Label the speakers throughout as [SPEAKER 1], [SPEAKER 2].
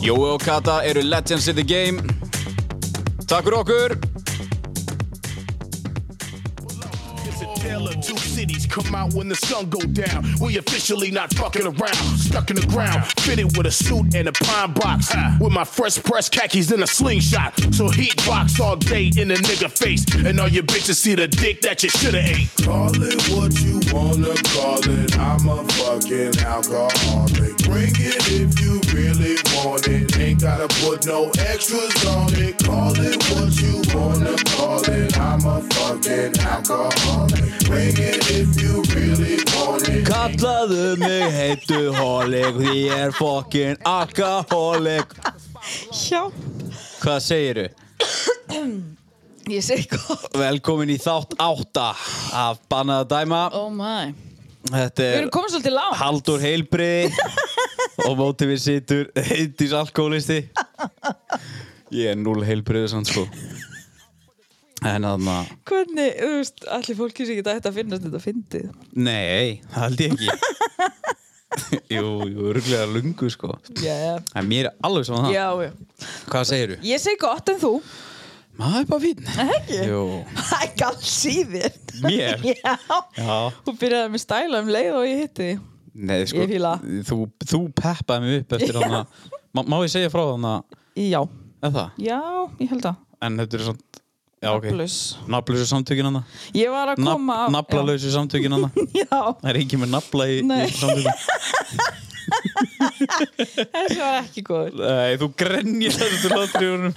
[SPEAKER 1] Jói og Kata eru legends in the game. Takk fyrir okkur!
[SPEAKER 2] It's a tale of two cities come out when the sun go down. We officially not fucking around, stuck in the ground, fitted with a suit and a pine box. With my fresh press khakis in a slingshot. So heat box all day in the nigga face. And all your bitches see the dick that you shoulda ate.
[SPEAKER 3] Call it what you wanna call it. I'm a fucking alcoholic. Bring it if you really want it. Ain't gotta put no extras on it. Call it what you wanna call it. I'm a fucking alcoholic. Bring it if you really want it.
[SPEAKER 1] Kallaðu mig heituhólik, því ég er fokkin alkohólik.
[SPEAKER 4] Já,
[SPEAKER 1] Hvað segiru?
[SPEAKER 4] ég segi gott
[SPEAKER 1] Velkomin í þátt átta af Bannaða dæma.
[SPEAKER 4] Oh my
[SPEAKER 1] Þetta
[SPEAKER 4] Við
[SPEAKER 1] er
[SPEAKER 4] erum komin svolítið lág
[SPEAKER 1] Haldur Heilbriði og mótið við situr heitís alkoholisti. Ég er núl heilbriðið sann sko. En þannig að...
[SPEAKER 4] Hvernig, þú veist, allir fólki sem geta ætti að finnast þetta fyndið
[SPEAKER 1] Nei, það held ég ekki Jú, jú, örglega lungu sko
[SPEAKER 4] Já,
[SPEAKER 1] En mér er alveg saman það
[SPEAKER 4] já, já
[SPEAKER 1] Hvað segirðu?
[SPEAKER 4] Ég segi gott en þú
[SPEAKER 1] Maður er bara fín
[SPEAKER 4] Ekki?
[SPEAKER 1] Jú,
[SPEAKER 4] Það er galt síðir
[SPEAKER 1] mér
[SPEAKER 4] Já
[SPEAKER 1] Já,
[SPEAKER 4] Þú byrjaði með stæla um leið og ég hitti þig.
[SPEAKER 1] nei sko
[SPEAKER 4] Ég fíla.
[SPEAKER 1] Þú, þú peppaði mig upp eftir
[SPEAKER 4] Já.
[SPEAKER 1] hana má, má ég segja frá hana
[SPEAKER 4] Já,
[SPEAKER 1] Er það?
[SPEAKER 4] já, ég held að
[SPEAKER 1] En þetta er svona Já, ok
[SPEAKER 4] Nafnlaus.
[SPEAKER 1] Nafnlausu samtökin hana
[SPEAKER 4] Ég var að
[SPEAKER 1] Nafn-
[SPEAKER 4] koma af-
[SPEAKER 1] Nafnalausu samtökin hana
[SPEAKER 4] Já, já.
[SPEAKER 1] Það er ekki með nafla í,
[SPEAKER 4] Nei.
[SPEAKER 1] í samtökin
[SPEAKER 4] þessi var ekki góður
[SPEAKER 1] Nei, þú grenjir þessu hlátrífunum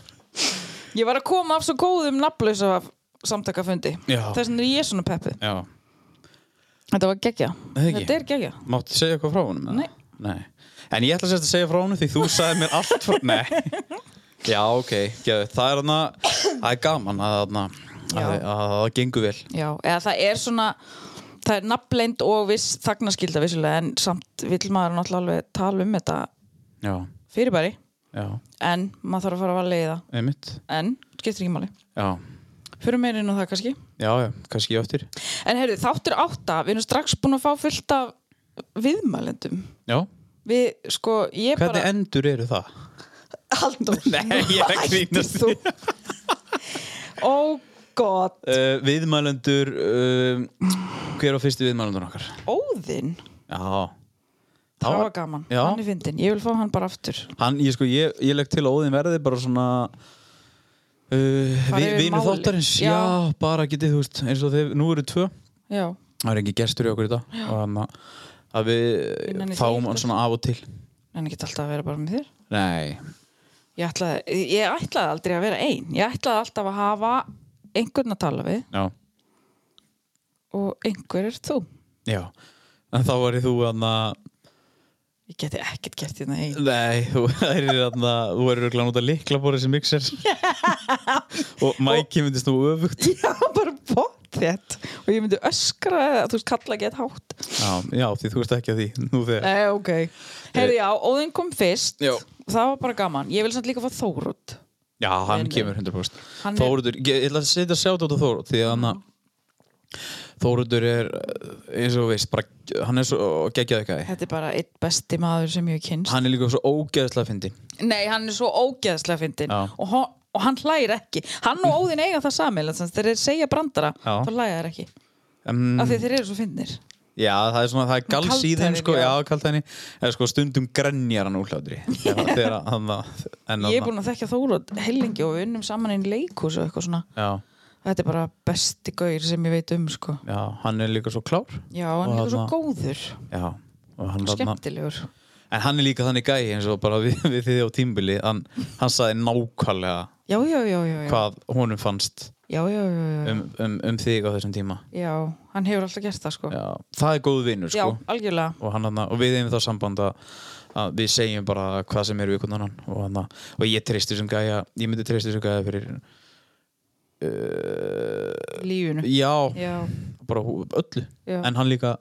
[SPEAKER 4] Ég var að koma af svo góðum nafnlausa samtakafundi
[SPEAKER 1] Já.
[SPEAKER 4] Þess vegna er ég svona peppu
[SPEAKER 1] Já
[SPEAKER 4] Þetta var geggja
[SPEAKER 1] Það ekki?
[SPEAKER 4] Þetta er geggja
[SPEAKER 1] Máttu segja eitthvað frá honum? eða?
[SPEAKER 4] Nei.
[SPEAKER 1] Nei. En ég ætla sérst að segja frá honum því þú sagði mér allt frá... Nei. Já, ok. Geðu. Það er hana... Það er gaman að hana...
[SPEAKER 4] Já.
[SPEAKER 1] Að að það gengur vel.
[SPEAKER 4] Já, eða það er svona það er nafnleind og viss þagnaskilda vissulega en samt vill maður náttúrulega alveg tala um þetta
[SPEAKER 1] Já.
[SPEAKER 4] fyrirbæri
[SPEAKER 1] Já.
[SPEAKER 4] en maður þarf að fara að varlega í það
[SPEAKER 1] Einmitt.
[SPEAKER 4] en skiptir ekki máli
[SPEAKER 1] Já.
[SPEAKER 4] fyrir meirinn og það kannski
[SPEAKER 1] Já, já. Kanski ég áttir.
[SPEAKER 4] en heyrðu, þáttur átta, við erum strax búin að fá fullt af viðmælendum
[SPEAKER 1] Já.
[SPEAKER 4] við, sko, ég
[SPEAKER 1] Hvernig
[SPEAKER 4] bara
[SPEAKER 1] endur eru það?
[SPEAKER 4] Halldór,
[SPEAKER 1] Nei, ég er að grínast.
[SPEAKER 4] þú ó, gott,
[SPEAKER 1] Uh, viðmælendur... Uh, hver var fyrsti viðmælendur okkar?
[SPEAKER 4] óðinn
[SPEAKER 1] Já.
[SPEAKER 4] það var gaman,
[SPEAKER 1] Já.
[SPEAKER 4] hann er fyndin, ég vil fá hann bara aftur
[SPEAKER 1] Hann, ég sko, ég, ég legg til að Óðinn verði bara svona uh,
[SPEAKER 4] Fara
[SPEAKER 1] vi,
[SPEAKER 4] yfir
[SPEAKER 1] Vinu
[SPEAKER 4] málið.
[SPEAKER 1] þáttarins já.
[SPEAKER 4] Já.
[SPEAKER 1] bara getið, þú veist, eins og þeir Nú eru tvö,
[SPEAKER 4] já,
[SPEAKER 1] það er ekki gestur í okkur í dag Og hann að- að
[SPEAKER 4] Vinnan
[SPEAKER 1] við
[SPEAKER 4] er
[SPEAKER 1] fáum
[SPEAKER 4] þreytt.
[SPEAKER 1] hann svona af og til
[SPEAKER 4] en ekki alltaf að vera bara með þér
[SPEAKER 1] Nei,
[SPEAKER 4] Ég ætlaði, ég ætlaði aldrei að vera ein Ég ætlaði alltaf að hafa einhvern að tala við
[SPEAKER 1] já,
[SPEAKER 4] og einhver er þú
[SPEAKER 1] já En þá væri þú hann að
[SPEAKER 4] Ég geti ekkert gert hérna ein
[SPEAKER 1] Nei, þú væri hann að Þú væri röglega nota liklabóri sem mixer Og Mæki myndist nú öfugt
[SPEAKER 4] Já, bara bótt þett og ég myndi öskra eða þú veist kalla gett hátt
[SPEAKER 1] já, já, því þú veist ekki að því Nú þegar
[SPEAKER 4] Nei, ok Herði já, Óðinn kom fyrst
[SPEAKER 1] Já.
[SPEAKER 4] Það var bara gaman Ég vil samt líka fá Þórut
[SPEAKER 1] Já, hann
[SPEAKER 4] Nei, nei.
[SPEAKER 1] kemur 100%
[SPEAKER 4] Hann er-
[SPEAKER 1] Þóruður, ég ætla að setja sjátt á Þóruð því að hann að Þóruður er eh, eins og þú veist bara, hann er svo geggjað eitthvað
[SPEAKER 4] Þetta er bara eitt besti maður sem ég hef kynst
[SPEAKER 1] hann er líka svo ógeðslega fyndi
[SPEAKER 4] Nei, hann er svo ógeðslega fyndin
[SPEAKER 1] Já.
[SPEAKER 4] og, hon- og hann hlægir ekki Hann og Óðinn eiga það samil þegar þeir segja brandara
[SPEAKER 1] Já.
[SPEAKER 4] þá hlægir ekki
[SPEAKER 1] um,
[SPEAKER 4] af því þeir eru svo fyndnir
[SPEAKER 1] Já, það er svona, það er gals í þeim
[SPEAKER 4] Kaldhæðin,
[SPEAKER 1] sko,
[SPEAKER 4] já.
[SPEAKER 1] já, kaldhæðinni eða sko stundum grenjar hann úr hlátri þegar þegar hann að en
[SPEAKER 4] Ég er
[SPEAKER 1] hann að-
[SPEAKER 4] búin að þekkja Þórótt hellingi og við unnum saman einn leikus og eitthvað svona
[SPEAKER 1] Já,
[SPEAKER 4] Þetta er bara besti gaur sem ég veit um sko
[SPEAKER 1] já, hann er líka svo klár
[SPEAKER 4] Já, hann er
[SPEAKER 1] Og
[SPEAKER 4] líka svo
[SPEAKER 1] þarna-
[SPEAKER 4] góður
[SPEAKER 1] Já, og hann þarna-
[SPEAKER 4] Skemmtilegur
[SPEAKER 1] En hann er líka þannig gæi eins og bara við, við þið á tímbili hann, hann sagði nákvæmlega
[SPEAKER 4] Já, já, já, já, já.
[SPEAKER 1] hvað honum fannst
[SPEAKER 4] já, já, já, já, já.
[SPEAKER 1] um, um, um þig á þessum tíma
[SPEAKER 4] já, hann hefur alltaf gert það sko
[SPEAKER 1] já, það er góð vinnur
[SPEAKER 4] Já,
[SPEAKER 1] sko
[SPEAKER 4] algjörlega
[SPEAKER 1] og, hann, þarna- og við erum það samband að, að við segjum bara hvað sem er við konan hann og, hann, og ég treysti sem gæja ég myndi treysti sem gæja fyrir uh,
[SPEAKER 4] lífinu
[SPEAKER 1] já,
[SPEAKER 4] Já,
[SPEAKER 1] bara hú- öllu
[SPEAKER 4] Já.
[SPEAKER 1] en hann líka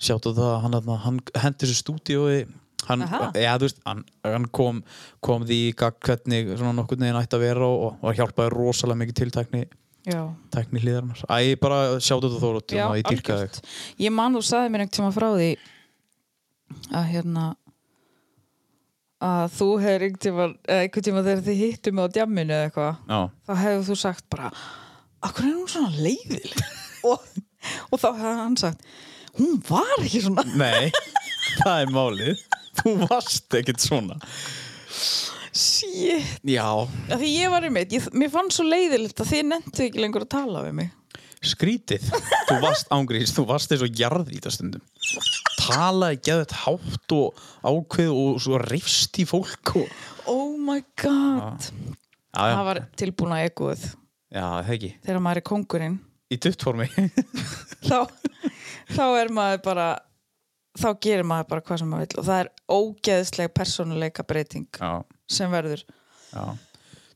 [SPEAKER 1] sjáttu það hann, hann, hann hendi þessu stúdíói hann,
[SPEAKER 4] Aha.
[SPEAKER 1] ja, veist, hann, hann kom, kom því í gagn hvernig svona nokkurn veginn ætti að vera og, og hjálpaði rosalega mikið til tækni,
[SPEAKER 4] já
[SPEAKER 1] tækni hlýðarnar Æ, bara sjáttu það þórótt
[SPEAKER 4] Já,
[SPEAKER 1] og ég dýrka
[SPEAKER 4] algjört.
[SPEAKER 1] þig
[SPEAKER 4] Ég man þú sagði mér einhvern tíma frá því að hérna að þú hefur einhvern tíma, einhvern tíma þegar þið hittum á djamminu eða eitthvað
[SPEAKER 1] Já,
[SPEAKER 4] þá hefur þú sagt bara Akkur er hún svona leiðileg og, og þá hefur hann sagt Hún var ekki svona
[SPEAKER 1] nei, það er málið þú varst ekkert svona
[SPEAKER 4] Shit
[SPEAKER 1] Já,
[SPEAKER 4] Af Því ég var einmitt, ég, mér fann svo leiðilegt að þið nenntu ekki lengur að tala við mig
[SPEAKER 1] skrítið þú varst ángriðis, þú varst eins og jarð í þetta stundum talaði geðið hátt og ákveð og svo rifst í fólk og...
[SPEAKER 4] Oh my god
[SPEAKER 1] já, já,
[SPEAKER 4] Það var tilbúna eguð
[SPEAKER 1] já, það ekki
[SPEAKER 4] þegar maður er kóngurinn
[SPEAKER 1] í duttformi
[SPEAKER 4] þá, þá er maður bara þá gerir maður bara hvað sem maður vill og það er ógeðsleg persónuleika breyting
[SPEAKER 1] já,
[SPEAKER 4] sem verður
[SPEAKER 1] já.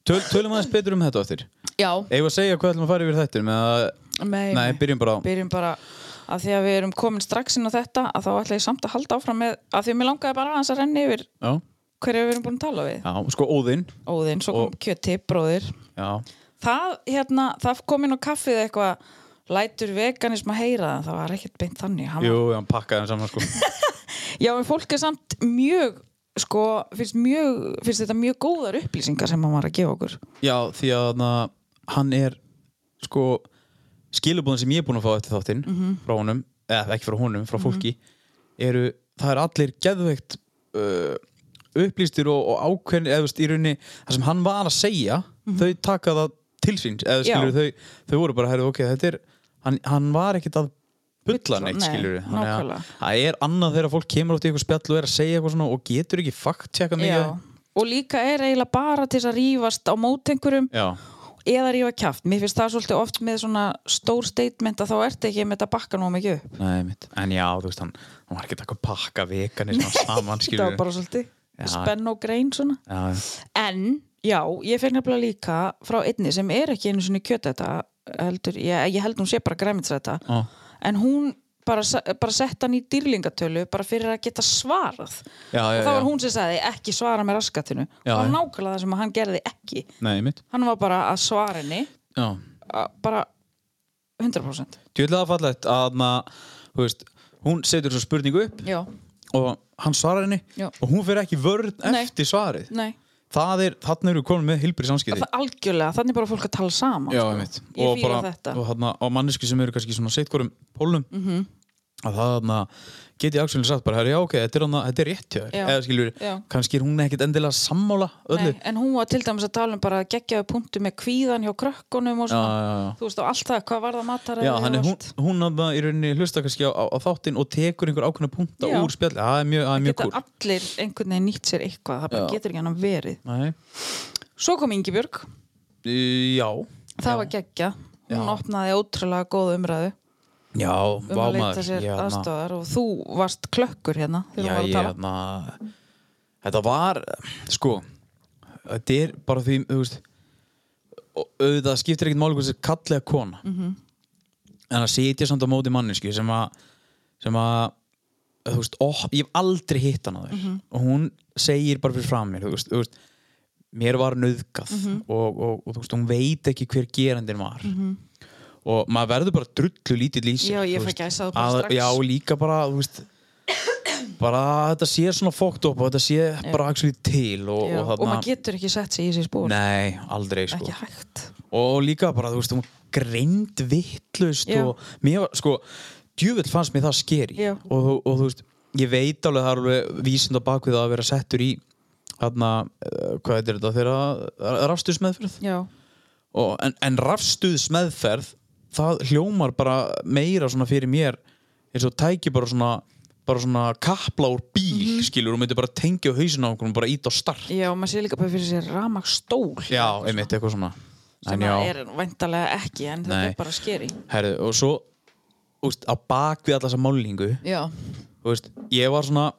[SPEAKER 1] Töl, tölum aðeins betur um þetta áttir
[SPEAKER 4] já,
[SPEAKER 1] eigum við að segja hvað ætlum að fara yfir þetta með að,
[SPEAKER 4] nei,
[SPEAKER 1] nei, byrjum bara á
[SPEAKER 4] byrjum bara að því að við erum komin strax inn á þetta að þá ætla ég samt að halda áfram með að því að mér langaði bara aðeins að renni yfir
[SPEAKER 1] já,
[SPEAKER 4] hverju við erum búin að tala við
[SPEAKER 1] já, sko Óðinn
[SPEAKER 4] Óðinn, svo kom
[SPEAKER 1] Og-
[SPEAKER 4] kjöti, bróðir
[SPEAKER 1] já,
[SPEAKER 4] það, hérna, það kom inn á kaffið eitthvað lætur veganism að heyra það það var ekkert beint þannig Hann var
[SPEAKER 1] jú, hann pakkaði hann saman sko
[SPEAKER 4] Já, en fólk er samt mjög sko, finnst, mjög, finnst þetta mjög góðar upplýsingar sem hann var að gefa okkur
[SPEAKER 1] já, því að na, hann er sko skilubúðin sem ég er búin að fá eftir þáttinn
[SPEAKER 4] Mhm.
[SPEAKER 1] frá honum, eða ekki frá honum, frá fólki eru, það er allir geðveikt uh, upplýstir og, og ákveðin, eða þú veist, í raunni það sem hann var að segja, þau taka það til síns, eða
[SPEAKER 4] Mhm. Já.
[SPEAKER 1] skilur þau þau voru bara, herrðu, ok, þetta er hann, hann var ekkit að bulla
[SPEAKER 4] Bulla,
[SPEAKER 1] neitt,
[SPEAKER 4] nei,
[SPEAKER 1] skilur
[SPEAKER 4] nákvæmlega.
[SPEAKER 1] það er annað þegar fólk kemur átt í eitthvað spjall og er að segja eitthvað svona og getur ekki fakt tjekka mikið
[SPEAKER 4] Já. og líka er eiginlega bara til þess að rífast á mót einhverjum
[SPEAKER 1] Já.
[SPEAKER 4] eða rífa kjaft, mér finnst það svolítið oft með svona stór statement að þá ertu ekki með þetta bakka nú mikið upp
[SPEAKER 1] Nei, mitt. En já, þú veist, hann, hann var ekki að pakka veganism saman,
[SPEAKER 4] þetta
[SPEAKER 1] skilur
[SPEAKER 4] var bara svolítið
[SPEAKER 1] Já.
[SPEAKER 4] spenn og grein svona
[SPEAKER 1] Já,
[SPEAKER 4] en, já, ég fekk nefnilega líka frá einni sem er ekki einu svona kjöt þetta heldur, ég, ég held hún sé bara græmits þetta
[SPEAKER 1] já.
[SPEAKER 4] en hún bara, se- bara sett hann í dýrlingatölu bara fyrir að geta svarað
[SPEAKER 1] Já, já,
[SPEAKER 4] og það
[SPEAKER 1] já.
[SPEAKER 4] var hún sem sagði ekki svara með raskatinu
[SPEAKER 1] Já,
[SPEAKER 4] það var
[SPEAKER 1] já.
[SPEAKER 4] nákvæmlega það sem hann gerði ekki
[SPEAKER 1] Nei, mitt.
[SPEAKER 4] hann var bara að svara henni
[SPEAKER 1] Já.
[SPEAKER 4] a- bara 100%
[SPEAKER 1] Tjóðlega fallegt að maður, þú veist, hún setur svo spurningu upp
[SPEAKER 4] já,
[SPEAKER 1] og hann svarar henni
[SPEAKER 4] Já.
[SPEAKER 1] og hún fer ekki vörn
[SPEAKER 4] Nei.
[SPEAKER 1] eftir svarið.
[SPEAKER 4] nei,
[SPEAKER 1] Það er, þannig eru komin með hilbrið samskipti.
[SPEAKER 4] það algjörlega þannig er bara fólk að tala saman
[SPEAKER 1] Já,
[SPEAKER 4] sko.
[SPEAKER 1] einmitt.
[SPEAKER 4] ég
[SPEAKER 1] og
[SPEAKER 4] fýla
[SPEAKER 1] bara
[SPEAKER 4] þetta Mhm.
[SPEAKER 1] og þarna, á manneski sem eru kannski svona seitkorum pólum -hmm. að það þarna, get ég aksjónlega sagt bara, herra, já ok, þetta er, hana, þetta er rétt hjá þér
[SPEAKER 4] Já.
[SPEAKER 1] eða skilur,
[SPEAKER 4] Já.
[SPEAKER 1] kannski er hún ekkit endilega sammála öllu
[SPEAKER 4] nei, en hún var til dæmis að tala um bara geggjaðu punktu með kvíðan hjá krökkunum og svona,
[SPEAKER 1] já, já.
[SPEAKER 4] þú veist og allt það, hvað var það mataræði
[SPEAKER 1] Já,
[SPEAKER 4] og
[SPEAKER 1] þannig hún,
[SPEAKER 4] allt.
[SPEAKER 1] hún hafði í rauninni hlusta kannski á, á, á þáttinn og tekur einhver ákveðna punta
[SPEAKER 4] Já.
[SPEAKER 1] úr spjalli, það er mjög, það er mjög
[SPEAKER 4] geta
[SPEAKER 1] kúl
[SPEAKER 4] allir einhvern veginn nýtt sér eitthvað það bara
[SPEAKER 1] Já.
[SPEAKER 4] getur ekki hann verið
[SPEAKER 1] Nei,
[SPEAKER 4] svo kom Ingibjörg
[SPEAKER 1] Í, já
[SPEAKER 4] það var geggja hún
[SPEAKER 1] Já.
[SPEAKER 4] opnaði ótrúlega góð umræðu
[SPEAKER 1] Já,
[SPEAKER 4] um
[SPEAKER 1] vá
[SPEAKER 4] að leita
[SPEAKER 1] maður
[SPEAKER 4] sér
[SPEAKER 1] Ég, hérna-
[SPEAKER 4] aðstofar og þú varst klökkur hérna
[SPEAKER 1] Já, ég,
[SPEAKER 4] þegar hún var að tala
[SPEAKER 1] hérna Þetta var, sko Þetta er bara því, þú veist og auðvitað skiptir ekkert máli hversu kallega kona -hmm.
[SPEAKER 4] Mhm.
[SPEAKER 1] en að sitja samt á móti mannesku sem að sem að þú veist, ó, ég hef aldrei hitt hana þér
[SPEAKER 4] Mhm.
[SPEAKER 1] og hún segir bara fyrir fram mér þú veist, þú veist mér var nöðgað
[SPEAKER 4] Mhm.
[SPEAKER 1] og, og, og þú veist, hún veit ekki hver gerandin var og maður verður bara drullu lítill í sig
[SPEAKER 4] Já, ég
[SPEAKER 1] þú
[SPEAKER 4] fæ
[SPEAKER 1] veist.
[SPEAKER 4] gæsahúð bara strax.
[SPEAKER 1] Já, líka bara, þú veist bara að þetta sé svona fókt upp og þetta sé bara actually til og,
[SPEAKER 4] Já,
[SPEAKER 1] og
[SPEAKER 4] og maður
[SPEAKER 1] þarna,
[SPEAKER 4] getur ekki sett sér í sér spór
[SPEAKER 1] nei, aldrei sko
[SPEAKER 4] ekki hægt
[SPEAKER 1] og líka bara, þú veist, hún greind vittlust
[SPEAKER 4] Já.
[SPEAKER 1] og mér var, sko djúvill fannst mér það skeri
[SPEAKER 4] Já.
[SPEAKER 1] og, þú- og þú veist, ég veit alveg það er alveg vísind á bakvið að vera settur í þarna, eh, hvað heitir þetta þeirra rafstuðsmeðferð
[SPEAKER 4] já,
[SPEAKER 1] og, en, en rafstuðsmeðferð það hljómar bara meira svona fyrir mér eins og tæki bara svona bara svona kapla úr
[SPEAKER 4] Mhm.
[SPEAKER 1] bíl skilur og myndi bara tengja á hausinu á einhvern og bara ít á start
[SPEAKER 4] já og maður sé líka bara fyrir sér ramak stól
[SPEAKER 1] já, einmitt, eitthvað svona En
[SPEAKER 4] sem
[SPEAKER 1] já.
[SPEAKER 4] það er væntalega ekki en þetta
[SPEAKER 1] Nei.
[SPEAKER 4] er bara skeri
[SPEAKER 1] Herðu, og svo úst, á bak við alla þessa málingu
[SPEAKER 4] já,
[SPEAKER 1] úst, ég var svona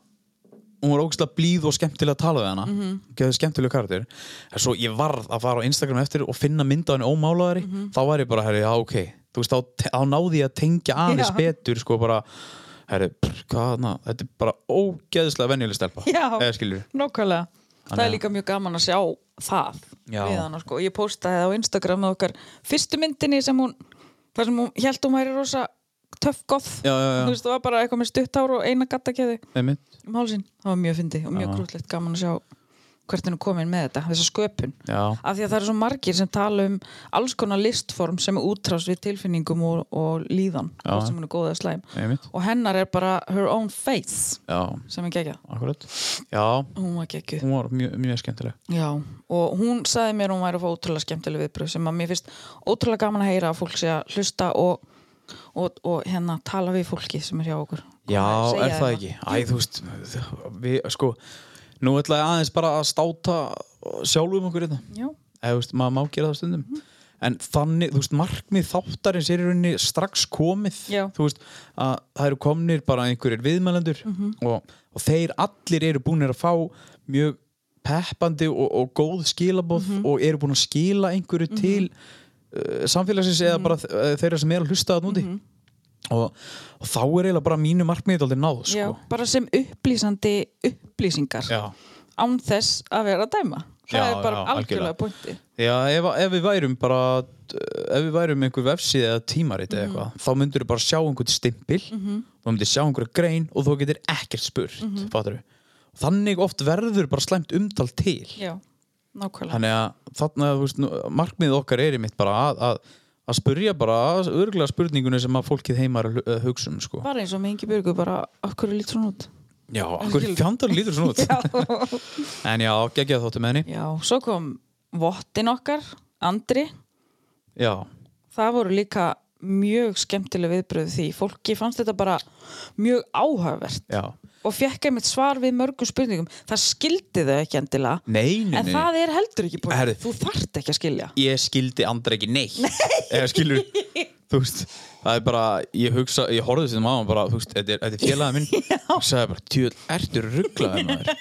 [SPEAKER 1] hún var ógæslega blíð og skemmtilega að tala við hana
[SPEAKER 4] Mhm.
[SPEAKER 1] mm -hmm. skemmtilega karakter en svo ég varð að fara á Instagram eftir og finna mynd á henni ómálaðari
[SPEAKER 4] Mhm.
[SPEAKER 1] þá var ég bara, herru, já, ok þú veist, þá, te- þá náði ég að tengja aðeins
[SPEAKER 4] Já.
[SPEAKER 1] betur sko bara, herru, prr, hvað na, þetta er bara ógeðslega venjuleg stelpa
[SPEAKER 4] já
[SPEAKER 1] eða skilur
[SPEAKER 4] nákvæmlega
[SPEAKER 1] Þannig
[SPEAKER 4] það er
[SPEAKER 1] að-
[SPEAKER 4] líka mjög gaman að sjá það
[SPEAKER 1] Já.
[SPEAKER 4] við hana sko, ég postaði á Instagram með okkar fyrstu myndinni sem hún þar sem hún held hún væri rosa töff goth,
[SPEAKER 1] Já, já, já.
[SPEAKER 4] þú veist það var bara eitthvað með stutthár og eina gattakeði
[SPEAKER 1] einmitt
[SPEAKER 4] um hálsinn, það var mjög fyndi og mjög grútlegt gaman að sjá hvert henni komin með þetta, þessa sköpun
[SPEAKER 1] Já.
[SPEAKER 4] af því að það eru svo margir sem tala um alls konar listform sem er útrás við tilfinningum og, og líðan
[SPEAKER 1] Já.
[SPEAKER 4] hvort sem hún er góð eða slæm
[SPEAKER 1] Einmitt.
[SPEAKER 4] og hennar er bara her own face
[SPEAKER 1] Já,
[SPEAKER 4] sem er geggjað,
[SPEAKER 1] akkurat Já,
[SPEAKER 4] hún var geggjuð
[SPEAKER 1] hún var mjög, mjög skemmtileg
[SPEAKER 4] Já, og hún sagði mér að hún væri að fá ótrúlega skemmtileg viðbröð sem að mér finnst ótrúlega gaman að heyra að fólk sé að hlusta og, og, og hérna tala við fólki sem er hjá okkur
[SPEAKER 1] Já,
[SPEAKER 4] Koma, segja
[SPEAKER 1] er það
[SPEAKER 4] þeim
[SPEAKER 1] ekki? Æ, þú veist, við, sko Nú ætla ég aðeins bara að státa sjálfum okkur hérna. þetta
[SPEAKER 4] Já,
[SPEAKER 1] eða, þú veist, maður má gera það stundum en þannig, þú veist, markmið þáttarins er í rauninni strax komið
[SPEAKER 4] Já.
[SPEAKER 1] þú veist, að það eru komnir bara einhverjir viðmælendur
[SPEAKER 4] Mhm.
[SPEAKER 1] og, og þeir allir eru búinir að fá mjög peppandi og, og góð skilaboð
[SPEAKER 4] Mhm.
[SPEAKER 1] og eru búin að skila einhverju til uh, samfélagsins
[SPEAKER 4] Mhm.
[SPEAKER 1] eða bara uh, þeirra sem er að hlusta það núti og, og þá er eiginlega bara mínu markmið aldrei náð, sko
[SPEAKER 4] já, bara sem upplýsandi upplýsingar
[SPEAKER 1] Já.
[SPEAKER 4] án þess að vera að dæma það
[SPEAKER 1] Já,
[SPEAKER 4] er bara
[SPEAKER 1] já,
[SPEAKER 4] algjörlega
[SPEAKER 1] algjörlega.
[SPEAKER 4] punkti
[SPEAKER 1] Já, ef, ef við værum bara eh, ef við værum einhver vefsíð eða tímarit eða eitthvað, þá myndur við bara sjá einhvern stimpil, þá myndur við sjá einhverja grein og þú getur ekkert spurt mm -hmm. þannig oft verður bara slæmt umtal til
[SPEAKER 4] Já, nákvæmlega
[SPEAKER 1] þannig að þarna, þú veist, nú, markmið okkar er í mitt bara að, að, að spurja bara örgulega spurningunni sem að fólkið heimar hugsa um sko.
[SPEAKER 4] Bara eins og með Ingi Björgu, bara okkur er lítur hún út
[SPEAKER 1] Já, okkur fjandar lítur svona út en já, geggjað þáttu með henni
[SPEAKER 4] Já, svo kom vottin okkar, Andri
[SPEAKER 1] Já,
[SPEAKER 4] það voru líka mjög skemmtileg viðbröð því fólki fannst þetta bara mjög áhugavert
[SPEAKER 1] já
[SPEAKER 4] og fekk einmitt svar við mörgum spurningum það skildi þau ekki endilega
[SPEAKER 1] Nei, nei,
[SPEAKER 4] en
[SPEAKER 1] nei.
[SPEAKER 4] það er heldur ekki búin
[SPEAKER 1] Herðu.
[SPEAKER 4] þú þart ekki að skilja
[SPEAKER 1] ég skildi andra ekki neitt eða skilur þú veist það er bara ég hugsa ég horfði sem á hann bara þú veist þetta er, þetta er félagið minn og sagði bara tjóð ertur rugglaðið maður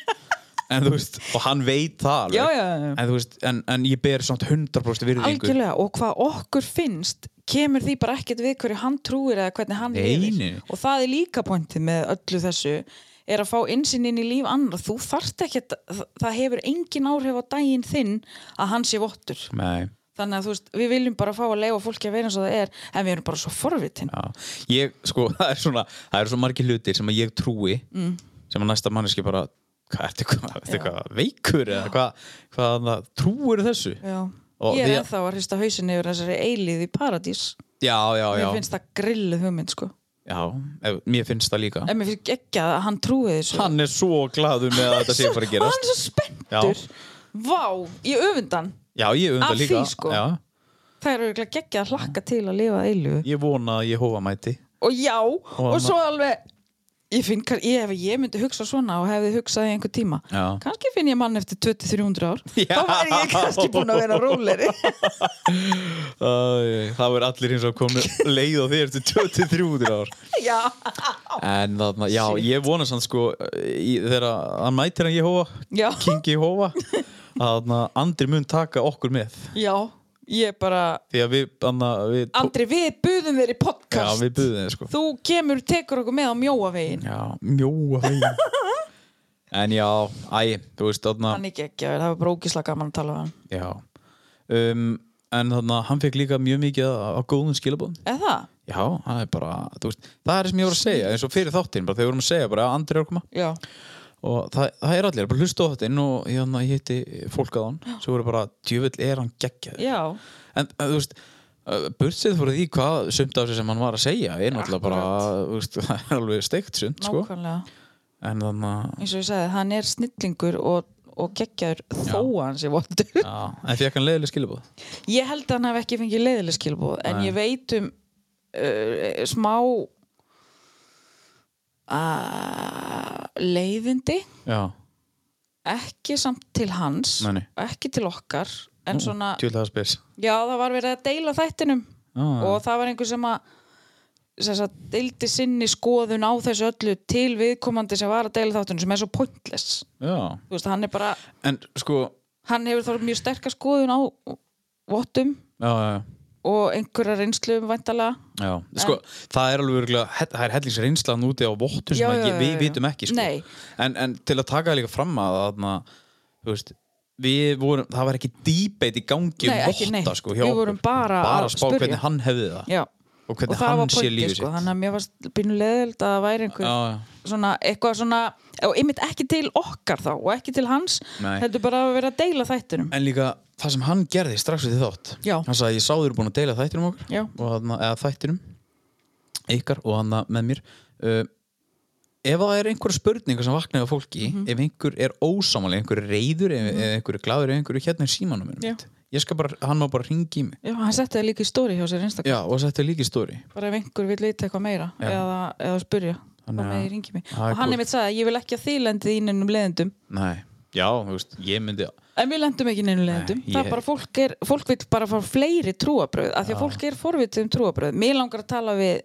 [SPEAKER 1] en þú veist og hann veit það alveg
[SPEAKER 4] Já, já, já.
[SPEAKER 1] en þú veist en, en ég ber samt 100% virðingu
[SPEAKER 4] algjörlega og hvað okkur finnst kemur því bara ekkert við hverju hann trúir eða hvernig hann
[SPEAKER 1] Nei,
[SPEAKER 4] lifir.
[SPEAKER 1] nei.
[SPEAKER 4] og það er líka pointið með öllu þessu er að fá innsinn inn í líf annar þú þart ekki að það hefur engin áhrif á daginn þinn að hann sé vottur
[SPEAKER 1] nei
[SPEAKER 4] þannig að þú veist við viljum bara fá að leifa fólki að vera eins og það er en við erum bara svo forvitin
[SPEAKER 1] Já, ég, sko, það er svona það eru svo margir hlutir sem að ég trúi
[SPEAKER 4] Mm.
[SPEAKER 1] sem að næsta manneski bara hvað, ertu hvað, ertu hvað veikur eða hvað, hvað trúir þessu
[SPEAKER 4] Já.
[SPEAKER 1] Og
[SPEAKER 4] ég er
[SPEAKER 1] því-
[SPEAKER 4] ennþá að hrista hausin yfir þessari eilíð í paradís
[SPEAKER 1] já, já, já,
[SPEAKER 4] mér finnst það grilluð hugmynd sko
[SPEAKER 1] já ef- mér finnst það líka
[SPEAKER 4] en mér finnst ekki að hann trúi þessu
[SPEAKER 1] hann er svo gladur með að þetta sé
[SPEAKER 4] Svo-
[SPEAKER 1] bara að
[SPEAKER 4] og
[SPEAKER 1] gerast
[SPEAKER 4] hann er svo spenntur Vá, ég öfundan
[SPEAKER 1] já, ég undar
[SPEAKER 4] Af
[SPEAKER 1] líka
[SPEAKER 4] því, sko.
[SPEAKER 1] já,
[SPEAKER 4] Það er auðvitað geggja að hlakka til að lifa eilu
[SPEAKER 1] ég vona að ég hófa mæti
[SPEAKER 4] Og já, og
[SPEAKER 1] hann-
[SPEAKER 4] svo alveg Ég finn, kann- ég, ef ég myndi hugsa svona og hefði hugsað í einhver tíma
[SPEAKER 1] Já.
[SPEAKER 4] kannski finn ég mann eftir 2300 ár
[SPEAKER 1] Já.
[SPEAKER 4] þá væri ég kannski búin að vera róleri
[SPEAKER 1] Æ, það verður allir eins og komið leið á þér til 23 ár
[SPEAKER 4] Já,
[SPEAKER 1] en þarna, já, ég vona sann sko í, þegar að- hann mætir hann ég
[SPEAKER 4] Já.
[SPEAKER 1] hófa King ég hófa að andri mun taka okkur með
[SPEAKER 4] já, ég bara
[SPEAKER 1] því að við, anna, við
[SPEAKER 4] Andri, við buðum þér í
[SPEAKER 1] já,
[SPEAKER 4] podcast
[SPEAKER 1] við buðum þeir sko
[SPEAKER 4] Þú kemur, tekur okkur með á mjóavegin
[SPEAKER 1] já, mjóa veginn en já, æ, þú veist þarna,
[SPEAKER 4] Hann ekki ekki, það var bara ógislega gaman að tala við hann
[SPEAKER 1] já um, en þarna, hann fekk líka mjög mikið á, á góðum skilabóðum
[SPEAKER 4] Eða það?
[SPEAKER 1] Já, það er bara, þú veist, það er það sem ég voru að segja eins og fyrir þáttinn, bara þegar við vorum að segja bara að Andri er að koma
[SPEAKER 4] Já,
[SPEAKER 1] og það, það er allir, bara hlusta á þáttinn og hérna, ég hitti fólk að hann sem voru bara, djöfull er hann geggjað
[SPEAKER 4] já
[SPEAKER 1] en eh, þú veist, eh, burtsið fyrir því hvað sumt af þessu sem hann var að segja er náttúrulega bara, þú veist, það er alveg steikt sumt, sko,
[SPEAKER 4] Nákvæmlega
[SPEAKER 1] en þannig að
[SPEAKER 4] eins og ég sagði, hann er snillingur og, og geggjaður þó að hann sé vondur
[SPEAKER 1] Já, en fekk hann leiðileg skilabóð
[SPEAKER 4] ég held að hann hef ekki fengið leiðileg skilbúð en ég veit um uh, smá uh, leiðindi
[SPEAKER 1] Já,
[SPEAKER 4] ekki samt til hans
[SPEAKER 1] Nei, nei.
[SPEAKER 4] ekki til okkar en svona,
[SPEAKER 5] Tjúlega spes
[SPEAKER 4] já það var verið að deila þættinum
[SPEAKER 1] Ah.
[SPEAKER 4] og það var einhver sem að sem að deildi sinni skoðun á þessu öllu til viðkomandi sem var að deila þáttunum sem er svo pointless
[SPEAKER 1] Já.
[SPEAKER 4] þú veist, hann er bara,
[SPEAKER 1] En sko,
[SPEAKER 4] hann hefur þá mjög sterka skoðun á vottum
[SPEAKER 1] já, já, já.
[SPEAKER 4] og einhverja reynslu væntalega
[SPEAKER 1] Já, sko, það er alveg örgulega, það er hellingsreynslan úti á vottu sem
[SPEAKER 4] Já,
[SPEAKER 1] já,
[SPEAKER 4] já, já,
[SPEAKER 1] við
[SPEAKER 4] já.
[SPEAKER 1] vitum ekki sko.
[SPEAKER 4] Nei.
[SPEAKER 1] en, en til að taka það líka fram að þarna, þú veist, við vorum, það var ekki dýbeit í gangi
[SPEAKER 4] Nei,
[SPEAKER 1] um
[SPEAKER 4] ekki neitt.
[SPEAKER 1] votta sko, hjá
[SPEAKER 4] Við
[SPEAKER 1] okkur.
[SPEAKER 4] vorum bara
[SPEAKER 1] bara
[SPEAKER 4] að
[SPEAKER 1] spá
[SPEAKER 4] spyrja.
[SPEAKER 1] hvernig hann hefði það
[SPEAKER 4] já
[SPEAKER 1] og hvernig
[SPEAKER 4] það var
[SPEAKER 1] hann sé
[SPEAKER 4] pointið,
[SPEAKER 1] lífið
[SPEAKER 4] sko,
[SPEAKER 1] sitt
[SPEAKER 4] þannig að mér varst býnum leðild að það væri einhver
[SPEAKER 1] Já, já.
[SPEAKER 4] svona, eitthvað svona og einmitt ekki til okkar þá og ekki til hans
[SPEAKER 1] Nei.
[SPEAKER 4] heldur bara að vera að deila þættinum
[SPEAKER 1] En líka það sem hann gerði strax við þátt
[SPEAKER 4] Já.
[SPEAKER 1] Hann sagði ég sá þér búin að deila þættinum okkur
[SPEAKER 4] Já.
[SPEAKER 1] og þarna, eða þættinum ykkar og hann með mér uh, Ef það er einhverja spurningar sem vaknaði á fólki
[SPEAKER 4] Mhm.
[SPEAKER 1] ef einhver er ósámáli, einhver er reyður ef, ef einhver er glaður, ef einhver er hérna í símanum mínum
[SPEAKER 4] Já.
[SPEAKER 1] mitt. Ég skal bara, hann má bara ringi í mig
[SPEAKER 4] já, hann setti það líka í stóri hjá sér einstaklega
[SPEAKER 1] Já, og þetta er líki stóri
[SPEAKER 4] bara ef einhver vil vita eitthvað meira
[SPEAKER 1] Já.
[SPEAKER 4] eða, eða spyrja
[SPEAKER 1] Þannig
[SPEAKER 4] Þannig,
[SPEAKER 1] að-
[SPEAKER 4] með, ringi mig.
[SPEAKER 1] Það er
[SPEAKER 4] og hann
[SPEAKER 1] gott.
[SPEAKER 4] einmitt sagði að ég vil ekki að þið lendið í neinum leðendum
[SPEAKER 1] Nei, já, þú veist, ég myndi
[SPEAKER 4] en við lendum ekki í neinum leðendum
[SPEAKER 1] Nei,
[SPEAKER 4] það
[SPEAKER 1] ég-
[SPEAKER 4] er bara fólk er, fólk vil bara fá fleiri trúabröð af því að fólk er forvitið um trúabröð mér langar að tala við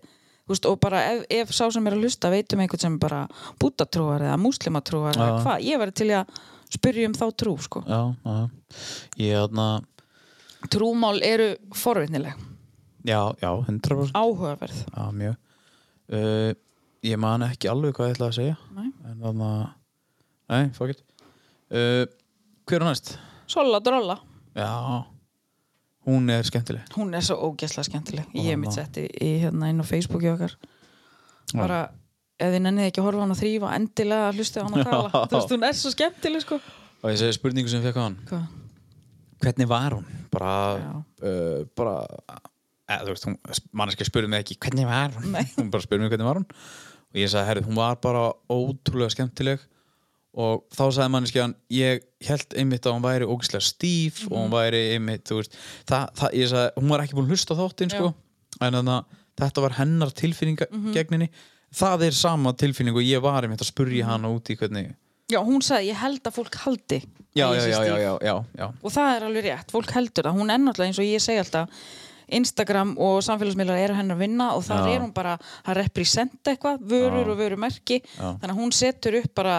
[SPEAKER 4] þú veist, og bara ef, ef sá sem er að hlusta veitum einhvern sem er bara bútatrúar eða múslimatrúar eða
[SPEAKER 1] Já.
[SPEAKER 4] hvað, ég verði til í að spyrja um þá trú sko.
[SPEAKER 1] Já, já, ég þarna
[SPEAKER 4] trúmál eru forvitnileg
[SPEAKER 1] Já, já, 100%
[SPEAKER 4] áhugaverð
[SPEAKER 1] Já, mjög uh, Ég man ekki alveg hvað ég ætlaði að segja
[SPEAKER 4] Nei.
[SPEAKER 1] En þannig að Nei, fuck it uh, Hver er næst?
[SPEAKER 4] Sola Drolla,
[SPEAKER 1] Já Hún er skemmtileg
[SPEAKER 4] hún er svo ógæslega skemmtileg ég
[SPEAKER 1] Ó,
[SPEAKER 4] er mitt
[SPEAKER 1] ná.
[SPEAKER 4] setti í, hérna inn á Facebooki okkar
[SPEAKER 1] Já.
[SPEAKER 4] bara ef þið nennið ekki að horfa á hana þrýfa endilega hlustið á hana að tala þú veist, hún er svo skemmtileg sko
[SPEAKER 1] Og ég segi spurningu sem fekk á hann
[SPEAKER 4] Hva?
[SPEAKER 1] Hvernig var hún? Bara,
[SPEAKER 4] Já.
[SPEAKER 1] uh, bara eða, Þú veist, hún, manneskja spurði mig ekki Hvernig var hún? Nei. Hún bara spurði mig hvernig var hún Og ég sagði, herrið, hún var bara ótrúlega skemmtileg Og þá sagði manneskjan Ég held einmitt að hún væri ógislega stíf Og
[SPEAKER 4] Mhm.
[SPEAKER 1] hún væri einmitt, þú veist það, það, Ég sagði, hún var ekki búin að hlusta á þáttinn sko. En þannig að þetta var hennar tilfinninga
[SPEAKER 4] Mhm.
[SPEAKER 1] gegninni Það er sama tilfinning og ég var einmitt að
[SPEAKER 4] Mhm.
[SPEAKER 1] spurja hana út í hvernig
[SPEAKER 4] já, hún sagði, ég held að fólk haldi
[SPEAKER 1] Já,
[SPEAKER 4] að ég
[SPEAKER 1] já,
[SPEAKER 4] sé
[SPEAKER 1] já,
[SPEAKER 4] stíf."
[SPEAKER 1] já, já, já, já.
[SPEAKER 4] og það er alveg rétt, fólk heldur það hún er náttúrulega eins og ég segi alltaf Instagram og samfélagsmiðlar eru hennar að vinna og þar
[SPEAKER 1] Já.
[SPEAKER 4] er hún bara að representa eitthvað vörur
[SPEAKER 1] Já.
[SPEAKER 4] og vörumerki þannig að hún setur upp bara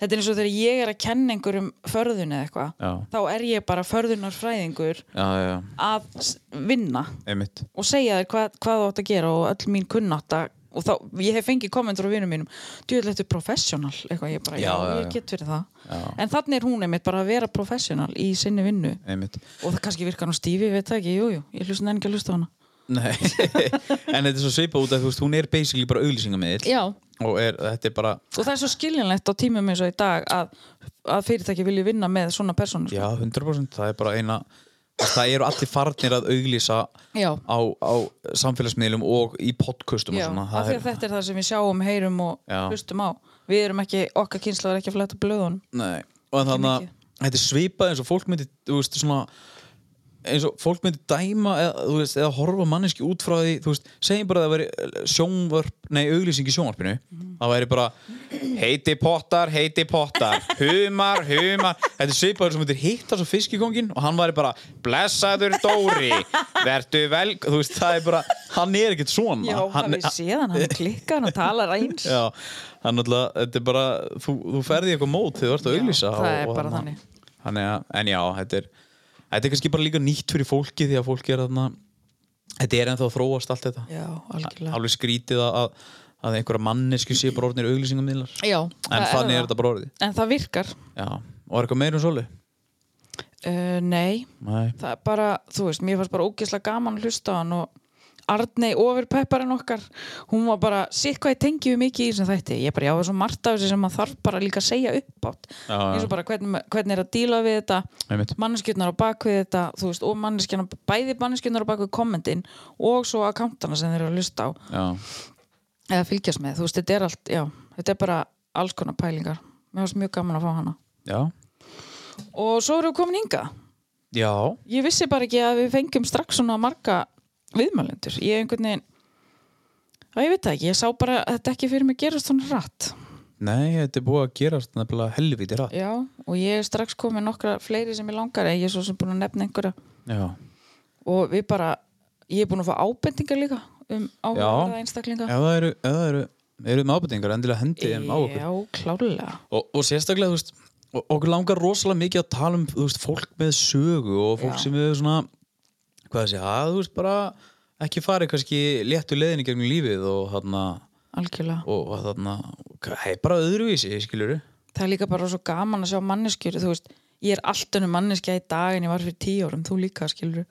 [SPEAKER 4] þetta er eins og þegar ég er að kenna einhverjum förðun eða eitthvað,
[SPEAKER 1] Já.
[SPEAKER 4] þá er ég bara förðunarfræðingur
[SPEAKER 1] já, já, já.
[SPEAKER 4] að s- vinna
[SPEAKER 1] Einmitt.
[SPEAKER 4] og segja þér hvað, hvað þú átt að gera og öll mín kunnáta og þá, ég hef fengið kommentur á vinum mínum djúðlega professional, eitthvað ég bara,
[SPEAKER 1] Já,
[SPEAKER 4] já,
[SPEAKER 1] já, já.
[SPEAKER 4] ég get fyrir það
[SPEAKER 1] Já.
[SPEAKER 4] en þannig er hún einmitt bara að vera professional í sinni vinnu
[SPEAKER 1] Einmitt.
[SPEAKER 4] og það kannski virkar nú stífi, ég veit það ekki, jújú jú, ég hlusta enn ekki að hlusta á hana
[SPEAKER 1] Nei, en þetta er svo svipað út af þú veist, hún er basically bara auglýsingamiðil
[SPEAKER 4] já.
[SPEAKER 1] og er, þetta er bara,
[SPEAKER 4] og það er svo skiljanlegt á tímum eins og í dag að, að fyrirtæki vilji vinna með svona sko. persónu
[SPEAKER 1] já, 100% það er bara eina, það eru allir farnir að auglýsa
[SPEAKER 4] Já.
[SPEAKER 1] á, á samfélagsmiðlum og í podcastum
[SPEAKER 4] Já,
[SPEAKER 1] og svona,
[SPEAKER 4] af því að þetta er það sem við sjáum, heyrum og
[SPEAKER 1] Já.
[SPEAKER 4] hlustum á við erum ekki, okkar kynsla er ekki að fletta blöðunum
[SPEAKER 1] Nei, og þannig að
[SPEAKER 4] mikið.
[SPEAKER 1] þetta er svipað eins og fólk myndi, þú veist, svona eins og fólk myndi dæma eða, þú veist, eða horfa manneski út frá því þú veist, segjum bara að það væri sjónvarp nei, auglýsing í sjónvarpinu það væri bara, heiti pottar, heiti pottar humar, humar þetta er svipaður sem myndir hitta svo fiskikongin og hann væri bara, blessaður Dóri vertu vel, þú veist, það er bara hann er ekkert svona
[SPEAKER 4] já,
[SPEAKER 1] hann,
[SPEAKER 4] hann, við séðan, hann klikkar, hann talar eins
[SPEAKER 1] já, hann alltaf, þetta er bara þú, þú ferði eitthvað mót þegar þú ert að auglýsa
[SPEAKER 4] það er bara
[SPEAKER 1] þarna- þannig að, en já, þetta er þetta er kannski bara líka nýtt fyrir fólki því að fólki er þarna þetta er ennþá að þróast allt þetta
[SPEAKER 4] já, algjörlega
[SPEAKER 1] alveg skrítið að, að, að einhverja mannesku sé bara orðnir auglýsingamíðlar
[SPEAKER 4] já,
[SPEAKER 1] en þannig er þetta bara orðið
[SPEAKER 4] en það virkar,
[SPEAKER 1] já, og er eitthvað meira um soli?
[SPEAKER 4] uh, nei
[SPEAKER 1] Nei.
[SPEAKER 4] það er bara, þú veist, mér fannst bara ógeðslega gaman að hlusta á hann og Arnei ofurpepparinn okkar hún var bara, sér hvað ég tengi við mikið í þessum þætti ég bara, já, það er svo margt af þessu sem maður þarf bara líka að segja upp átt
[SPEAKER 1] Já,
[SPEAKER 4] eins
[SPEAKER 1] já.
[SPEAKER 4] og bara hvernig, hvernig er að díla við þetta
[SPEAKER 1] Einmitt.
[SPEAKER 4] manneskjurnar á bakvið þetta þú veist, og manneskjurnar, bæði manneskjurnar á bakvið kommentin og svo akkantana sem þeir eru að hlusta á
[SPEAKER 1] já,
[SPEAKER 4] eða fylgjast með, þú veist, þetta er allt já, þetta er bara alls konar pælingar mér varst mjög gaman að fá hana
[SPEAKER 1] já,
[SPEAKER 4] og svo erum við komin hinga
[SPEAKER 1] já
[SPEAKER 4] ég vissi bara ekki að við fengjum strax svona marga viðmælendur ég einhvern veginn, að ég veit það ekki ég sá bara að þetta ekki fyrir mig gerast svona rætt
[SPEAKER 1] Nei, þetta er búið að gerast nefnilega helviti rætt.
[SPEAKER 4] Já, og ég er strax komið nokkra fleiri sem ég langar en ég er svo sem búin að nefna einhverja
[SPEAKER 1] Já.
[SPEAKER 4] og við bara, ég er búin að fá ábendingar líka um áhugaverða
[SPEAKER 1] Ef
[SPEAKER 4] einstaklinga
[SPEAKER 1] það eru, ef það eru, eru með ábendingar, endilega hendi þeim á okkur.
[SPEAKER 4] Já, klárlega
[SPEAKER 1] Og, og sérstaklega, þú veist, og- okkur langar rosalega mikið að tala um, þú veist, fólk með sögu og fólk
[SPEAKER 4] Já.
[SPEAKER 1] sem við svona, hvað þessi, að þú veist, bara ekki farið kannski léttu leiðinni gegnum lífið og þarna,
[SPEAKER 4] algjörlega.
[SPEAKER 1] og þarna, hei, bara öðruvísi, skilur við.
[SPEAKER 4] Það er líka bara svo gaman að sjá manneskjur þú veist, ég er allt önnum manneskja í dag en ég var fyrir tíu árum, þú líka skilur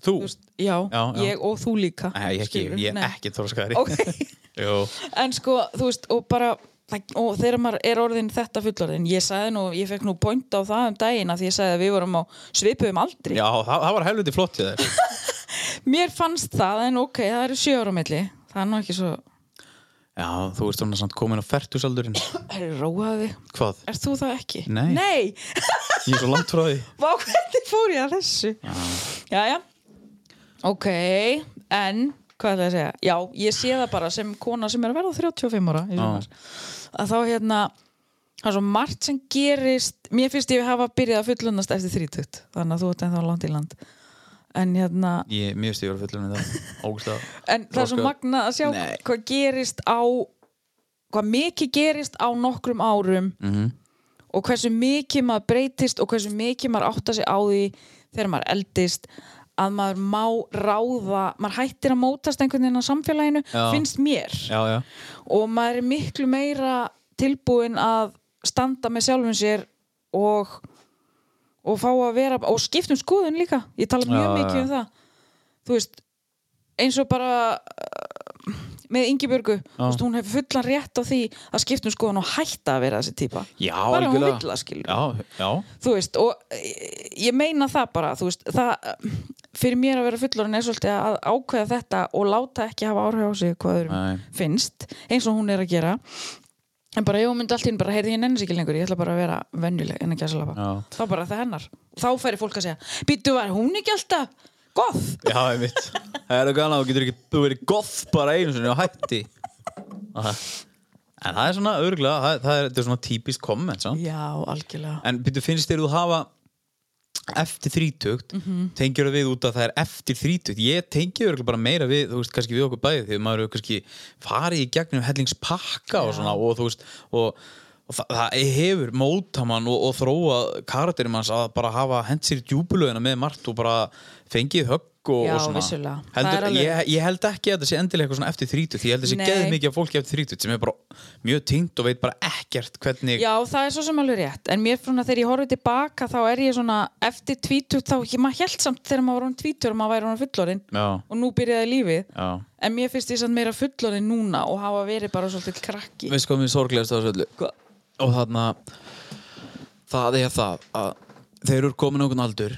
[SPEAKER 1] Þú?
[SPEAKER 4] þú veist, já,
[SPEAKER 1] Já, já.
[SPEAKER 4] ég og þú líka
[SPEAKER 1] Nei, ég ekki,
[SPEAKER 4] skilurðu,
[SPEAKER 1] ég er
[SPEAKER 4] nei.
[SPEAKER 1] ekki þorskari.
[SPEAKER 4] Ok.
[SPEAKER 1] Jú.
[SPEAKER 4] en sko, þú veist, og bara það- og þegar maður er orðin þetta fullorðin ég sagði nú, ég fekk nú point á það um daginn að því ég sagði að við vorum á svipuðum aldri
[SPEAKER 1] Já, það, það var helviti flott til þér.
[SPEAKER 4] mér fannst það, en ok, það eru sjö ára á milli það er nú ekki svo,
[SPEAKER 1] Já, þú ert svona samt komin á fertusaldurinn.
[SPEAKER 4] það er róaði
[SPEAKER 1] Hvað?
[SPEAKER 4] er þú það ekki?
[SPEAKER 1] Nei.
[SPEAKER 4] Nei,
[SPEAKER 1] Ég er svo langt frá því.
[SPEAKER 4] vá hvernig fór ég að þessu já, já ok, en hvað ætlaði að segja, já, ég sé það bara sem kona sem er að verða 35 ára í sumar. að þá hérna það er svo margt sem gerist mér finnst ég hafa byrjað að fullunast eftir 30 þannig að þú ert ennþá langt í land en hérna
[SPEAKER 1] Ég, mér veist ég verið fullur með það. Ógustlega.
[SPEAKER 4] en það er svo
[SPEAKER 1] Þroska-
[SPEAKER 4] magna að sjá
[SPEAKER 1] Nei.
[SPEAKER 4] hvað gerist á hvað mikið gerist á nokkrum árum
[SPEAKER 1] Mhm.
[SPEAKER 4] og hversu mikið maður breytist og hversu mikið maður átta sig á því þegar maður eldist að maður má ráða maður hættir að mótast einhvern veginn á samfélaginu
[SPEAKER 1] Já.
[SPEAKER 4] finnst mér
[SPEAKER 1] Já, já.
[SPEAKER 4] og maður er miklu meira tilbúin að standa með sjálfum sér og og fá að vera og skiptum skoðun líka, ég tala mjög
[SPEAKER 1] Já,
[SPEAKER 4] mikið
[SPEAKER 1] já.
[SPEAKER 4] um það þú veist, eins og bara uh, með Ingibjörgu þú veist, hún hefur fullan rétt á því að skiptum skoðun og hætta að vera þessi típa
[SPEAKER 1] Já,
[SPEAKER 4] bara hún
[SPEAKER 1] algjörlega.
[SPEAKER 4] vill að skilja
[SPEAKER 1] Já, já.
[SPEAKER 4] þú veist, og eh, ég meina það bara þú veist, það fyrir mér að vera fullorinn er svolítið að ákveða þetta og láta ekki hafa áhrif á sig hvað öðrum
[SPEAKER 1] Nei.
[SPEAKER 4] finnst, eins og hún er að gera en bara ef hún myndi allt í hún bara heyrði ég nenni sig ekki lengur, ég ætla bara að vera venjuleg en ekki að slapa,
[SPEAKER 1] Já.
[SPEAKER 4] þá bara það hennar þá færi fólk að segja, býttu var hún ekki alltaf goth,
[SPEAKER 1] Já, ég mitt. Það er eitthvað annað, þú getur ekki, þú verið goth bara einu sinni og hætti. Það- En það er svona örgulega, það, það er, þetta er svona típist komment, samt.
[SPEAKER 4] já algjörlega
[SPEAKER 1] En byrju, finnst þér þú hafa eftir þrítugt, mm
[SPEAKER 4] Mhm.
[SPEAKER 1] tengir það við út að það er eftir þrítugt ég tengi örgulega bara meira við, þú veist, kannski við okkur bæði því maður hefur kannski farið í gegnum hellingspakka og svona og þú veist, og, og það, það hefur móta mann og, og þróa karakterum hans að bara hafa hent sér í djúbulögina með margt og bara fengið högg og,
[SPEAKER 4] Já,
[SPEAKER 1] og svona
[SPEAKER 4] vissulega. Það er
[SPEAKER 1] heldur,
[SPEAKER 4] alveg-
[SPEAKER 1] ég, ég held ekki að þetta sé endilega eitthvað svona eftir þrítugt, ég held að þetta sé
[SPEAKER 4] Nei.
[SPEAKER 1] geð mikið af fólki eftir þrítugt sem er bara mjög tingt og veit bara ekkert hvernig
[SPEAKER 4] Já, það er svo sem alveg rétt, en mér svona þegar ég horfði tilbaka þá er ég svona eftir tvítur þá, ég maður held samt þegar maður var hún tvítur og maður væri hún fullorinn
[SPEAKER 1] Já,
[SPEAKER 4] og nú byrjaði lífið
[SPEAKER 1] já.
[SPEAKER 4] en mér finnst ég samt meira fullorinn núna og hafa verið bara svolítið krakki
[SPEAKER 1] veist hvað mér sorglegast á þessu öllu og þarna það er það að þegar þú er komin á einhvern aldur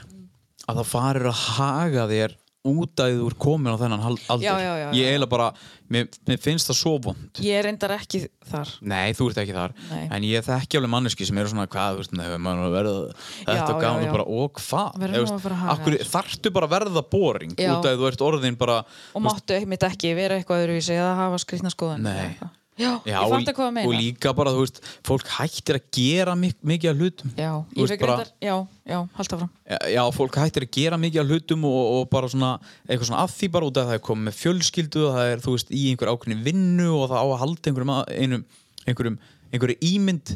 [SPEAKER 1] að það farir að haga þér út að þú er komin á þennan hal- aldur
[SPEAKER 4] Já, já, já, já.
[SPEAKER 1] ég eiginlega bara, mér, mér finnst það svo vond
[SPEAKER 4] ég er endar ekki þar
[SPEAKER 1] Nei, þú ert ekki þar
[SPEAKER 4] Nei.
[SPEAKER 1] En ég þekki alveg manneski sem eru svona hvað, þú veist, nei, maður er að verða
[SPEAKER 4] Já,
[SPEAKER 1] þetta
[SPEAKER 4] já,
[SPEAKER 1] gaman
[SPEAKER 4] já.
[SPEAKER 1] og bara, og hvað
[SPEAKER 4] Verður
[SPEAKER 1] Þú
[SPEAKER 4] nú
[SPEAKER 1] veist,
[SPEAKER 4] að fara að haga
[SPEAKER 1] af hverju- Þarftu bara að verða boring
[SPEAKER 4] Já.
[SPEAKER 1] út að þú ert orðin bara
[SPEAKER 4] og máttu einmitt ekki vera eitthvað öðruvísi eða hafa skrýtna skoðan
[SPEAKER 1] Nei.
[SPEAKER 4] Já,
[SPEAKER 1] Já,
[SPEAKER 4] ég
[SPEAKER 1] og,
[SPEAKER 4] fatt að hvað að meina
[SPEAKER 1] og líka bara, þú veist, fólk hættir að gera mik mikið af hlutum
[SPEAKER 4] Já,
[SPEAKER 1] Þú
[SPEAKER 4] ég
[SPEAKER 1] veist,
[SPEAKER 4] fekk reyndar, já, já, halda fram
[SPEAKER 1] Já, fólk hættir að gera mikið af hlutum og, og bara svona, eitthvað svona að því bara út af það er komið með fjölskyldu og það er, þú veist, í einhver ákveðin vinnu og það á að halda einhverjum, að- einum, einhverjum, einhverju ímynd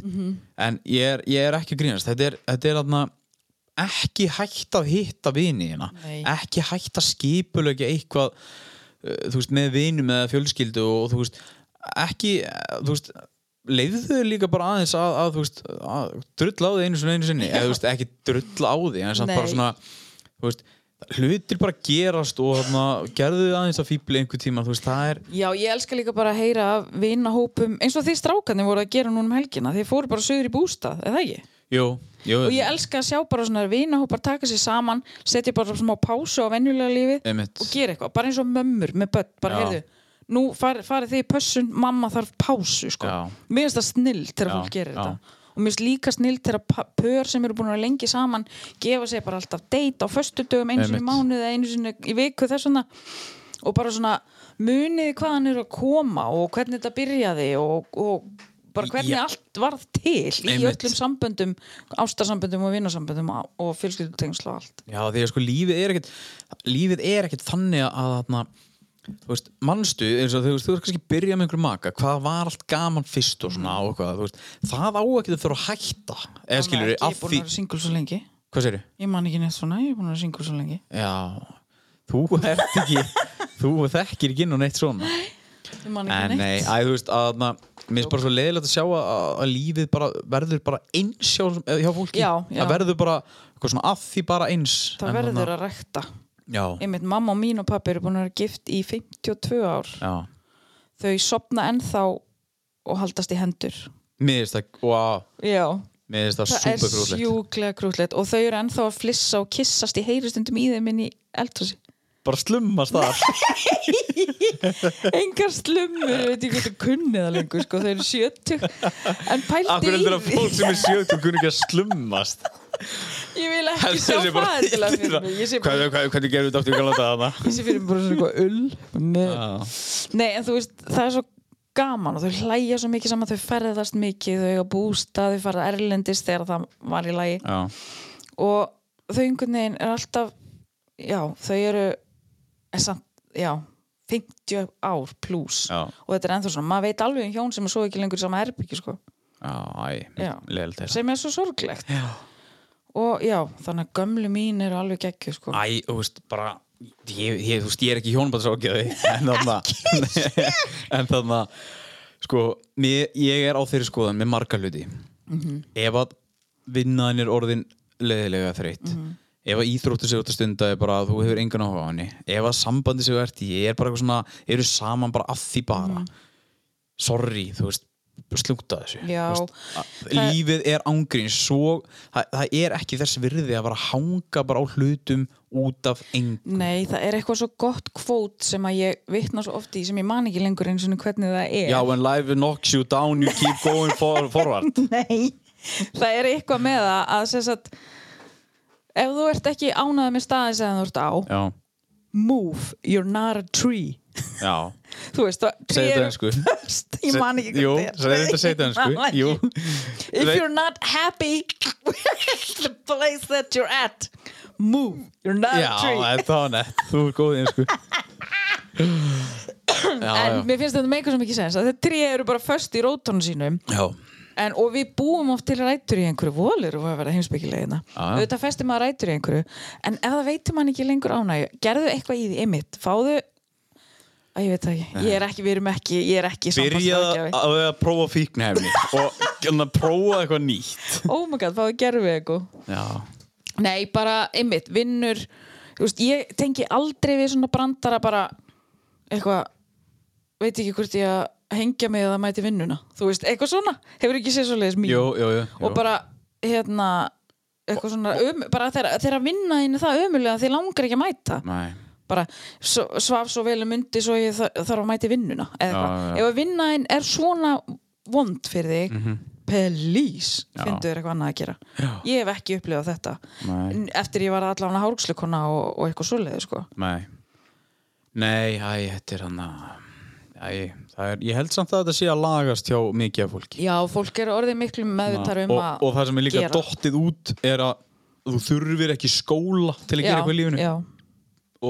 [SPEAKER 1] en ég er, ég er ekki að grínast þetta er, þetta er aðna ekki hætt að hitta vini hérna
[SPEAKER 4] Nei.
[SPEAKER 1] ekki hætt að skipulegja eitthvað uh, þú veist, með vinum eða fjölskyldu og þú veist, ekki uh, þú veist, leiðu þau líka bara aðeins að, að þú veist, að drulla á því einu sinni, einu sinni, eða þú veist, ekki drulla á því en samt
[SPEAKER 4] Nei.
[SPEAKER 1] bara svona, þú veist hlutir bara gerast og þarna, gerðu þið aðeins að fíbli einhver tíma, þú veist, það er
[SPEAKER 4] Já, ég elska líka bara að heyra af vinahópum eins og því strákarnir voru að gera núna um helgina þeir fóru bara sögur í bústað, eða ekki?
[SPEAKER 1] jú, jú,
[SPEAKER 4] og ég elska að sjá bara svona vinahópar taka sér saman, setja bara smá pásu á venjulega lífið
[SPEAKER 1] Einmitt.
[SPEAKER 4] og gera eitthvað, bara eins og mömmur með börn, bara
[SPEAKER 1] Já.
[SPEAKER 4] heyrðu nú far, farið þið í pössun, mamma þarf pásu sko,
[SPEAKER 1] Já.
[SPEAKER 4] mér finnst það snill þegar
[SPEAKER 1] Já,
[SPEAKER 4] fólk
[SPEAKER 1] já.
[SPEAKER 4] gerir þetta og mér finnst líka snill þegar pa- pör sem eru búin að vera lengi saman gefa sér bara alltaf date á föstudögum einu sinni í
[SPEAKER 1] Einmitt.
[SPEAKER 4] mánuði, eða einu sinni í viku þess vegna og bara svona muniði hvaðan eru að koma og hvernig þetta byrjaði og, og bara hvernig
[SPEAKER 1] Já.
[SPEAKER 4] allt varð til í
[SPEAKER 1] Einmitt.
[SPEAKER 4] öllum samböndum ástarsamböndum og vinnasamböndum og- og fjölskyldutengsl og allt
[SPEAKER 1] Já, því að sko lífið er ekkert lífið er ekkert þannig að þarna, þú veist, mannstu eins og þú veist, þú veist kannski byrja með einhverjum maka hvað var allt gaman fyrst og svona og hvað, þú veist, það á ekki að þurfa að hætta eða skilur
[SPEAKER 4] Ég er
[SPEAKER 1] af
[SPEAKER 4] búin
[SPEAKER 1] því,
[SPEAKER 4] að vera singul svo lengi
[SPEAKER 1] hvað segir
[SPEAKER 4] Ég man ekki neitt svona, ég er búin að vera singul svo lengi
[SPEAKER 1] Já, þú ert ekki þú þekkir ekki inn og neitt svona
[SPEAKER 4] Ég man
[SPEAKER 1] En
[SPEAKER 4] ekki
[SPEAKER 1] nei,
[SPEAKER 4] neitt
[SPEAKER 1] að, þú veist, að na, mér finnst bara svo leiðilegt að sjá að, að lífið bara, verður bara eins hjá, hjá fólki,
[SPEAKER 4] Já, já.
[SPEAKER 1] það verður bara eitthvað svona að því bara eins En
[SPEAKER 4] Það verður
[SPEAKER 1] þarna-
[SPEAKER 4] að rækta
[SPEAKER 1] Já,
[SPEAKER 4] einmitt mamma og mín og pappi eru búin að vera gift í 52 ár
[SPEAKER 1] já,
[SPEAKER 4] þau sopna ennþá og haldast í hendur
[SPEAKER 1] mér finnst það, wow
[SPEAKER 4] já,
[SPEAKER 1] Mér finnst það
[SPEAKER 4] það er
[SPEAKER 1] super grúðlegt
[SPEAKER 4] sjúklega krútlegt og þau eru ennþá að flissa og kissast í heyrustundum í þeim inn í eldhúsi
[SPEAKER 1] Bara slummast þar
[SPEAKER 4] engar slumur, ég veit ekki hvað það kunni það lengur sko, þau eru 70 en pældi
[SPEAKER 1] Akkur
[SPEAKER 4] í
[SPEAKER 1] heldur að
[SPEAKER 4] því
[SPEAKER 1] fólk sem er sjögt og kunni ekki að slummast
[SPEAKER 4] ég vil ekki
[SPEAKER 1] Heldur
[SPEAKER 4] sjá
[SPEAKER 1] þessi bara
[SPEAKER 4] það endilega
[SPEAKER 1] illir
[SPEAKER 4] fyrir
[SPEAKER 1] það.
[SPEAKER 4] mig ég sé bara,
[SPEAKER 1] Hvað- hvað- Hvernig gerum við dátt í galanda þarna?
[SPEAKER 4] ég sé fyrir mig bara svona eitthvað ull með
[SPEAKER 1] Já,
[SPEAKER 4] Nei, en þú veist, það er svo gaman og þau hlæja svo mikið saman, þau ferðast mikið þau eiga bústa, þau fara erlendis þegar það var í lagi
[SPEAKER 1] já,
[SPEAKER 4] og þau einhvern veginn er alltaf já, þau eru en samt, já, 50 ár pluss
[SPEAKER 1] já,
[SPEAKER 4] og þetta er ennþá svona, maður veit alveg um hjón sem er svo ekki lengur í sama herbyggi, sko,
[SPEAKER 1] já,
[SPEAKER 4] Já.
[SPEAKER 1] leiðilegt þess
[SPEAKER 4] sem er svo sorglegt
[SPEAKER 1] Já.
[SPEAKER 4] og já, þannig að gömlu mín eru alveg geggju, sko
[SPEAKER 1] Æ, þú veist, bara ég, ég, þú veist, ég er ekki hjónabandsrákjaði en þannig en þannig að sko, mér, ég er á þeirri skoðan með marga hluti ef að vinnaðin er orðin leðilega þreytt ef að íþróttu sér út að stunda er bara að þú hefur engan áhuga á henni ef að sambandi sér ert í er bara eitthvað svona, eru saman bara að því bara sorry, þú veist slúta þessu
[SPEAKER 4] Já.
[SPEAKER 1] þú að- lífið er ángrín svo, það, það er ekki þess virði að vera að hanga bara á hlutum út af eng
[SPEAKER 4] Nei, það er eitthvað svo gott kvót sem að ég vitna svo oft í sem ég man ekki lengur eins og hvernig það er
[SPEAKER 1] Já, when life knocks you down, you keep going for, forward
[SPEAKER 4] Nei, það er eitthvað með það að sem sagt ef þú ert ekki ánæðið með staðin sem þú ert á
[SPEAKER 1] Já,
[SPEAKER 4] move, you're not a tree
[SPEAKER 1] já
[SPEAKER 4] þú veist, það tré
[SPEAKER 1] Segðu þetta
[SPEAKER 4] eru
[SPEAKER 1] ensku.
[SPEAKER 4] föst ég man ekki
[SPEAKER 1] Jú,
[SPEAKER 4] hvað
[SPEAKER 1] það er þetta segið
[SPEAKER 4] Ég man
[SPEAKER 1] ennsku
[SPEAKER 4] ekki.
[SPEAKER 1] Jú,
[SPEAKER 4] if
[SPEAKER 1] Nei.
[SPEAKER 4] you're not happy with the place that you're at move, you're not
[SPEAKER 1] já,
[SPEAKER 4] a tree
[SPEAKER 1] þetta var nett Þú er góð í ennsku Já,
[SPEAKER 4] en
[SPEAKER 1] já,
[SPEAKER 4] mér finnst þetta meika svo mikið sens að þetta tré eru bara föst í rótunum sínum
[SPEAKER 1] já
[SPEAKER 4] En, og við búum oft til rætur í einhverju volur og að vera heimsbyggilegina
[SPEAKER 1] Já, já.
[SPEAKER 4] auðvitað festir maður rætur í einhverju en ef það veitum hann ekki lengur ánægju gerðu eitthvað í því ymmit, fáðu að ég veit það ekki, ég er ekki, við erum ekki ég er ekki
[SPEAKER 1] Byrjaði
[SPEAKER 4] sambandsráðgjafi.
[SPEAKER 1] að að prófa fíknefni og að prófa eitthvað nýtt
[SPEAKER 4] oh my god, fáðu gerðu eitthvað
[SPEAKER 1] Já,
[SPEAKER 4] nei, bara ymmit, vinnur Þú veist, ég tengi aldrei við svona brandara bara eitthvað veit ekki hvort ég að hengja mig eða mæti vinnuna, þú veist, eitthvað svona hefur ekki séð svo leiðis
[SPEAKER 1] jú, jú, jú, jú.
[SPEAKER 4] og bara hérna eitthvað svona, um, bara þegar þegar að vinna þínu það ömulega því langar ekki að mæta
[SPEAKER 1] Nei,
[SPEAKER 4] bara svo, svaf svo vel um undi svo ég þar- þarf að mæta í vinnuna eða
[SPEAKER 1] Já,
[SPEAKER 4] eitthvað,
[SPEAKER 1] já.
[SPEAKER 4] ef að vinna þín er svona vond fyrir þig please, finndu þér eitthvað annað að gera
[SPEAKER 1] Mhm. Já.
[SPEAKER 4] ég hef ekki upplifað þetta
[SPEAKER 1] Nei.
[SPEAKER 4] N- eftir ég var allan að hálgslukona og, og eitthvað svoleiði sko
[SPEAKER 1] nei Nei, æ, þetta er hann að Æ, það er, ég held samt að þetta sé að lagast hjá mikið af fólki
[SPEAKER 4] já, fólk er orðið miklu meðvitað um
[SPEAKER 1] og,
[SPEAKER 4] að
[SPEAKER 1] og það sem er líka
[SPEAKER 4] gera.
[SPEAKER 1] dottið út er að þú þurfir ekki skóla til að gera
[SPEAKER 4] Já,
[SPEAKER 1] eitthvað í lífinu
[SPEAKER 4] já.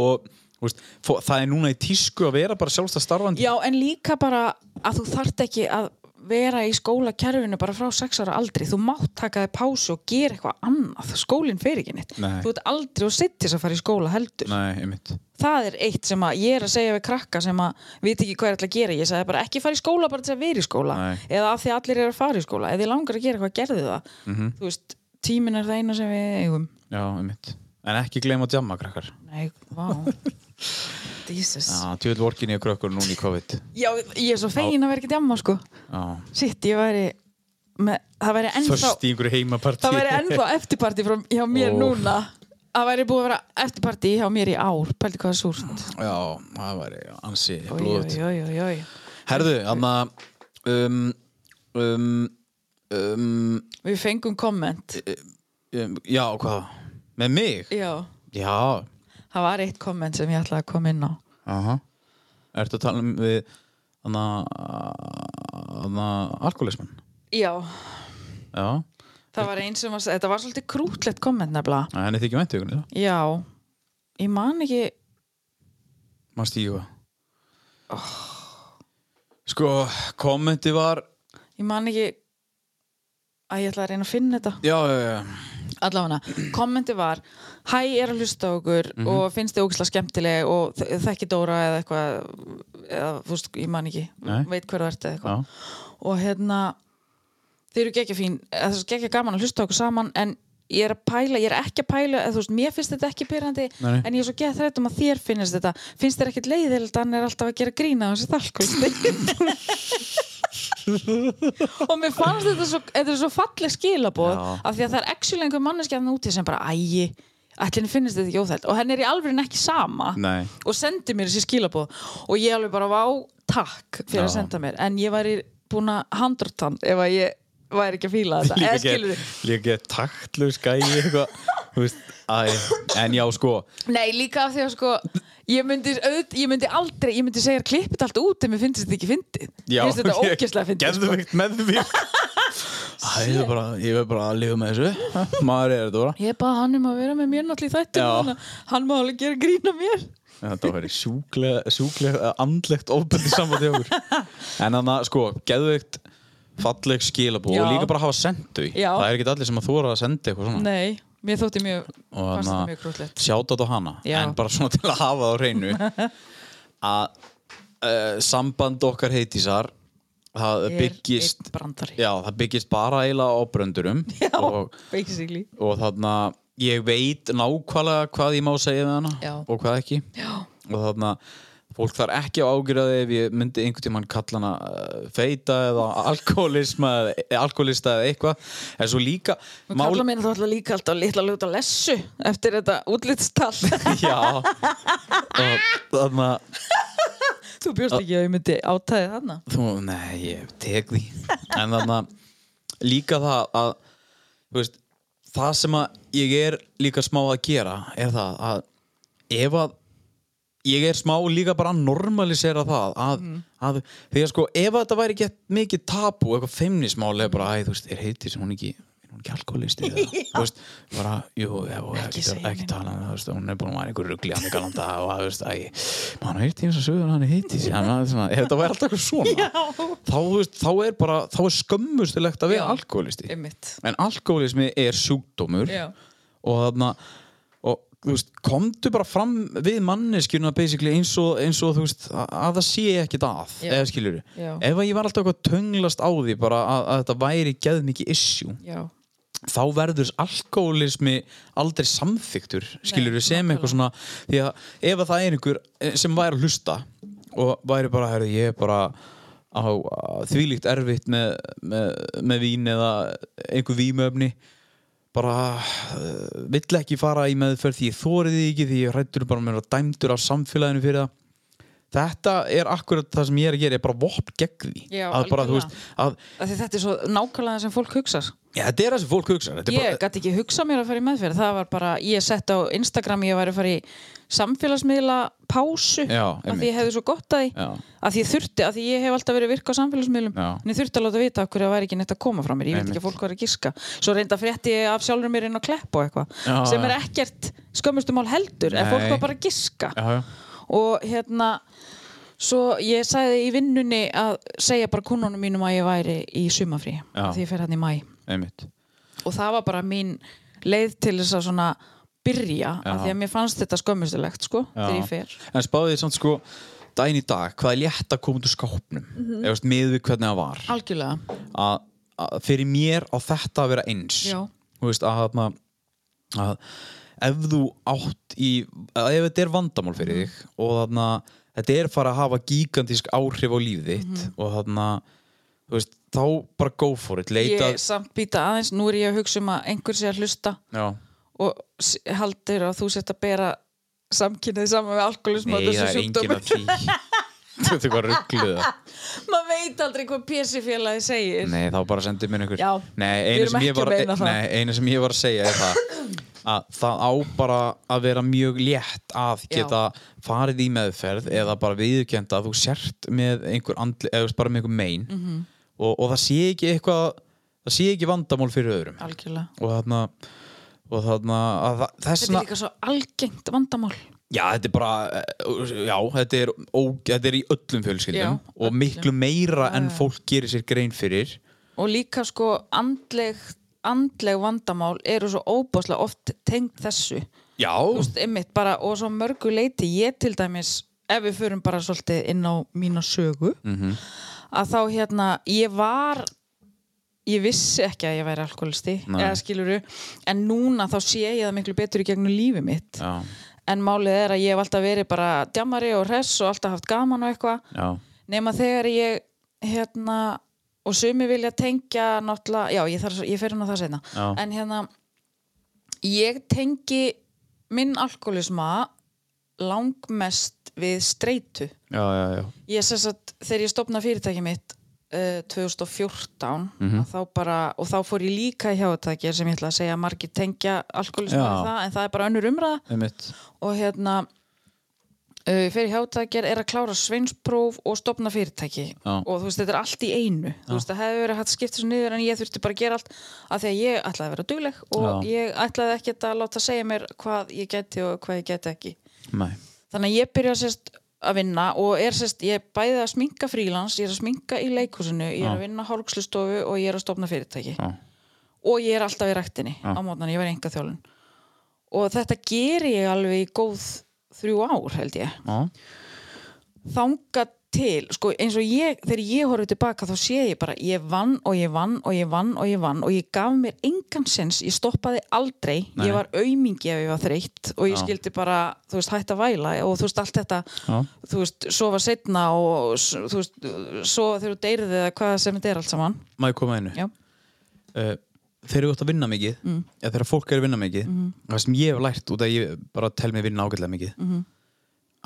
[SPEAKER 1] og þú veist, fó, það er núna í tísku að vera bara sjálfstæð starfandi
[SPEAKER 4] Já, en líka bara að þú þart ekki að vera í skólakerfinu bara frá 6 ára aldri þú mátt taka þig pásu og gera eitthvað annað skólinn fer ekki neitt
[SPEAKER 1] Nei.
[SPEAKER 4] þú ert aldrei og sittis að fara í skóla heldur
[SPEAKER 1] Nei, einmitt
[SPEAKER 4] það er eitt sem að ég er að segja við krakka sem að veit ekki hvað er alltaf að gera ég sagði bara ekki fara í skóla bara til að vera í skóla
[SPEAKER 1] Nei.
[SPEAKER 4] eða af því að allir eru að fara í skóla eða ég langar að gera eitthvað gerði það
[SPEAKER 1] Mhm.
[SPEAKER 4] -hmm. þú veist, tíminn er það eina sem við eigum
[SPEAKER 1] Já, einmitt En ekki gleyma að jamma krakkar
[SPEAKER 4] Nei, vá Jesus
[SPEAKER 1] Já, tjóðil vorkin ég krökkur núna í COVID
[SPEAKER 4] Já, ég er svo fegin að vera ekki djamma sko
[SPEAKER 1] Já
[SPEAKER 4] Sitt, ég væri með, það væri ennþá
[SPEAKER 1] Föst í einhverju heimapartí
[SPEAKER 4] það væri ennþá eftirparti frá, hjá mér
[SPEAKER 1] Ó.
[SPEAKER 4] núna það væri búið að vera eftirparti hjá mér í ár pældi hvað er súrt
[SPEAKER 1] Já, það væri ansi
[SPEAKER 4] Oj,
[SPEAKER 1] blóðut
[SPEAKER 4] oj, oj, oj, oj.
[SPEAKER 1] Herðu, þannig að um, um, um,
[SPEAKER 4] við fengum komment
[SPEAKER 1] um Já, hvað? Með mig?
[SPEAKER 4] já,
[SPEAKER 1] Já,
[SPEAKER 4] það var eitt komment sem ég ætlaði að koma inn á
[SPEAKER 1] Aha. Ertu að tala um við þannig að alkoholismann?
[SPEAKER 4] já,
[SPEAKER 1] Já,
[SPEAKER 4] það var eins sem var, þetta var svolítið krútlegt komment nefnilega
[SPEAKER 1] Æ, henni þykir væntu ykkur
[SPEAKER 4] já, ég man ekki
[SPEAKER 1] Mást ég það Oh. Sko, kommenti var
[SPEAKER 4] ég man ekki að ég ætla að reyna að finna þetta
[SPEAKER 1] Já, já, já
[SPEAKER 4] allavega, kommenti var hæ, ég er að hlusta á okkur og finnst þið ógislega skemmtileg og þ- þekki Dóra eða eitthvað eða, þú veist, ég man ekki,
[SPEAKER 1] Nei.
[SPEAKER 4] veit hver það ert eða eitthvað
[SPEAKER 1] Já,
[SPEAKER 4] og hérna þeir eru geggja fín, eh, eða þess að geggja gaman að hlusta á okkur saman en ég er að pæla, ég er ekki að pæla eða, þú veist, mér finnst þetta ekki pyrrandi
[SPEAKER 1] Nei, nei.
[SPEAKER 4] en ég er svo gett þrætt um að þér finnist þetta finnst þér ekkit leiðilegt, hann er alltaf að gera grína á þessi þalkvist og mér fannst þetta svo, þetta er svo falleg skilabóð
[SPEAKER 1] Já.
[SPEAKER 4] af því að það er actually einhver manneski að úti sem bara, ægi, allir finnist þetta ekki óþælt og henn er í alveg ekki sama
[SPEAKER 1] nei
[SPEAKER 4] og sendi mér þessi skilabóð og ég alveg bara vá takk fyrir að
[SPEAKER 1] Já.
[SPEAKER 4] senda mér en ég væri búin að handrottan ef að ég væri ekki að fíla þetta eða skilur
[SPEAKER 1] get, líka get taktlaus gæi eitthvað Þú veist, æ, en já sko
[SPEAKER 4] nei líka af því að sko ég myndi, auð, ég myndi aldrei ég myndi segja klippið allt út en mér finnst þetta ekki fyndið
[SPEAKER 1] já,
[SPEAKER 4] Mér finnst þetta
[SPEAKER 1] ég-
[SPEAKER 4] ógeðslega fyndið sko.
[SPEAKER 1] geðveikt meðvirk. Æ, ég er bara, ég er bara að lifa með þessu maður er þetta bara
[SPEAKER 4] ég baði hann um að vera með mér náttúrulega í þættum
[SPEAKER 1] Já.
[SPEAKER 4] þannig að hann má alveg gera grína mér
[SPEAKER 1] þetta var sjúklega, sjúklega eh, andlegt ofbeldi sambandi hjá okkur en þannig að sko, geðveikt falleg skilabó
[SPEAKER 4] Já.
[SPEAKER 1] og líka bara hafa sendt þau
[SPEAKER 4] Já.
[SPEAKER 1] það er ekki allir sem að þóra að senda eitthvað svona
[SPEAKER 4] nei, mér þótti mjög
[SPEAKER 1] og
[SPEAKER 4] fannst þetta mjög
[SPEAKER 1] þannig
[SPEAKER 4] krútlegt
[SPEAKER 1] að sjáta á hana
[SPEAKER 4] Já.
[SPEAKER 1] en bara svona til að hafa það á hreinu að uh, samband okkar heitísar það
[SPEAKER 4] Er
[SPEAKER 1] byggist
[SPEAKER 4] einn brandari.
[SPEAKER 1] já, það byggist bara eiginlega á bröndurum og,
[SPEAKER 4] basically
[SPEAKER 1] og þannig að ég veit nákvæmlega hvað ég má segja við hana
[SPEAKER 4] Já.
[SPEAKER 1] og hvað ekki já. og þannig að fólk þarf ekki á ágjörði ef ég myndi einhvern tímann kalla hana eh, feita eða alkoholisma eða eh, alkoholista eða eitthvað en svo líka
[SPEAKER 4] Mál... Kalla mér þá alltaf líka alltaf litla ljóta lessu eftir þetta útlitstall
[SPEAKER 1] Já Þannig að
[SPEAKER 4] Þú bjóst ekki að ég myndi átæði þarna
[SPEAKER 1] þú, Nei, ég tek því En þannig að líka það að þú veist, Það sem að ég er líka smá að gera Er það að Ef að Ég er smá líka bara að normalisera það að,
[SPEAKER 4] Mm.
[SPEAKER 1] að, Því að sko ef að þetta væri ekki mikið tabú Eitthvað feimnismálega bara Æ, þú veist, er heiti sem hún ekki er hún ekki alkoholisti eða, þú veist, bara, jú, já,
[SPEAKER 4] Ekki
[SPEAKER 1] ekki,
[SPEAKER 4] segja
[SPEAKER 1] ekki
[SPEAKER 4] neinum.
[SPEAKER 1] tala um það, þú veist, hún er búin að vera einhver rugli hann í galanda og að, þú veist, æ, maður heyrti eins og sögur hann heiti sér, hann er svona, ef þetta væri alltaf eitthvað svona, þá, þú veist, þá er bara, þá er skömmustilegt að vera
[SPEAKER 4] Já.
[SPEAKER 1] alkoholisti.
[SPEAKER 4] Einmitt.
[SPEAKER 1] En alkoholismi er sjúkdómur
[SPEAKER 4] Já.
[SPEAKER 1] og þarna, og þú veist, komdu bara fram við manneskjuna basically eins og, eins og þú veist, að, að það sé ekkit að,
[SPEAKER 4] Já.
[SPEAKER 1] eða skilur
[SPEAKER 4] Já.
[SPEAKER 1] ef að ég var alltaf eitthvað tönglast á því bara að, að þetta væri geð mikið issue
[SPEAKER 4] Já,
[SPEAKER 1] þá verður alkoholismi aldrei samþyktur skilur við sem eitthvað svona því að ef að það er einhver eh, sem væri að hlusta og væri bara, herri, ég er bara á á þvílíkt erfitt með, með, með vín eða einhver vímöfni bara uh, vill ekki fara í meðferð því ég þórið því ekki því ég hrættur bara mér að vera dæmdur af samfélaginu fyrir það þetta er akkurat það sem ég er að gera ég er bara vopn gegn því
[SPEAKER 4] Já,
[SPEAKER 1] að bara, þú
[SPEAKER 4] algjörlega.
[SPEAKER 1] veist, að,
[SPEAKER 4] af því þetta er svo nákvæmlega sem fólk hugsar
[SPEAKER 1] ja, þetta er það sem fólk hugsa þetta er bara,
[SPEAKER 4] Ég gæti ekki hugsað mér að fara í meðferð Það var bara, ég sett á Instagram ég væri að fara í samfélagsmiðla pásu
[SPEAKER 1] Já,
[SPEAKER 4] af því
[SPEAKER 1] einmitt.
[SPEAKER 4] ég hefði svo gott að því
[SPEAKER 1] Já.
[SPEAKER 4] að því ég þurfti, að því ég hef alltaf verið virk á samfélagsmiðlum
[SPEAKER 1] Já.
[SPEAKER 4] en ég þurfti að láta vita af hverju það væri ekki neitt að koma frá mér ég veit
[SPEAKER 1] Einmitt.
[SPEAKER 4] ekki að fólk var að giska svo reynda frétti ég af sjálfur mér inn á klepp og
[SPEAKER 1] Já,
[SPEAKER 4] eitthvað sem er
[SPEAKER 1] já.
[SPEAKER 4] ekkert skömmustumál heldur en fólk
[SPEAKER 1] Nei.
[SPEAKER 4] var bara að giska
[SPEAKER 1] Já, já.
[SPEAKER 4] og hérna svo ég sagði í vinnunni að segja bara kunnunum mínum að ég væri í sumafrí
[SPEAKER 1] Já.
[SPEAKER 4] því ég fer hann í mæ
[SPEAKER 1] Einmitt.
[SPEAKER 4] og það var bara mín leið til þess að svona byrja af því að mér fannst þetta skömmustulegt sko þegar ég fer
[SPEAKER 1] En spáði því samt sko daginn í dag, hvað er létt að koma út úr skápnum mm
[SPEAKER 4] Mhm.
[SPEAKER 1] -hmm. eða með við hvernig það var
[SPEAKER 4] algjörlega
[SPEAKER 1] að, að fyrir mér á þetta að vera eins
[SPEAKER 4] Já.
[SPEAKER 1] þú veist að, þarna- að ef þú átt í að ef þetta er vandamál
[SPEAKER 4] Mhm.
[SPEAKER 1] fyrir þig og þarna þetta er fara að hafa gigantísk áhrif á líf þitt
[SPEAKER 4] Mhm.
[SPEAKER 1] og þarna þú veist, þá bara go for it leita
[SPEAKER 4] ég samt býta aðeins, nú er ég að hugsa um að einhver sé að hlusta
[SPEAKER 1] Já.
[SPEAKER 4] og s- haldir að þú sett að bera samkynnið saman við alkoholism og
[SPEAKER 1] Nei,
[SPEAKER 4] þessu
[SPEAKER 1] það er engin
[SPEAKER 4] sjúkdómi.
[SPEAKER 1] að því Þetta er hvað ruggluð
[SPEAKER 4] maður veit aldrei hvað pésifélagi segir
[SPEAKER 1] Nei, þá bara sendið mér einhver
[SPEAKER 4] Já,
[SPEAKER 1] nei,
[SPEAKER 4] við
[SPEAKER 1] einu
[SPEAKER 4] erum
[SPEAKER 1] sem ég
[SPEAKER 4] ekki
[SPEAKER 1] var,
[SPEAKER 4] að meina það.
[SPEAKER 1] nei, einu sem ég var að segja er það að það á bara að vera mjög létt að
[SPEAKER 4] Já.
[SPEAKER 1] geta farið
[SPEAKER 4] Mhm.
[SPEAKER 1] í meðferð eða bara viðurkenda að þú sért með einhver andli, eða þú veist, bara með einhver mein og, og það sé ekki eitthvað það sé ekki vandamál fyrir öðrum
[SPEAKER 4] algjörlega
[SPEAKER 1] og þarna og þarna að það- þess
[SPEAKER 4] Þetta
[SPEAKER 1] vegna
[SPEAKER 4] er líka svo algengt vandamál
[SPEAKER 1] já þetta er bara eh, já þetta er, ó, þetta er í öllum fjölskyldum
[SPEAKER 4] Já,
[SPEAKER 1] og
[SPEAKER 4] öllum.
[SPEAKER 1] miklu meira en fólk gerir sér grein fyrir
[SPEAKER 4] og líka sko andleg andleg vandamál eru svo óbáslega oft tengd þessu
[SPEAKER 1] já
[SPEAKER 4] Þú veist, einmitt bara, og svo mörgu leiti ég til dæmis, ef við förum bara svolítið inn á mína sögu -hmm. að þá hérna, ég var ég vissi ekki að ég væri alkoholisti,
[SPEAKER 1] Nei.
[SPEAKER 4] eða skiluru en núna þá sé ég það miklu betur í gegnum lífið mitt
[SPEAKER 1] já,
[SPEAKER 4] en málið er að ég hef alltaf verið bara djamari og hress og alltaf haft gaman og eitthvað
[SPEAKER 1] já,
[SPEAKER 4] nema þegar ég hérna og sumi vilja tengja náttúrulega, já ég, þarf, ég fer inn á það seinna
[SPEAKER 1] Já.
[SPEAKER 4] en hérna ég tengi minn alkoholisma langmest við streitu
[SPEAKER 1] já, já, já.
[SPEAKER 4] ég sess að þegar ég stopna fyrirtæki mitt uh, 2014 mm
[SPEAKER 1] Mhm.
[SPEAKER 4] þá bara, og þá fór ég líka hjá þetta sem ég ætla að segja að margir tengja alkoholisma
[SPEAKER 1] Já.
[SPEAKER 4] við það, en það er bara önnur umræða
[SPEAKER 1] einmitt
[SPEAKER 4] og hérna uh, fyrir hjátækjar er að klára sveinspróf og stopna fyrirtæki
[SPEAKER 1] Já.
[SPEAKER 4] og þú veist þetta er allt í einu þú veist það hefði verið hægt að skipta þessu niður en ég þurfti bara að gera allt af því að ég ætlaði að vera dugleg og
[SPEAKER 1] Já.
[SPEAKER 4] ég ætlaði ekki að láta segja mér hvað ég geti og hvað ég geti ekki
[SPEAKER 1] nei
[SPEAKER 4] þannig að ég byrja sérst að vinna og er sérst, ég er bæði að sminka frílans ég er að sminka í leikhúsinu, ég er að vinna hálgslustofu og ég er að stopna fyrirtæki
[SPEAKER 1] já,
[SPEAKER 4] og ég er alltaf í ræktinni á mótnan, ég var enga þjálun og þetta geri ég alveg í góð þrjú ár held ég
[SPEAKER 1] já,
[SPEAKER 4] þanga til, sko eins og ég þegar ég horfði tilbaka þá sé ég bara ég vann og ég vann og ég vann og ég vann og ég gaf mér engan sens, ég stoppaði aldrei, ég var aumingi ef ég var þreytt og ég skildi bara, þú veist, hætt að væla og þú veist, allt þetta
[SPEAKER 1] Já.
[SPEAKER 4] þú veist, sofa setna og s- þú veist, sofa þegar þú deyrið eða hvað sem þetta er allt saman
[SPEAKER 1] má ég koma að einu
[SPEAKER 4] Já.
[SPEAKER 1] uh, þegar þú ert að vinna mikið mm. eða þegar fólk er að vinna mikið það sem ég hef lært út af að ég bara tel mig vinna ágætlega mikið -hmm.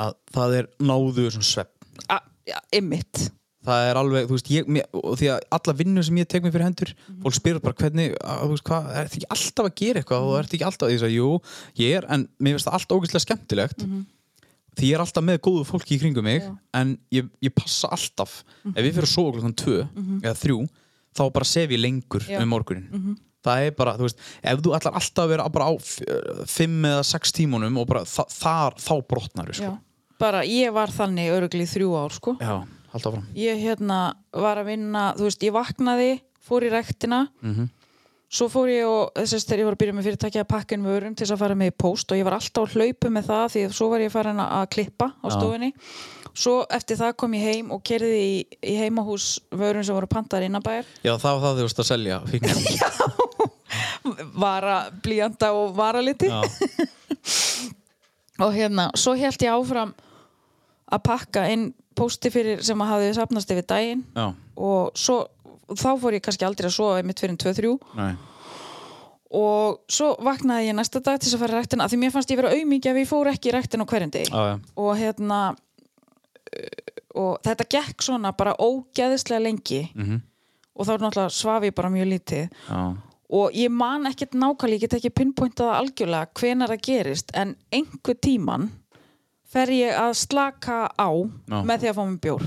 [SPEAKER 1] að það er náðu svona svepp
[SPEAKER 4] A, ja, ymmit
[SPEAKER 1] það er alveg, þú veist, ég mér, og því að alla vinnu sem ég tek mig fyrir hendur
[SPEAKER 4] Mhm.
[SPEAKER 1] fólk spyrir bara hvernig, að, þú veist hvað, er þetta ekki alltaf að gera eitthvað
[SPEAKER 4] Mhm.
[SPEAKER 1] og er þetta ekki alltaf því að jú, ég er, en mér finnst það allt ógeðslega skemmtilegt
[SPEAKER 4] Mhm.
[SPEAKER 1] því ég er alltaf með góðu fólki í kringum mig en ég, ég passa alltaf
[SPEAKER 4] Mhm.
[SPEAKER 1] ef ég fyrir að sofa klokkan 2 eða 3 þá bara sef ég lengur
[SPEAKER 4] Já. Mhm.
[SPEAKER 1] um morgunin það er bara, þú veist, ef þú ætlar alltaf að vera bara á 5 eða 6 tímunum og bara þa þar, þá brotnar
[SPEAKER 4] Já.
[SPEAKER 1] sko.
[SPEAKER 4] bara ég var þannig örugli í þrjú ár sko
[SPEAKER 1] já, alltaf fram
[SPEAKER 4] ég hérna var að vinna þú veist, ég vaknaði, fór í rektina
[SPEAKER 1] Mhm.
[SPEAKER 4] svo fór ég og þessist þegar ég var að byrja með fyrirtæki að pakka inn vörum til þess að fara með í póst og ég var alltaf á hlaupu með það því að svo var ég farin að klippa á stofunni svo eftir það kom ég heim og kerði í, í heimahús vörum sem voru pantaðar innabæjar
[SPEAKER 1] já, það var það þegar þú veist að selja fíknefni.
[SPEAKER 4] vara blíjanda og vara liti
[SPEAKER 1] Já.
[SPEAKER 4] og hérna, svo held ég áfram að pakka inn pósti fyrir sem að hafði sapnast yfir daginn
[SPEAKER 1] Já,
[SPEAKER 4] og svo þá fór ég kannski aldrei að sofa einmitt fyrir en 2-3
[SPEAKER 1] nei,
[SPEAKER 4] og svo vaknaði ég næsta dag til þess að fara í ræktina af því mér fannst ég vera auðmikið ef ég fór ekki í ræktina á hverjum degi
[SPEAKER 1] já, já,
[SPEAKER 4] og hérna uh, og þetta gekk svona bara ógeðislega lengi
[SPEAKER 1] Mhm.
[SPEAKER 4] -hmm. og þá er náttúrulega svaf ég bara mjög lítið
[SPEAKER 1] já,
[SPEAKER 4] og ég man ekkert nákvæmlega, ég get ekki pinpointað algjörlega hvenar það gerist en einhver tíman fer ég að slaka á
[SPEAKER 1] Já.
[SPEAKER 4] með því að fá mér bjór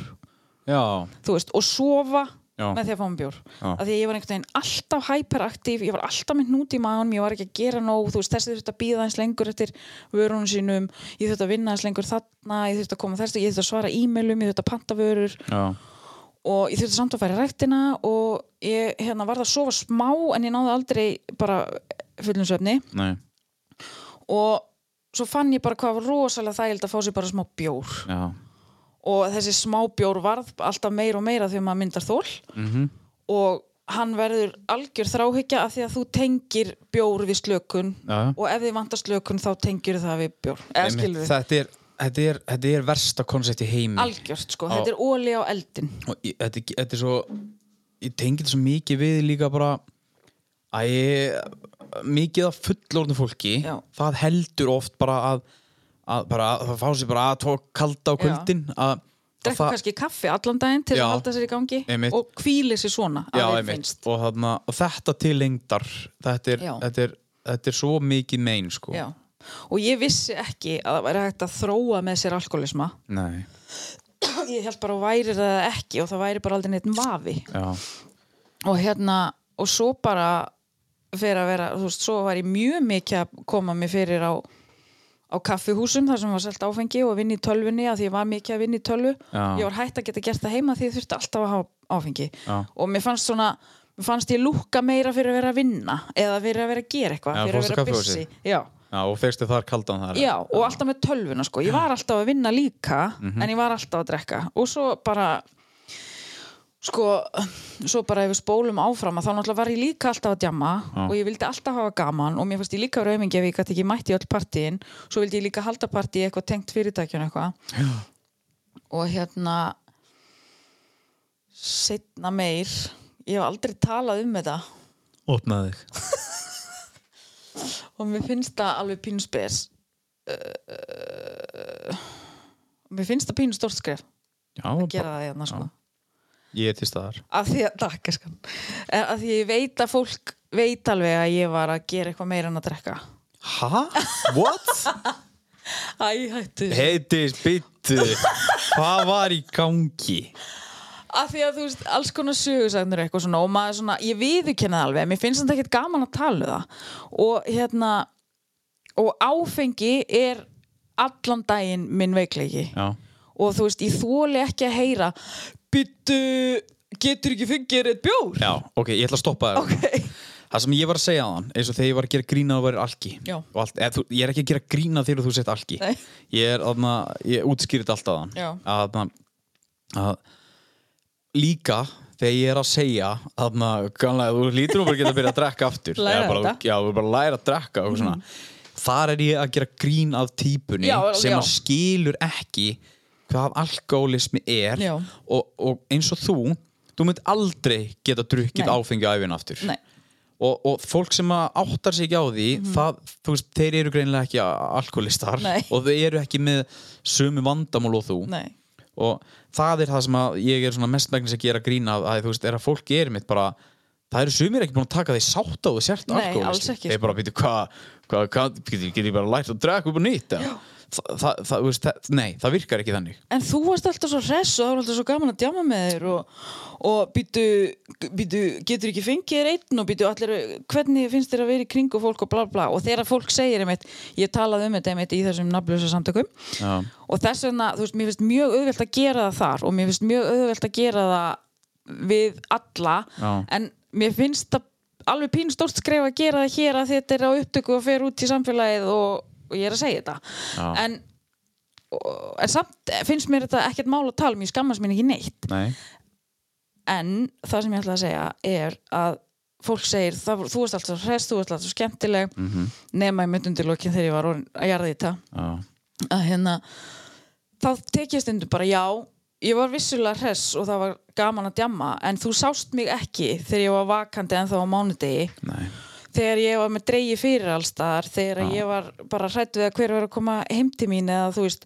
[SPEAKER 1] já,
[SPEAKER 4] þú veist, og sofa
[SPEAKER 1] Já.
[SPEAKER 4] með því að fá mér bjór
[SPEAKER 1] Já.
[SPEAKER 4] af því að ég var einhvern veginn alltaf hyperaktív ég var alltaf með hnút í maðunum, ég var ekki að gera nóg þú veist, þessi þurfti að býða eins lengur eftir vörunum sínum, ég þurfti að vinna eins lengur þarna, ég þurfti að koma þessu, ég þurfti að svara e-mailum, ég þurfti að panta vörur
[SPEAKER 1] já,
[SPEAKER 4] og ég þurfti samt að fara í ræktina og ég hérna, varð að sofa smá en ég náði aldrei bara fullum svefni
[SPEAKER 1] nei,
[SPEAKER 4] og svo fann ég bara hvað var rosalega þægild að fá sér bara smá bjór
[SPEAKER 1] já,
[SPEAKER 4] og þessi smábjór varð alltaf meira og meira því að maður myndar þól
[SPEAKER 1] Mhm.
[SPEAKER 4] -hmm. og hann verður algjör þráhyggja af því að þú tengir bjór við slökun
[SPEAKER 1] Já, já.
[SPEAKER 4] og ef þið vantar slökun þá tengir það við bjór eða
[SPEAKER 1] Einmitt,
[SPEAKER 4] skilur við,
[SPEAKER 1] þetta er, þetta er, þetta er versta koncept í heimi
[SPEAKER 4] algjört sko þetta er óli á eldin
[SPEAKER 1] og ég, þetta, er- þetta er svo ég tengi þetta svo mikið við líka bara að ég, mikið af fullorðnu fólki
[SPEAKER 4] Já.
[SPEAKER 1] það heldur oft bara að, að, bara, að það fá sér bara að tók kalda á
[SPEAKER 4] Já.
[SPEAKER 1] kvöldin að, að
[SPEAKER 4] drekka kannski kaffi allan daginn til
[SPEAKER 1] Já.
[SPEAKER 4] að halda sér í gangi
[SPEAKER 1] Einmitt.
[SPEAKER 4] og hvíli sér svona að
[SPEAKER 1] já,
[SPEAKER 4] þeim
[SPEAKER 1] einmitt,
[SPEAKER 4] finnst
[SPEAKER 1] og, þarna, og þetta til lengdar þetta er,
[SPEAKER 4] Já.
[SPEAKER 1] þetta er, þetta er svo mikið mein sko
[SPEAKER 4] já. og ég vissi ekki að það væri hægt að þróa með sér alkoholisma
[SPEAKER 1] Nei,
[SPEAKER 4] ég held bara að væri það ekki og það væri bara aldrei neitt vafi
[SPEAKER 1] já,
[SPEAKER 4] og hérna, og svo bara fyrir að vera, þú veist, svo var ég mjög mikið að koma mér fyrir á á kaffihúsum þar sem var selt áfengi og að vinna í tölvunni að því ég var mikið að vinna í tölvu
[SPEAKER 1] Já.
[SPEAKER 4] ég var hætt að geta gert það heima því ég þurfti alltaf að hafa áfengi
[SPEAKER 1] Já.
[SPEAKER 4] og mér fannst svona mér fannst ég lúkka meira fyrir að vera að vinna eða fyrir að vera að gera eitthvað
[SPEAKER 1] Já,
[SPEAKER 4] fyrir að
[SPEAKER 1] fórstu
[SPEAKER 4] vera
[SPEAKER 1] kaffihúsi?
[SPEAKER 4] busy já,
[SPEAKER 1] já, og fegstu þar kaldan þar
[SPEAKER 4] Já, og alltaf með tölvuna sko. Ég var alltaf að vinna líka en ég var alltaf að drekka og svo bara sko, svo bara ef við spólum áfram að þá náttúrulega var ég líka alltaf að djamma og ég vildi alltaf hafa gaman og mér fannst ég líka raumingi ef ég gæti ekki mætt í öll partíin svo vildi ég líka halda partí í eitthvað tengt fyrirtækjun eitthvað og hérna setna meir ég hef aldrei talað um þetta
[SPEAKER 1] opnaði þig
[SPEAKER 4] og mér finnst það alveg pínspes uh, eh, mér finnst það pínu stórt skref
[SPEAKER 1] já, bara,
[SPEAKER 4] gera það hérna sko
[SPEAKER 1] ég er til staðar
[SPEAKER 4] af því að, takk, elskan. Eh, af því að ég veit að fólk veit alveg að ég var að gera eitthvað meira en að drekka
[SPEAKER 1] ha? what?
[SPEAKER 4] Æ, hættu
[SPEAKER 1] heitis byttu hvað var í gangi?
[SPEAKER 4] af því að þú veist, alls konar sögursagnir og eitthvað svona og maður svona, ég viðurkenna það alveg mér finnst þetta ekkert gaman að tala um það og hérna og áfengi er allan daginn minn veikleiki
[SPEAKER 1] já,
[SPEAKER 4] og þú veist, ég þóli ekki að heyra byttu, getur ekki fengið reitt bjór
[SPEAKER 1] já, ok, ég ætla að stoppa þér
[SPEAKER 4] ok,
[SPEAKER 1] það sem ég var að segja á hann eins og þegar ég var að gera grína og verið alki
[SPEAKER 4] Já.
[SPEAKER 1] og allt, eð, þú, ég er ekki að gera grína þegar þú sett alki
[SPEAKER 4] Nei.
[SPEAKER 1] ég er aðna, ég útskýrit alltaf hann
[SPEAKER 4] Já.
[SPEAKER 1] að, að líka þegar ég er að segja aðna, kannlega, þú lítur og bara geta að byrja að drekka aftur
[SPEAKER 4] Læra
[SPEAKER 1] Eða bara,
[SPEAKER 4] þetta. Mm.
[SPEAKER 1] já, þú bara læra að drekka og svona þar er ég að gera grín af típunni
[SPEAKER 4] Já,
[SPEAKER 1] sem
[SPEAKER 4] já.
[SPEAKER 1] að skilur ekki hvað alkoholismi er
[SPEAKER 4] Já.
[SPEAKER 1] og, og eins og þú þú mynd aldrei geta drukkið
[SPEAKER 4] Nei.
[SPEAKER 1] áfengi á æfin aftur
[SPEAKER 4] Nei.
[SPEAKER 1] og, og fólk sem að áttar sig ekki á því það, þú veist, þeir eru greinilega ekki alkoholistar
[SPEAKER 4] Mhm. Nei.
[SPEAKER 1] og þau eru ekki með sömu vandamál og þú
[SPEAKER 4] nei
[SPEAKER 1] og það er það sem að ég er svona mestmægnis að gera grín af að þú veist, er að fólk er mitt bara það eru sumir ekki búin að taka því sátt á því sért
[SPEAKER 4] Nei, alls
[SPEAKER 1] alkoholisti,
[SPEAKER 4] ekki,
[SPEAKER 1] þeir
[SPEAKER 4] sko.
[SPEAKER 1] bara býtu hvað hva, hva, get, get ég bara lært að draka upp og nýtt það, það, það, þú veist, það, nei, það virkar ekki þannig
[SPEAKER 4] En þú varst alltaf svo hress og það var alltaf svo gaman að djama með þér og, og býtu, býtu, getur ekki fengið þér einn og býtu allir, hvernig finnst þér að vera í kringu fólk og bla bla og þegar fólk segir einmitt, ég talaði um þetta einmitt í þessum nafnlösa samtökum
[SPEAKER 1] Já.
[SPEAKER 4] og þess vegna, þú veist, mér finnst mjög auðvelt að gera það þar og mér finnst mjög auðvelt að gera það við alla
[SPEAKER 1] Já.
[SPEAKER 4] en mér finnst það alveg pín stórt skref að gera það hér að þetta er á upptöku og fer út í samfélagið og, og ég er að segja þetta
[SPEAKER 1] Já.
[SPEAKER 4] en og- en samt finnst mér þetta ekkert mál að tala um, ég skammast mér ekki neitt
[SPEAKER 1] nei,
[SPEAKER 4] en það sem ég ætla að segja er að fólk segir, það, voru- þú ert alltaf hress, þú ert alltaf skemmtileg mm
[SPEAKER 1] Mhm.
[SPEAKER 4] -hmm. nema í myndundilokin þegar ég var orðin að jarða í þetta
[SPEAKER 1] já,
[SPEAKER 4] að hérna þá tek ég stundum bara já ég var vissulega hress og það var gaman að djamma en þú sást mig ekki þegar ég var vakandi en þá á mánudegi
[SPEAKER 1] nei
[SPEAKER 4] þegar ég var með dreigi fyrir allstaðar þegar ég var bara hrætt við að hver var að koma heim til mín eða þú veist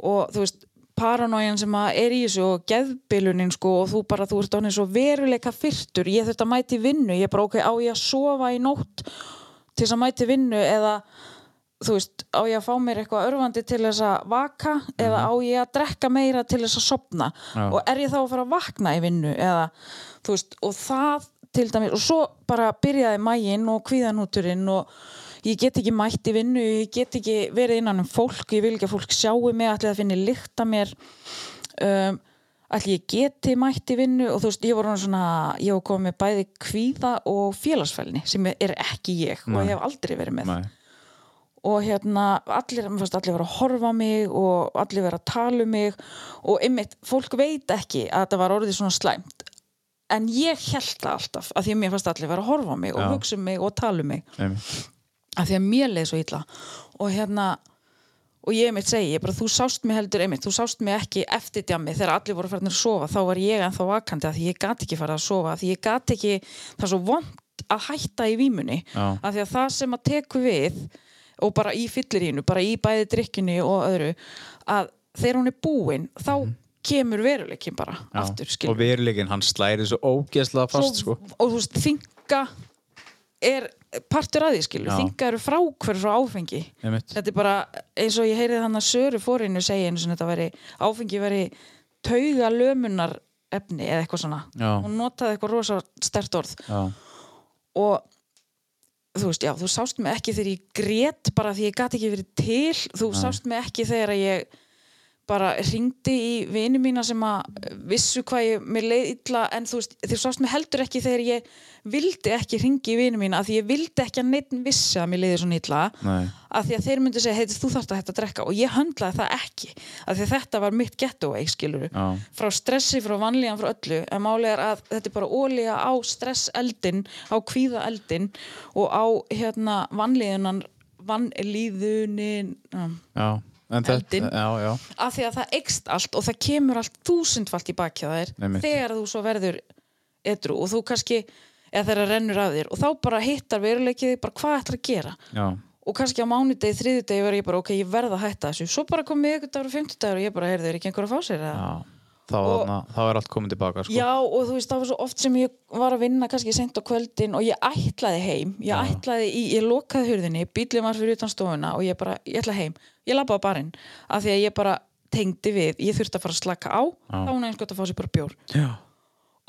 [SPEAKER 4] og þú veist paranójan sem að er í þessu og geðbilunin sko og þú bara, þú ert ánir svo veruleika fyrtur, ég þurft að mæti vinnu ég bara, ok, á ég að sofa í nótt til þess að mæti vinnu eða þú veist, á ég að fá mér eitthvað örfandi til þess að vaka eða á ég að drekka meira til þess að sopna
[SPEAKER 1] Já.
[SPEAKER 4] og er ég þá að fara að vakna í vinnu eða, þú veist, og það til dæmis, og svo bara byrjaði mægin og kvíðanúturinn og ég get ekki mætt í vinnu, ég get ekki verið innan um fólk, ég vil ekki að fólk sjáu mig, ætli það finni lykt að mér um, ætli ég geti mætt í vinnu og þú veist, ég voru svona ég var komið með bæði kvíða og félagsfælni sem er ekki ég og
[SPEAKER 1] Nei.
[SPEAKER 4] hef aldrei verið með
[SPEAKER 1] nei,
[SPEAKER 4] og hérna allir, mér fannst allir vera að horfa á mig og allir vera að tala um mig og einmitt, fólk veit ekki að þetta var orðið svona slæmt en ég held það alltaf að því að mér fannst allir vera að horfa á mig og
[SPEAKER 1] Já.
[SPEAKER 4] hugsa um mig og tala um mig
[SPEAKER 1] nei.
[SPEAKER 4] að því að mér leið svo illa og hérna og ég einmitt segi, ég bara þú sást mig heldur einmitt, þú sást mig ekki eftir djami þegar allir voru farin að sofa, þá var ég ennþá vakandi að því ég gat ekki farið að sofa af því ég gat ekki, það er svo vond að hætta í vímunni,
[SPEAKER 1] Já.
[SPEAKER 4] af því að það sem að teku við og bara í fyllirínu, bara í bæði drikkinu og öðru, að þegar hún er búin, þá kemur veruleikin bara,
[SPEAKER 1] Mhm. Já.
[SPEAKER 4] aftur skilur
[SPEAKER 1] og verulegin hann slæri svo ógeðslega fast sko.
[SPEAKER 4] svo, og þú veist, þinga er partur að því skilur,
[SPEAKER 1] Já.
[SPEAKER 4] þingar eru frákvör frá áfengi
[SPEAKER 1] Einmitt.
[SPEAKER 4] þetta er bara eins og ég heyrið hann að Söru fórinu segja eins og þetta veri áfengi veri tauga lömunar efni eða eitthvað svona
[SPEAKER 1] Já.
[SPEAKER 4] hún notaði eitthvað rosa stert orð
[SPEAKER 1] Já.
[SPEAKER 4] og þú veist, já, þú sást mig ekki þegar ég grét bara því ég gat ekki verið til þú sást mig ekki þegar að ég bara ringdi í vini mína sem að vissu hvað ég mér leið illa en þú veist, þú sást mig heldur ekki þegar ég vildi ekki ringi í vini mína af því ég vildi ekki að neitt vissi að mér leiði svona illa
[SPEAKER 1] Nei.
[SPEAKER 4] af því að þeir myndu segja, heiti, þú þarft að hætta að drekka og ég höndlaði það ekki af því að þetta var mitt getaway, skilur
[SPEAKER 1] Já.
[SPEAKER 4] frá stressi, frá vanlíðan, frá öllu en málið er að þetta er bara ólíða á stresseldin, á kvíðaeldin og á hérna vanlíðunan, vanlíðunin
[SPEAKER 1] Já. En þetta,
[SPEAKER 4] Eldinn.
[SPEAKER 1] já, já.
[SPEAKER 4] af því að það ekst allt og það kemur allt þúsundfalt í baki á þér
[SPEAKER 1] Einmitt.
[SPEAKER 4] þegar þú svo verður edru og þú kannski, eða þeirra rennur af þér og þá bara hittar veruleikið þig bara hvað ætlar að gera
[SPEAKER 1] Já.
[SPEAKER 4] og kannski á mánudegi, þriðudegi verður ég bara ok, ég verð að hætta þessu, svo bara kom miðvikudagur og fimmtudagur og ég bara, heyrðu, er ekki einhver að fá sér eða?
[SPEAKER 1] Já. Þá,
[SPEAKER 4] Og-
[SPEAKER 1] þarna, þá er allt komið tilbaka sko.
[SPEAKER 4] Já og þú veist það var svo oft sem ég var að vinna kannski sent á kvöldin og ég ætlaði heim ég ætlaði, í, ég lokaði hurðinni bílum var fyrir utan stofuna og ég bara ég ætlaði heim, ég labbaði á barinn af því að ég bara tengdi við, ég þurfti að fara að slaka á
[SPEAKER 1] Já.
[SPEAKER 4] þá hún eins gott að fá sér bara bjór
[SPEAKER 1] Já.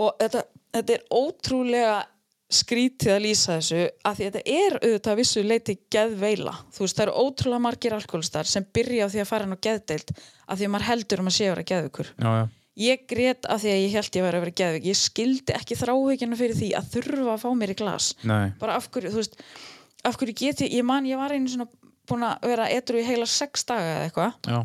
[SPEAKER 4] og þetta, þetta er ótrúlega skrítið að lýsa þessu af því að þetta er auðvitað að vissu leiti geðveila, þú veist það eru ótrúlega margir alkoholistar sem byrja á því að fara inn á geðdeild af því að maður heldur um að sé að vera geðugur
[SPEAKER 1] Já, já.
[SPEAKER 4] ég grét af því að ég held ég væri að vera geðvik ég skildi ekki þráhugina fyrir því að þurfa að fá mér í glas
[SPEAKER 1] Nei.
[SPEAKER 4] bara af hverju, þú veist af hverju get ég, ég man ég var einu svona búin að vera etru í heila sex daga eða eitthvað
[SPEAKER 1] Já.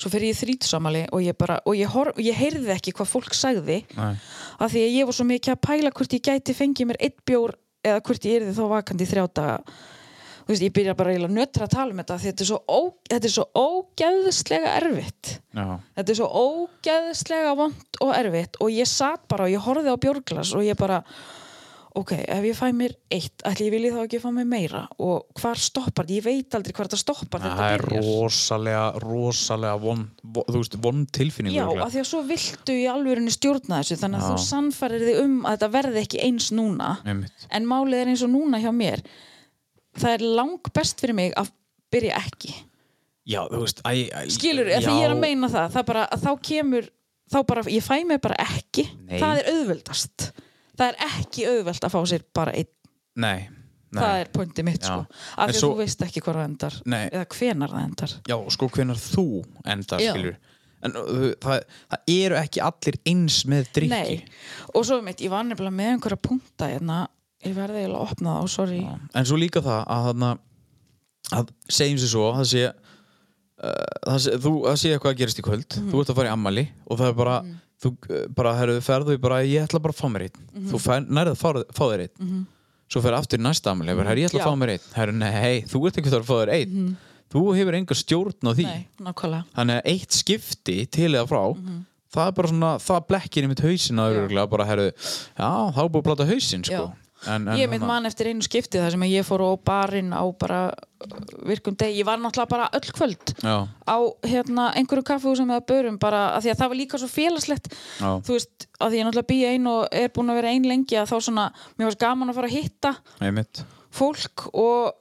[SPEAKER 4] svo fyrir ég þrítsamali og ég bara og ég, hor, ég heyrði ekki hvað fólk sagði
[SPEAKER 1] Nei.
[SPEAKER 4] af því að ég var svo mikið að pæla hvort ég gæti fengið mér eitt bjór eða hvort ég yrði þá vakandi í þrjá daga þú veist, ég byrja bara eiginlega að nötra að tala um þetta af því þetta er svo, ó, þetta er svo ógeðslega erfitt
[SPEAKER 1] Já.
[SPEAKER 4] Þetta er svo ógeðslega vond og erfitt og ég satt bara og ég horfði á björglas og ég bara ok, ef ég fæ mér eitt ætli ég vilji þá ekki fá mér meira og hvar stoppar þetta, ég veit aldrei hvar þetta stoppar þetta
[SPEAKER 1] Það er
[SPEAKER 4] byrjar.
[SPEAKER 1] rosalega, rosalega von, von, þú veist, von tilfinning
[SPEAKER 4] Já,
[SPEAKER 1] örugglega.
[SPEAKER 4] af því að svo viltu í alvörinu stjórna þessu þannig að
[SPEAKER 1] Já.
[SPEAKER 4] þú sannfærir þig um að þetta verði ekki eins núna
[SPEAKER 1] Einmitt.
[SPEAKER 4] en málið er eins og núna hjá mér það er lang best fyrir mig að byrja ekki
[SPEAKER 1] Já, þú veist, æ, æ,
[SPEAKER 4] skilur,
[SPEAKER 1] já,
[SPEAKER 4] ef ég er að meina það, það bara, að þá kemur þá bara, ég fæ mig bara ekki
[SPEAKER 1] Nei.
[SPEAKER 4] það er auðveldast það er ekki auðveld að fá sér bara einn
[SPEAKER 1] Nei, nei.
[SPEAKER 4] það er pointi mitt
[SPEAKER 1] Já.
[SPEAKER 4] sko
[SPEAKER 1] En
[SPEAKER 4] af því að
[SPEAKER 1] svo-
[SPEAKER 4] þú veist ekki hvað það endar
[SPEAKER 1] Nei.
[SPEAKER 4] eða hvenar það endar
[SPEAKER 1] Já, sko, hvenar þú endar,
[SPEAKER 4] Já.
[SPEAKER 1] skilur En uh, það, það eru ekki allir eins með drikki
[SPEAKER 4] Nei. og svo mitt, ég var nefnilega með einhverja punta hérna, ég verði eiginlega að opna það og sorry,
[SPEAKER 1] En svo líka það að þarna að segjum sér svo, það sé uh, það sé, þú, það sé eitthvað að gerist í kvöld
[SPEAKER 4] Mhm.
[SPEAKER 1] þú ert að fara í ammali og það er bara þú uh, bara, herru, ferðu í bara ég ætla bara að fá mér einn,
[SPEAKER 4] Mhm.
[SPEAKER 1] þú fær, nærðu að fá, fá þér einn svo fer aftur í næsta ammali bara, herru, ég ætla að
[SPEAKER 4] Já. Mhm.
[SPEAKER 1] fá mér einn, herru, nei þú ert ekki að fara að fá þér einn, þú hefur enga stjórn á því,
[SPEAKER 4] nei, Mhm. nákvæmlega
[SPEAKER 1] þannig að eitt skipti til eða frá það er bara svona, það blekkir í mitt hausin að örgulega bara, herru, já, þá er búið að blata hausin, sko En, en,
[SPEAKER 4] ég mitt
[SPEAKER 1] þarna-
[SPEAKER 4] mann eftir einu skipti þar sem að ég fór á barinn á bara uh, virkum deg, ég var náttúrulega bara öll kvöld
[SPEAKER 1] Já,
[SPEAKER 4] á hérna, einhverju kaffehúsum eða börum bara að því að það var líka svo félagslegt
[SPEAKER 1] Já.
[SPEAKER 4] þú veist, að því ég náttúrulega býja einn og er búin að vera einn lengi að þá svona mér varst gaman að fara að hitta
[SPEAKER 1] einmitt
[SPEAKER 4] fólk og,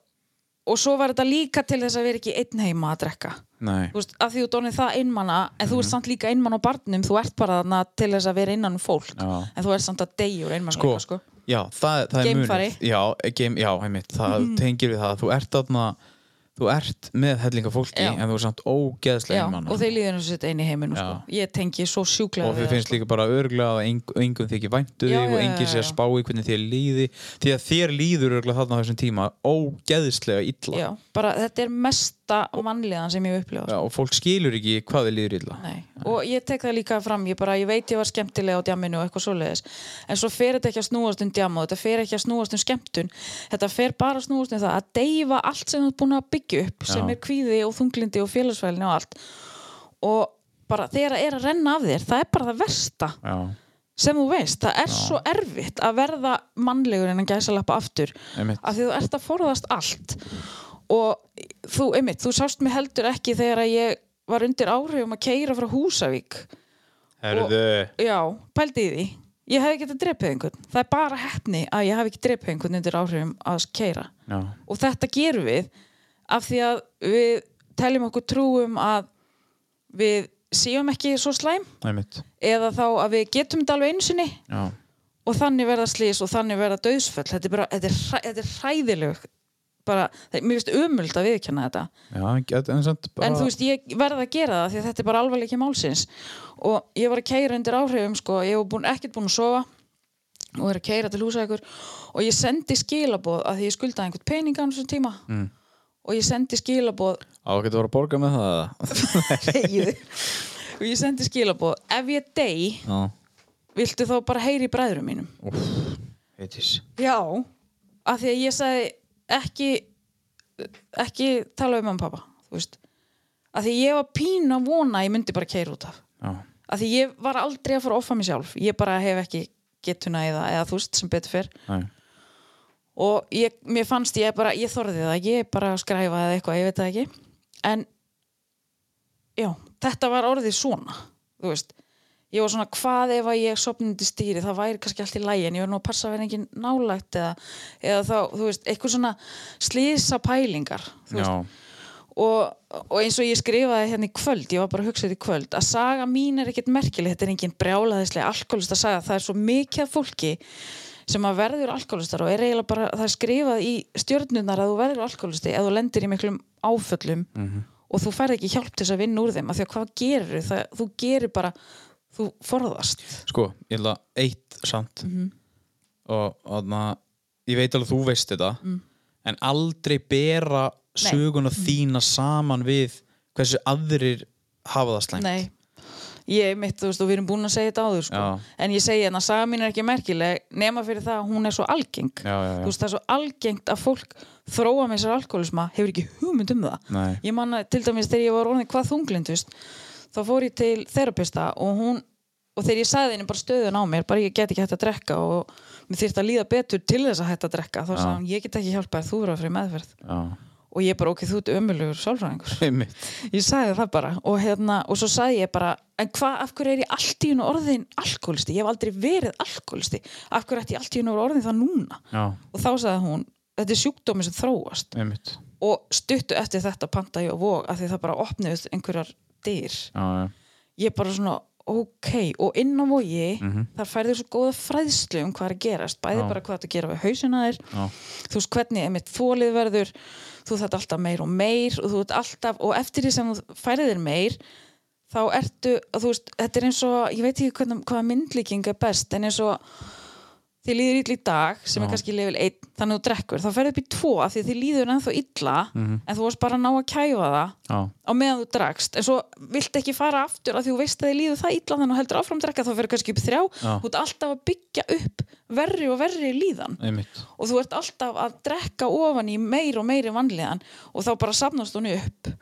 [SPEAKER 4] og svo var þetta líka til þess að vera ekki einn heima að drekka
[SPEAKER 1] Nei,
[SPEAKER 4] þú veist, að því þú dónið það einmana en þú
[SPEAKER 1] Mhm.
[SPEAKER 4] ert samt líka einmann á barnum þú ert bara þarna til þess að vera innan um fólk
[SPEAKER 1] Já.
[SPEAKER 4] en þú ert samt að deyjur einmann
[SPEAKER 1] sko,
[SPEAKER 4] sko.
[SPEAKER 1] já, það, það er
[SPEAKER 4] Geimfari. Mhm.
[SPEAKER 1] munið Já, eh, game, já, einmitt, það tengir við það Þú ert þarna, þú ert með hellinga fólki
[SPEAKER 4] Já.
[SPEAKER 1] en þú er samt ógeðslega
[SPEAKER 4] Já,
[SPEAKER 1] einmann
[SPEAKER 4] og þeir líður eins og sitt einn í heiminu sko.
[SPEAKER 1] Já.
[SPEAKER 4] ég tengi svo sjúklega
[SPEAKER 1] og
[SPEAKER 4] við
[SPEAKER 1] þau
[SPEAKER 4] það,
[SPEAKER 1] finnst
[SPEAKER 4] sko.
[SPEAKER 1] líka bara örglega að eng- engum þykir væntu
[SPEAKER 4] Já,
[SPEAKER 1] þig og
[SPEAKER 4] já,
[SPEAKER 1] enginn
[SPEAKER 4] já,
[SPEAKER 1] sé að
[SPEAKER 4] já.
[SPEAKER 1] spá í hvernig þér líði því að þér líður örglega þarna á þessum tíma ógeðslega illa
[SPEAKER 4] Já, bara þetta er mesta mannliðan sem ég upplifa sko.
[SPEAKER 1] Já, og fólk skilur ekki hvað þið líður illa
[SPEAKER 4] Nei. og ég tek það líka fram ég, bara, ég veit ég var skemmtilega á djamminu og eitthvað svoleiðis en svo fer þetta ekki að snúast um djamma og þetta fer ekki að snúast um skemmtun þetta fer bara að snúast um það að deyfa allt sem þú ert búin að byggja upp sem
[SPEAKER 1] Já.
[SPEAKER 4] er kvíði og þunglindi og félagsfælni og allt og bara þegar það er að renna af þér það er bara það versta
[SPEAKER 1] Já,
[SPEAKER 4] sem þú veist, það er svo erfitt að verða mannlegur en að gæsa lappa aftur
[SPEAKER 1] Einmitt.
[SPEAKER 4] af því þú ert að forðast allt og þú, einmitt, þú sást mig heldur ekki þegar að ég var undir áhrifum að keira frá Húsavík
[SPEAKER 1] herðu
[SPEAKER 4] já, pældi í því ég hef ekki getað drepið einhvern það er bara hefni að ég hef ekki drepið einhvern undir áhrifum að keira
[SPEAKER 1] Já.
[SPEAKER 4] og þetta gerum við af því að við teljum okkur trúum að við séum ekki svo slæm
[SPEAKER 1] Einmitt.
[SPEAKER 4] eða þá að við getum þetta alveg einu sinni
[SPEAKER 1] Já.
[SPEAKER 4] og þannig verða slís og þannig verða döðsföll þetta er bara, þetta er, hræ, þetta er hræðileg bara, það, mér finnst umöld að viðkjanna þetta
[SPEAKER 1] Já, en get- en samt bara...
[SPEAKER 4] en þú veist, ég verða að gera það því að þetta er bara alvarleiki málsins og ég var að keira undir áhrifum sko, ég hef búin, ekkert búin að sofa og er að keira til húsa ykkur og ég sendi skilaboð að því ég skuldaði einhvern peninga á þessum tíma mm. og ég sendi skilaboð
[SPEAKER 1] Á ekki að vera að borga með það eða?
[SPEAKER 4] Þegiðu. og ég sendi skilaboð ef ég dey,
[SPEAKER 1] Já.
[SPEAKER 4] viltu þá bara heyri í bræðurum mínum
[SPEAKER 1] Heitis.
[SPEAKER 4] Já, af því að ég sagði ekki ekki tala um hann pappa þú veist, af því ég var pín að vona að ég myndi bara keira út af
[SPEAKER 1] Já.
[SPEAKER 4] af því ég var aldrei að fara að offa mig sjálf ég bara hef ekki getuna eða, eða þú veist sem betur fyrr
[SPEAKER 1] Nei.
[SPEAKER 4] og ég, mér fannst ég bara, ég þorði það ekki ég bara skræfa eða eitthvað, ég veit það ekki en já, þetta var orðið svona þú veist, ég var svona hvað ef að ég sopnundi stýri, það væri kannski allt í lægi en ég var nú að passa að vera engin nálægt eða, eða þá, þú veist, eitthvað svona slýsa pælingar þú veist,
[SPEAKER 1] Já.
[SPEAKER 4] og, og eins og ég skrifaði hérna í kvöld ég var bara að hugsa þetta í kvöld að saga mín er ekkert merkileg, þetta er engin brjálaðislega alkoholist að saga, það er svo mikið af fólki sem að verður alkoholistar og er eiginlega bara, það er skrifað í stjörnunar að þú verður alkoholisti ef þú lendir í miklum áföllum og þú færð ekki hjálp til þess að vinna úr þeim af því að hvað gerir það, þú gerir bara þú forðast
[SPEAKER 1] sko, ég ætla eitt samt
[SPEAKER 4] Mhm.
[SPEAKER 1] og þannig ég veit alveg að þú veist þetta
[SPEAKER 4] Mm.
[SPEAKER 1] en aldrei bera söguna þína saman við hversu aðrir hafa það slæmt
[SPEAKER 4] Nei, ég mitt, þú veist, og við erum búin að segja þetta áður sko.
[SPEAKER 1] Já.
[SPEAKER 4] en ég segi hérna, saga mín er ekki merkileg nema fyrir það að hún er svo algeng
[SPEAKER 1] Já, já, já.
[SPEAKER 4] þú veist, það er svo algengt að fólk þróa með sér alkoholisma, hefur ekki hugmynd um það
[SPEAKER 1] Nei.
[SPEAKER 4] ég manna, til dæmis þegar ég var orðin hvað þunglindust, þá fór ég til terapista og hún og þegar ég sagði henni bara stöðun á mér, bara ég get ekki hægt að drekka og mér þyrfti að líða betur til þess að hægt að drekka, þá sagði hún, ég get ekki hjálpa þér, þú verður að fyrir meðferð
[SPEAKER 1] Já.
[SPEAKER 4] og ég bara, ok, þú ert ömulugur sálfræðingur
[SPEAKER 1] Einmitt.
[SPEAKER 4] ég sagði það bara og, hérna, og svo sagði ég bara en hvað, af hverju er ég allt í hennu orðin alkoholisti, ég hef aldrei verið alkoholisti af hverju ætti ég allt í hennu orðin það núna
[SPEAKER 1] Já,
[SPEAKER 4] og þá sagði hún, þetta er sjúkdómi sem þróast
[SPEAKER 1] einmitt
[SPEAKER 4] og stuttu eftir þetta panta ég á vog af því það bara opnuð einhverjar dyr
[SPEAKER 1] Já, já.
[SPEAKER 4] ég bara svona, ok og inn á vogi, þar færðu svo góða fræðslu um hvað er að gerast, bæði
[SPEAKER 1] Já.
[SPEAKER 4] bara hvað þetta gera við hausina þér
[SPEAKER 1] Já.
[SPEAKER 4] þú veist hvernig einmitt þólið verður þú þarft alltaf meir og meir og þú ert alltaf, og eftir því sem þú færið þér meir þá ertu, að þú veist, þetta er eins og ég veit ekki hvernig, hvaða myndlíking er best en eins og þið líður illa í dag sem er kannski level 1, þannig að þú drekkur þá færið upp í 2 af því að þið líður ennþá illa en þú varst bara að ná að kæfa það
[SPEAKER 1] Já.
[SPEAKER 4] á meðan þú drakst en svo vilt ekki fara aftur að því þú veist að þið líður það illa þannig að heldur áfram að drekka þá fyrir kannski upp í þrjá
[SPEAKER 1] Já.
[SPEAKER 4] þú ert alltaf að byggja upp verri og verri líðan
[SPEAKER 1] einmitt
[SPEAKER 4] og þú ert alltaf að drekka ofan í meir og meiri vanlíðan og þá bara sapnast hún upp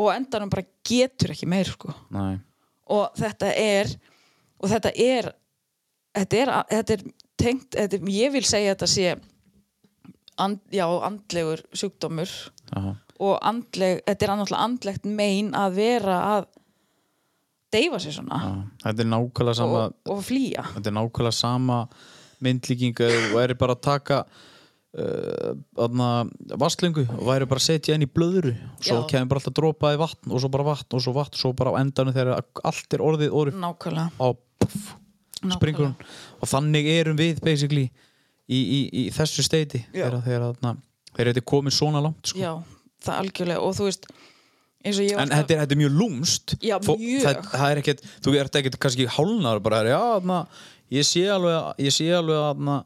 [SPEAKER 4] og endanum bara getur ekki meir sko.
[SPEAKER 1] Nei.
[SPEAKER 4] og þetta er og þetta er þetta er, þetta er tengt þetta er, ég vil segja þetta sé and, já, andlegur sjúkdómur
[SPEAKER 1] Já.
[SPEAKER 4] og andleg, þetta er náttúrulega andlegt mein að vera að deyfa sér svona
[SPEAKER 1] Já. Þetta er nákvæmlega sama
[SPEAKER 4] og, og flýja
[SPEAKER 1] þetta er nákvæmlega sama myndlíking að þú væri bara að taka uh, vastlöngu og væri bara að setja henni í blöðru svo
[SPEAKER 4] Já.
[SPEAKER 1] kemur bara alltaf dropaði vatn og svo bara vatn og svo vatn og svo bara á endanum þegar allt er orðið orðið
[SPEAKER 4] nákvæmlega,
[SPEAKER 1] og puff, springur hún og þannig erum við basically í, í, í þessu steiti
[SPEAKER 4] Já.
[SPEAKER 1] þegar, þegar, þarna- þegar þetta er komið svona langt sko.
[SPEAKER 4] já, það algjörlega og þú veist eins og ég var
[SPEAKER 1] en þetta er, þetta er mjög lúmst
[SPEAKER 4] Já,
[SPEAKER 1] Fó-
[SPEAKER 4] mjög.
[SPEAKER 1] Það, það er ekkert, þú ert ekkert kannski hálnar bara, já, þarna, ég sé alveg að- ég sé alveg þarna,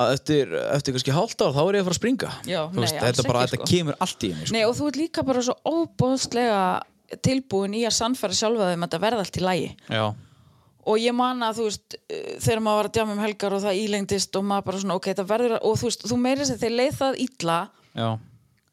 [SPEAKER 1] að eftir, eftir kannski hálft ár þá er ég að fara að springa
[SPEAKER 4] Já,
[SPEAKER 1] Þú
[SPEAKER 4] nei, alls
[SPEAKER 1] þetta, bara,
[SPEAKER 4] ekki,
[SPEAKER 1] þetta
[SPEAKER 4] sko.
[SPEAKER 1] kemur allt í henni sko.
[SPEAKER 4] Nei, og þú ert líka bara svo óbóðslega tilbúin í að sannfæra sjálfa þeim að þetta verða allt í lagi
[SPEAKER 1] já,
[SPEAKER 4] og ég man að þú veist eh, þegar maður var að djáma um helgar og það ílengdist og maður bara svona, ok, þetta verður að- og þú veist, þú meiri sér þegar leið það illa
[SPEAKER 1] já,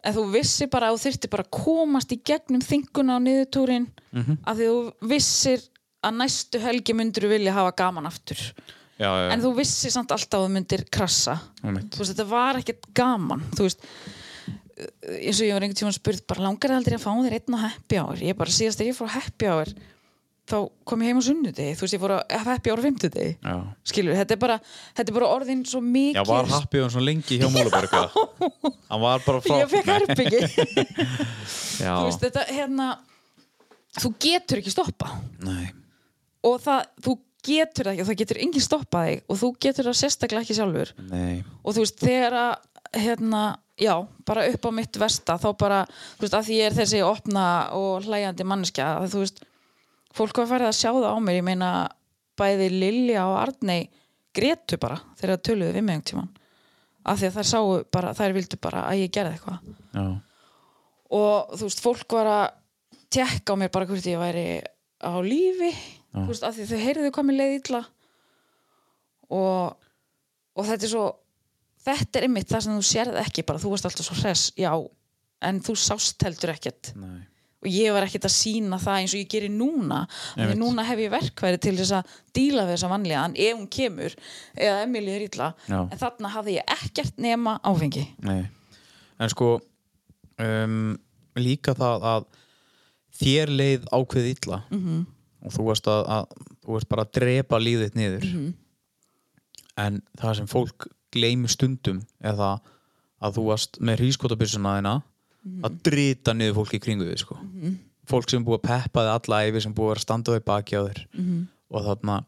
[SPEAKER 4] en þú vissi bara að þú þyrfti bara að komast í gegnum þinguna á niðurtúrin mm að því þú vissir að næstu helgi myndir þú vilja hafa gaman aftur
[SPEAKER 1] já, já,
[SPEAKER 4] en þú vissir samt alltaf að þú myndir krassa
[SPEAKER 1] Einmitt.
[SPEAKER 4] þú veist, þetta var ekkert gaman þú veist eh, eins og ég var einhvern tímann spurð bara langar það aldrei að fá þér einn á happy hour ég bara síðast þegar ég fór á happy hour þá kom ég heim á sunnudegi þú veist, ég fór að happy ára fimmtudegi
[SPEAKER 6] Já.
[SPEAKER 4] skilur, þetta er bara, þetta er bara orðin svo mikið
[SPEAKER 1] Já, var happy hann svona lengi hjá Móluborg Hann var bara frá
[SPEAKER 4] ég fekk herbyggi þú
[SPEAKER 1] Já,
[SPEAKER 4] veist, þetta, hérna þú getur ekki stoppa
[SPEAKER 6] Nei.
[SPEAKER 4] og það, þú getur það ekki, það getur enginn stoppað þig og þú getur það sérstaklega ekki sjálfur
[SPEAKER 6] Nei.
[SPEAKER 4] og þú veist, þegar að hérna, já, bara upp á mitt versta þá bara, þú veist, að því ég er þessi opna og hlæjandi manneskja að þú veist, fólk var farið að sjá það á mér ég meina, bæði Lilja og Arnei grétu bara þegar það töluðu við mig einhvern tímann af því að þær sáu bara, þær vildu bara að ég gerði eitthvað
[SPEAKER 6] Já.
[SPEAKER 4] og þú veist, fólk var að tekka á mér bara hvort ég væri á lífi þú veist, af því þau heyrðu hvað mér leið illa og, og þetta er svo þetta er einmitt það sem þú sérð ekki bara, þú varst alltaf svo hress, já en þú sást heldur ekkert
[SPEAKER 6] Nei.
[SPEAKER 4] og ég var ekkert að sína það eins og ég gerir núna því
[SPEAKER 6] Einmitt.
[SPEAKER 4] núna hef ég verkværi til þess að díla við þessa vanlíðan ef hún kemur eða Emilí er illa
[SPEAKER 6] Já.
[SPEAKER 4] en þarna hafði ég ekkert nema áfengi
[SPEAKER 6] Nei.
[SPEAKER 1] en sko um, Líka það að Þér leið ákveð illa -hmm. Og þú varst að, að Þú varst bara að drepa lífið þitt niður -hmm. En það sem fólk Gleimi stundum er það Að þú varst með hrískotabissuna þina Að drita niður fólk í kringu þig sko. -hmm. Fólk sem búið að peppa þig alla æfi Sem búið að vera að standa þau baki á þér -hmm. Og þarna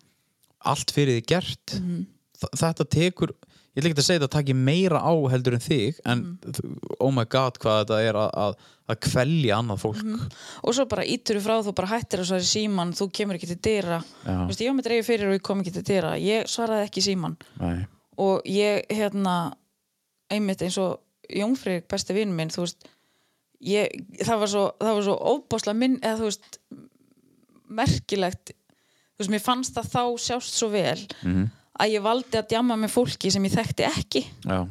[SPEAKER 1] allt fyrir þið gert
[SPEAKER 4] Mhm.
[SPEAKER 1] Þa- þetta tekur ég ætla ekki að segja þetta taki meira á heldur en þig en
[SPEAKER 4] Mhm.
[SPEAKER 1] oh my god hvað þetta er að, að, að kvelja annað fólk
[SPEAKER 4] og svo bara ítur frá þú bara hættir að svara í síman þú kemur ekki til dyra
[SPEAKER 6] Já.
[SPEAKER 4] Vist, ég var með dreifir fyrir og ég kom ekki til dyra ég svaraði ekki í síman
[SPEAKER 6] Nei.
[SPEAKER 4] og ég hérna einmitt eins og Jónfrík besti vinn minn þú veist ég, það var svo, það var svo óbáslega minn eða þú veist merkilegt þú veist mér fannst það þá sjást svo vel
[SPEAKER 6] Mhm.
[SPEAKER 4] -hmm. að ég valdi að djama með fólki sem ég þekkti ekki
[SPEAKER 6] Já.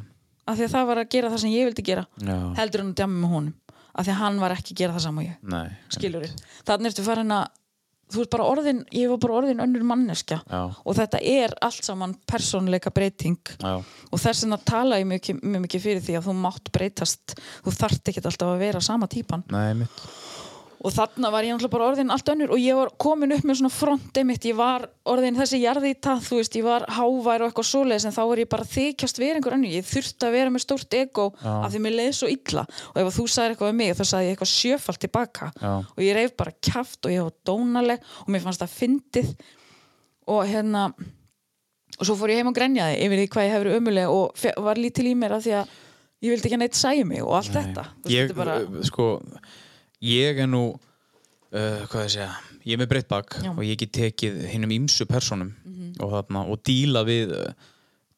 [SPEAKER 4] af því að það var að gera það sem ég vildi gera
[SPEAKER 6] Já.
[SPEAKER 4] heldur en að djama með honum af því að hann var ekki að gera það saman og ég
[SPEAKER 6] Nei.
[SPEAKER 4] skilur við þannig ertu farin að þú ert bara orðin, ég var bara orðin önnur manneskja
[SPEAKER 6] Já.
[SPEAKER 4] og þetta er allt saman persónuleika breyting
[SPEAKER 6] Já.
[SPEAKER 4] og þess vegna tala ég mjög, mjög mikið fyrir því að þú mátt breytast þú þarft ekkert alltaf að vera sama típan
[SPEAKER 6] Nei, mitt.
[SPEAKER 4] og þarna var ég náttúrulega bara orðin allt önnur og ég var komin upp með svona fronti mitt ég var orðin þessi jarði í tað þú veist, ég var hávær og eitthvað svoleiðis en þá var ég bara að þykjast verið einhver önnur ég þurfti að vera með stórt ego af því mér leið svo illa og ef þú sagðir eitthvað um mig þá sagði ég eitthvað sjöfalt tilbaka
[SPEAKER 6] Já.
[SPEAKER 4] og ég reyf bara kjaft og ég var dónaleg og mér fannst það fyndið og hérna og svo fór ég heim og grenjaði yfir því hvað ég hefur ömuleg og fe- var lítil í mér af því að ég vildi ekki að neitt sæja mig og allt þetta Þú veist,
[SPEAKER 1] ég,
[SPEAKER 4] þetta er bara...
[SPEAKER 1] uh, sko, ég er nú uh, hvað ég segja ég er með breytt bak
[SPEAKER 4] Já. Mhm.
[SPEAKER 1] og ég get tekið hinnum ímsu personum og, þarna, og díla við uh,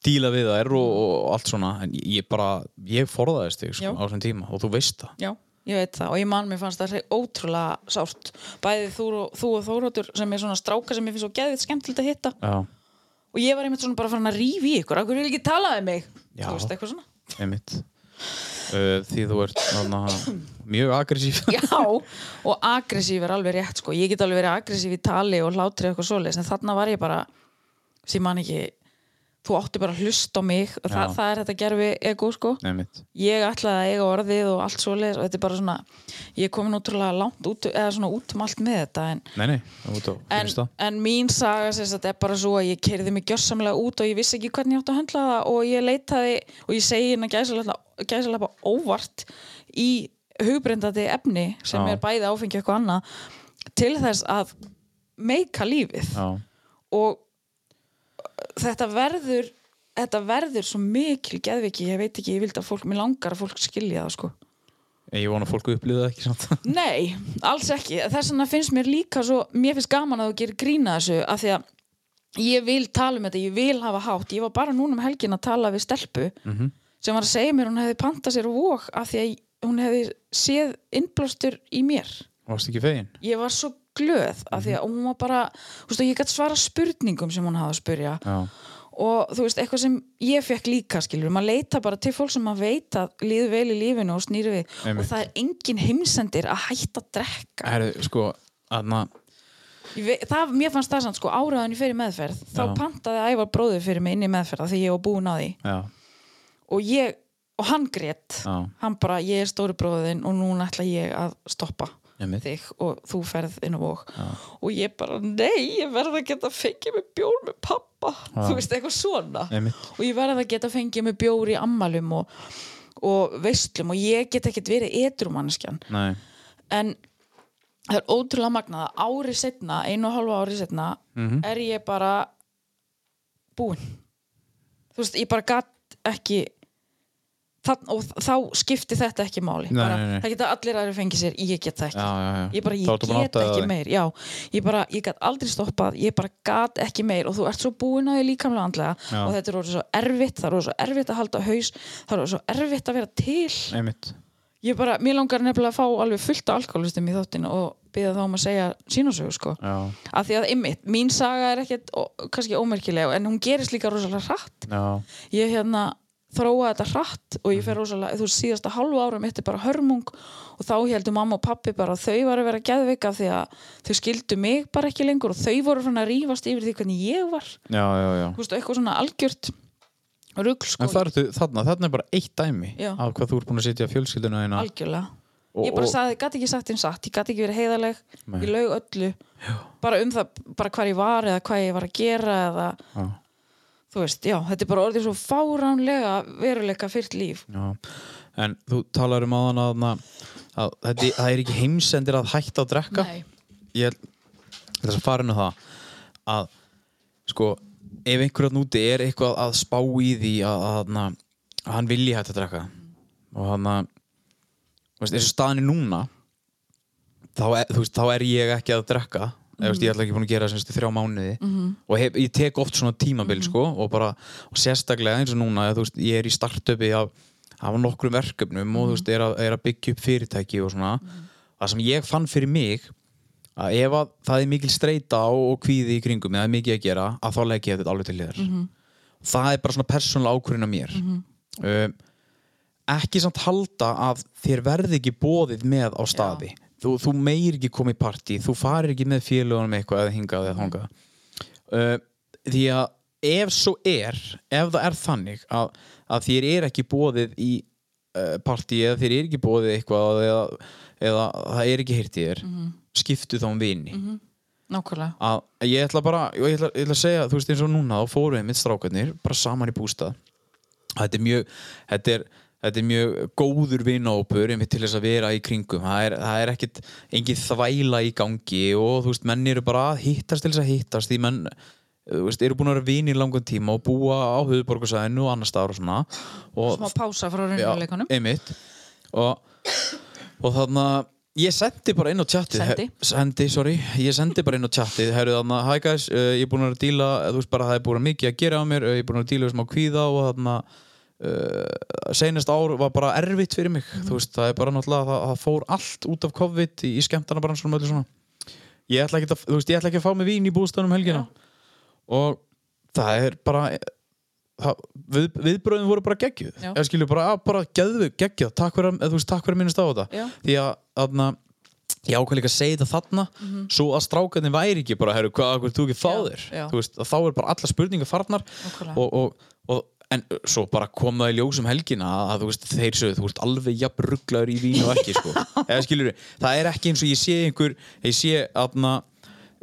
[SPEAKER 1] díla við þær og, og allt svona en ég bara, ég forðaðist þig
[SPEAKER 4] Já.
[SPEAKER 1] sko, á þessum tíma og þú veist það
[SPEAKER 4] Já, ég veit það og ég man mér fannst það hrein- ótrúlega sárt bæði þú og, þú og Þórótur sem er svona stráka sem ég finnst svo geðið skemmtilegt að hitta
[SPEAKER 1] Já,
[SPEAKER 4] og ég var einmitt svona bara farin að rífi ykkur af hverju vil ekki talaði mig
[SPEAKER 1] Já.
[SPEAKER 4] þú veist eitthvað svona
[SPEAKER 1] einmitt uh, því þú ert þarna, mjög aggressív
[SPEAKER 4] Já, og aggressív er alveg rétt sko. ég get alveg verið aggressív í tali og hlátri og eitthvað svoleiðis, en þarna var ég bara sem man ekki þú átti bara að hlusta á mig og það,
[SPEAKER 1] Já.
[SPEAKER 4] það er þetta gerfi ego sko
[SPEAKER 1] einmitt
[SPEAKER 4] ég ætlaði að eiga orðið og allt svoleiðis og þetta er bara svona, ég er komin útrúlega langt út, eða svona út um allt með þetta en
[SPEAKER 1] Nei, nei, það út á
[SPEAKER 4] en,
[SPEAKER 1] finnst það
[SPEAKER 4] en mín saga sem sagt er bara svo að ég kerði mig gjörsamlega út og ég vissi ekki hvernig ég átti að höndla það og ég leitaði og ég segi hérna gæsalappa óvart í hugbreyndandi efni sem
[SPEAKER 1] Já.
[SPEAKER 4] er bæði áfengi og eitthvað annað til þess að meika lífið
[SPEAKER 1] Já,
[SPEAKER 4] og uh, þetta verður þetta verður svo mikil geðviki ég veit ekki, ég vildi að fólk, mér langar að fólk skilja það sko
[SPEAKER 1] ég vona að fólk upplýða ekki samt
[SPEAKER 4] Nei, alls ekki. Þess vegna finnst mér líka svo, mér finnst gaman að þú gerir grína þessu af því að ég vil tala um þetta, ég vil hafa hátt. Ég var bara núna um helgin að tala við stelpu
[SPEAKER 1] Mhm.
[SPEAKER 4] sem var að segja mér hún hefði pantað sér vók af því að hún hefði séð innblástur í mér.
[SPEAKER 1] Varst ekki fegin?
[SPEAKER 4] Ég var svo glöð af
[SPEAKER 1] Mhm.
[SPEAKER 4] því að hún var bara, þú veist, og ég gætt svara spurningum sem hún hafði að spurja
[SPEAKER 1] Já,
[SPEAKER 4] og þú veist, eitthvað sem ég fekk líka skilur, maður leita bara til fólk sem maður veit að líðu vel í lífinu og snýru við
[SPEAKER 1] Einmitt.
[SPEAKER 4] og það er engin heimsendir að hætta að drekka
[SPEAKER 1] herru, sko aðna,
[SPEAKER 4] Ég vei, það, mér fannst það samt sko áraðan í fyrir meðferð þá
[SPEAKER 1] Já.
[SPEAKER 4] pantaði Ævar bróður fyrir mig inn í meðferð af því ég var búin að því
[SPEAKER 1] já,
[SPEAKER 4] og ég, og hann grét
[SPEAKER 1] Já.
[SPEAKER 4] hann bara, ég er stóri bróðin og núna ætla ég að stoppa
[SPEAKER 1] Einmitt.
[SPEAKER 4] þig og þú ferð inn á vók og ég bara, nei, ég verð að geta fengið með bjór með pappa þú veist, eitthvað svona
[SPEAKER 1] Einmitt.
[SPEAKER 4] og ég verð að geta fengið með bjór í ammalum og, og veislum og ég get ekkert verið etrumannskjan
[SPEAKER 1] Nei.
[SPEAKER 4] en það er ótrúlega magnað að ári setna, einu og hálfa ári setna
[SPEAKER 1] Mhm.
[SPEAKER 4] er ég bara búin þú veist, ég bara gatt ekki það, og þá skipti þetta ekki máli
[SPEAKER 1] Nei,
[SPEAKER 4] bara,
[SPEAKER 1] nei, nei.
[SPEAKER 4] það geta allir aðri fengið sér, ég get það ekki
[SPEAKER 1] Já, já, já.
[SPEAKER 4] ég bara, ég
[SPEAKER 1] Þá ertu búin að
[SPEAKER 4] get
[SPEAKER 1] átta þig á
[SPEAKER 4] ekki
[SPEAKER 1] því.
[SPEAKER 4] meir já, ég bara, ég gat aldrei stoppað ég bara gat ekki meir og þú ert svo búin að því líkamlega og andlega
[SPEAKER 1] Já.
[SPEAKER 4] og þetta er orðið svo erfitt, það er orðið svo erfitt að halda haus það er orðið svo erfitt að vera til
[SPEAKER 1] Einmitt.
[SPEAKER 4] Ég bara, mér langar nefnilega að fá alveg fullt af alkoholistum í þáttin og byrja þá um að segja sínusögu sko.
[SPEAKER 1] Já.
[SPEAKER 4] Af því að ymmit, mín saga er ekkert ó, kannski ómerkilega en hún gerist líka rosalega hratt.
[SPEAKER 1] Já.
[SPEAKER 4] Ég hérna þróa þetta hratt og ég fer rosalega, þú veist, síðasta halvu ára mitt er bara hörmung og þá heldur mamma og pappi bara að þau var að vera geðvika því að þau skildu mig bara ekki lengur og þau voru svona að rífast yfir því hvernig ég var.
[SPEAKER 1] Já, já, já.
[SPEAKER 4] Þú veist, eitthvað svona algjört rugl
[SPEAKER 1] En
[SPEAKER 4] sko,
[SPEAKER 1] það ertu, þarna, þarna er bara eitt dæmi
[SPEAKER 4] Já.
[SPEAKER 1] af hvað þú ert búin að setja fjölskylduna þína
[SPEAKER 4] algjörlega.
[SPEAKER 1] og,
[SPEAKER 4] ég bara
[SPEAKER 1] og,
[SPEAKER 4] sagði, gæti ekki sagt einn satt ég gæti ekki verið heiðarleg,
[SPEAKER 1] Nei.
[SPEAKER 4] ég laug öllu bara um það, bara hvað ég var eða hvað ég var að gera eða
[SPEAKER 1] Já.
[SPEAKER 4] þú veist, já, þetta er bara orðið svo fáránlega veruleika fyrt líf
[SPEAKER 1] já. En þú talar um aðan að, að þetta, það er ekki heimsendir að hætta að drekka Ég held- ég ætla að fara inn á það að sko ef einhverjarn úti er eitthvað að spá í því að, að, að, að hann vilji hægt að drekka og hann að þú veist, eins og staðan er núna þá er, þú veist, þá er ég ekki að drekka mm veist, ég ætla ekki búin að gera semst þrjá mánuði -hmm. og hef, ég tek oft svona tímabil sko, og bara, og sérstaklega eins og núna þú veist, ég er í startupi af, af nokkrum verkefnum og þú veist, er að, er að byggja upp fyrirtæki og svona það sem ég fann fyrir mig að ef að það er mikil streita og, og kvíði í kringum, eða er mikið að gera að þá legg ég þetta alveg til liðar það er bara svona persónulega ákvörðin af mér mm ekki samt halda að þér verði ekki bóðið með á staði þú, þú meir ekki koma í partí þú farir ekki með félagunum eitthvað eða hingað eða þangað uh, því að ef svo er ef það er þannig að, að þér er ekki bóðið í uh, partí eða þér er ekki bóðið eitthvað eða, eða það er ekki hirtið þér skiptu þá um vini
[SPEAKER 4] nákvæmlega,
[SPEAKER 1] að ég ætla bara ég ætla, ég ætla að segja, þú veist eins og núna þá fórum við mitt strákarnir bara saman í bústað þetta er mjög þetta er, þetta er mjög góður vinahópur einmitt til þess að vera í kringum það er, það er ekkit engin þvæla í gangi og þú veist, menn eru bara að hittast til þess að hittast því menn þú veist, eru búin að vera vinir í langan tíma og búa á höfuborgarsæðinu og annar staðar og svona og
[SPEAKER 4] smá pása frá raunveruleikanum
[SPEAKER 1] einmitt og, og þannig að ég sendi bara inn á chatið
[SPEAKER 4] Sendi.
[SPEAKER 1] he- sendi, sorry, ég sendi bara inn á chatið herru þannig að, hi guys, uh, ég er búin að vera að díla eh, þú veist bara, það er búin að mikið að gera á mér uh, ég er búin að vera að díla við smá kvíða og þannig að uh, seinast ár var bara erfitt fyrir mig, þú veist, það er bara náttúrulega það, það fór allt út af COVID í, í skemmtana bara svona, öllu svona ég ætla, ekki að, þú veist, ég ætla ekki að fá mig vín í búðstæðunum helgina og það er bara það, við, viðbröðin voru bara geggjuð
[SPEAKER 4] Já.
[SPEAKER 1] eða skilju bara, að, bara geggjuð, geggjuð takk fyrir, að- eða þú veist, takk fyrir að minnast á þetta
[SPEAKER 4] Já.
[SPEAKER 1] því að þarna ég ákveð líka að segja þetta þarna svo að strákarnir væri ekki bara, herru, hvað, hvað þú ekki
[SPEAKER 4] Mhm. Já,
[SPEAKER 1] fáðir
[SPEAKER 4] já.
[SPEAKER 1] þú veist, að þá er bara alla spurningar farnar
[SPEAKER 4] Nákvæmlega.
[SPEAKER 1] og, og, og en uh, svo bara kom það í ljósum helgina að, að þú veist, þeir sögðu, þú veist, alveg jafn rugglaður í vín og ekki, sko eða skilur það er ekki eins og ég sé einhver ég sé þarna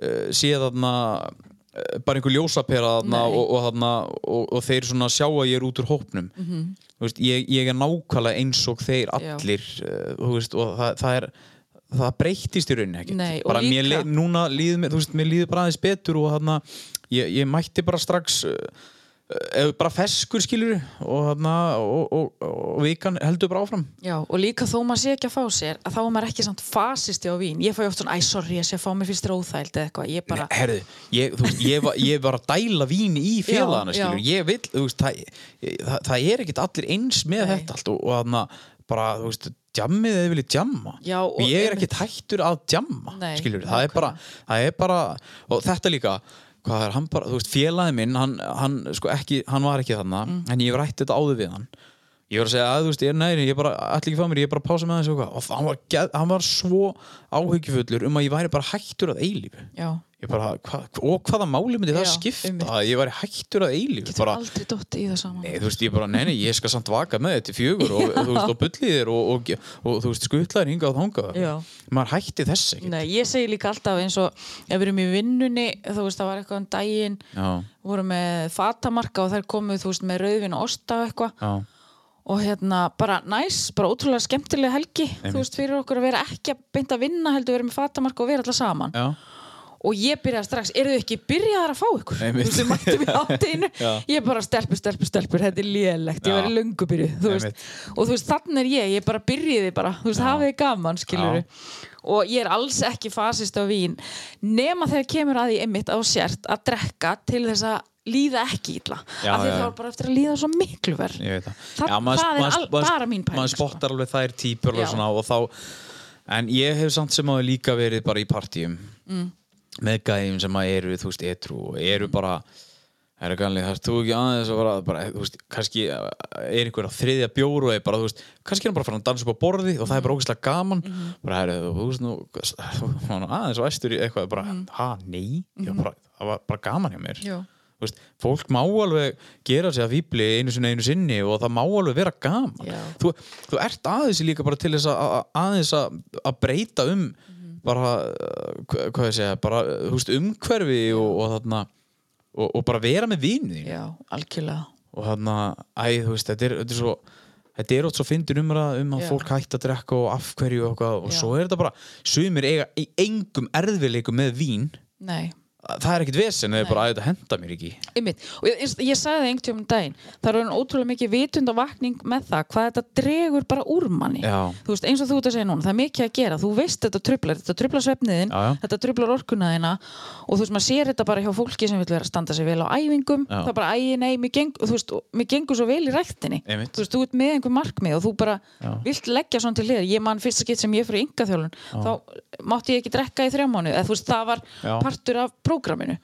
[SPEAKER 1] uh, sé þarna uh, bara einhver ljósapera þarna
[SPEAKER 4] Nei.
[SPEAKER 1] og, og, þarna, og, og þeir svona sjá að ég er út úr hópnum þú veist, ég, ég er nákvæmlega eins og þeir
[SPEAKER 4] Mhm. Já.
[SPEAKER 1] allir uh, þú veist, og það, það er það breyttist í rauninni ekkert
[SPEAKER 4] Nei, og
[SPEAKER 1] bara mér
[SPEAKER 4] líka-
[SPEAKER 1] leið, núna líður mér, þú veist, mér líður bara aðeins betur og þarna, ég, ég mætti bara strax uh, uh, bara feskur skilur og þarna og, og, og, og vikan heldur bara áfram
[SPEAKER 4] já, og líka þó maður sé ekki að fá sér að þá er maður ekki samt fasisti á vín ég fæ oft svona, æ, sorry, ég sé að fá mér fyrst róþæld eða eitthvað, ég bara,
[SPEAKER 1] Herðu, ég, þú veist, ég, var, ég var að dæla vín í félagana
[SPEAKER 4] Já,
[SPEAKER 1] skilur,
[SPEAKER 4] já.
[SPEAKER 1] ég vil, þú veist, það, ég, það, það er ekkit allir eins með
[SPEAKER 4] Nei.
[SPEAKER 1] þetta allt og, og þarna bara, þú veist, djammið eða vilja djamma
[SPEAKER 4] Já, og
[SPEAKER 1] og ég er
[SPEAKER 4] einmitt.
[SPEAKER 1] ekkit hættur að djamma
[SPEAKER 4] Nei,
[SPEAKER 1] skilur, það er, bara, það er bara og þetta líka, hvað er
[SPEAKER 4] Mm.
[SPEAKER 1] hann bara þú veist, félagið minn, hann, hann sko ekki, hann var ekki þarna, en ég hef rætt þetta áður við hann ég var að segja að þú veist, ég er næri ég bara, allir ekki fá mér, ég er bara að pása með hans og, og hann, var, geð- hann var svo áhyggjufullur um að ég væri bara hættur að eilífu
[SPEAKER 4] já,
[SPEAKER 1] ég bara, hva, og hvaða máli myndi það
[SPEAKER 4] Já,
[SPEAKER 1] skipta
[SPEAKER 4] einmitt.
[SPEAKER 1] að ég væri hættur að eilífu
[SPEAKER 4] getur
[SPEAKER 1] bara,
[SPEAKER 4] aldrei dótt í það saman
[SPEAKER 1] nei, þú veist, ég bara, nei, nei, ég skal samt vaka með þetta í fjögur og, og þú veist, og bulliðir og, og, og, þú veist, skutlaðir hingað og þangað
[SPEAKER 4] Já.
[SPEAKER 1] maður hætti þess ekki
[SPEAKER 4] Nei, ég segi líka alltaf eins og ef við erum í vinnunni, þú veist, það var eitthvað um daginn
[SPEAKER 1] Já.
[SPEAKER 4] vorum með fatamarka og þær komu, þú veist, með rauðvin og osta og eitthvað
[SPEAKER 1] Já.
[SPEAKER 4] og hérna, bara næs, bara ótrúlega skemmtileg helgi, þú veist, fyrir okkur að vera ekki að beint að vinna, heldur vera með fatamarka og vera alltaf saman
[SPEAKER 1] Já.
[SPEAKER 4] og ég byrjaði strax, eru þið ekki byrjaðar að fá ykkur?
[SPEAKER 1] Einmitt.
[SPEAKER 4] Þú veist, þið mættum í hátinu ég bara stelpur, stelpur, stelpur, þetta er lélegt ég
[SPEAKER 1] Já.
[SPEAKER 4] var í löngu byrju, þú
[SPEAKER 1] Einmitt.
[SPEAKER 4] veist og þú veist, þannig er ég, ég bara byrjiði bara þú veist, hafið þið gaman, skilur og ég er alls ekki fasist á vín nema þegar kemur að því einmitt á sért að drekka til þess að líða ekki illa,
[SPEAKER 1] Já,
[SPEAKER 4] af því
[SPEAKER 1] já,
[SPEAKER 4] þá
[SPEAKER 1] já.
[SPEAKER 4] er bara eftir að líða svo miklu verð
[SPEAKER 1] ég veit það
[SPEAKER 4] Það- það er al- bara mín pæling,
[SPEAKER 1] maður
[SPEAKER 4] sko.
[SPEAKER 1] spottar alveg þær típur alveg
[SPEAKER 4] Já.
[SPEAKER 1] svona, og þá, en ég hef samt sem áður líka verið bara í partíum með gæðum sem að eru þú veist, etru og
[SPEAKER 4] Mm.
[SPEAKER 1] eru bara er ekki alveg, þarst þú ekki aðeins að bara, bara, þú veist, kannski uh, er einhver að þriðja bjóru og er bara, þú veist, kannski er hann bara að fara að dansa upp á borði og það er bara
[SPEAKER 4] Mm.
[SPEAKER 1] ógeðslega gaman
[SPEAKER 4] Mm-hmm.
[SPEAKER 1] bara, heru, þú veist, nú þú- hann var aðeins væstur í eitthvað, bara, ha, nei ég var bara, það var bara gaman hjá mér
[SPEAKER 4] Mm. Mm-hmm. Já.
[SPEAKER 1] Þú veist, fólk má alveg gera sig að fýbli einu sinni einu sinni og það má alveg vera gaman
[SPEAKER 4] Já.
[SPEAKER 1] þú, þú ert aðeins líka bara til þess að- að aðeins að að breyta um bara, uh, hva- hvað ég segja bara, uh, þú veist, umhverfi og, og þarna og, og bara vera með vini
[SPEAKER 4] já, algjörlega
[SPEAKER 1] og þarna, æ, þú veist, þetta er, þetta er svo þetta er ótt svo fyndin umræða um að
[SPEAKER 4] Já.
[SPEAKER 1] fólk hætt að drekka og af hverju og, eitthvað, og
[SPEAKER 4] Já.
[SPEAKER 1] svo er þetta bara, sumir eiga í engum erðvileikum með vín
[SPEAKER 4] nei,
[SPEAKER 1] það er ekkit vesen, það er bara að þetta henda mér ekki
[SPEAKER 4] Einmitt. Og ég, ég- ég sagði það einhvern tímann um daginn það er orðin ótrúlega mikið vitundavakning með það hvað þetta dregur bara úr manni
[SPEAKER 1] Já.
[SPEAKER 4] þú veist, eins og þú ert að segja núna, það er mikið að gera þú veist þetta trublar, þetta trublar svefniðin
[SPEAKER 1] Já, já.
[SPEAKER 4] þetta trublar orkunaðina og þú veist, maður sér þetta bara hjá fólki sem vil vera að standa sig vel á æfingum,
[SPEAKER 1] Já.
[SPEAKER 4] það er bara ægi, nei, mér, geng, og þú veist, og mér gengur svo vel í ræktinni
[SPEAKER 1] Einmitt.
[SPEAKER 4] þú veist, þú ert með einhver markmið og þú bara vilt leggja svona til hliðar, ég man fyrsta skitt sem ég fyrir yngaþjálun, þá mátti ég ekki drekka í þrjá mánu, eða þú veist, það var
[SPEAKER 1] Já.
[SPEAKER 4] partur af prógraminu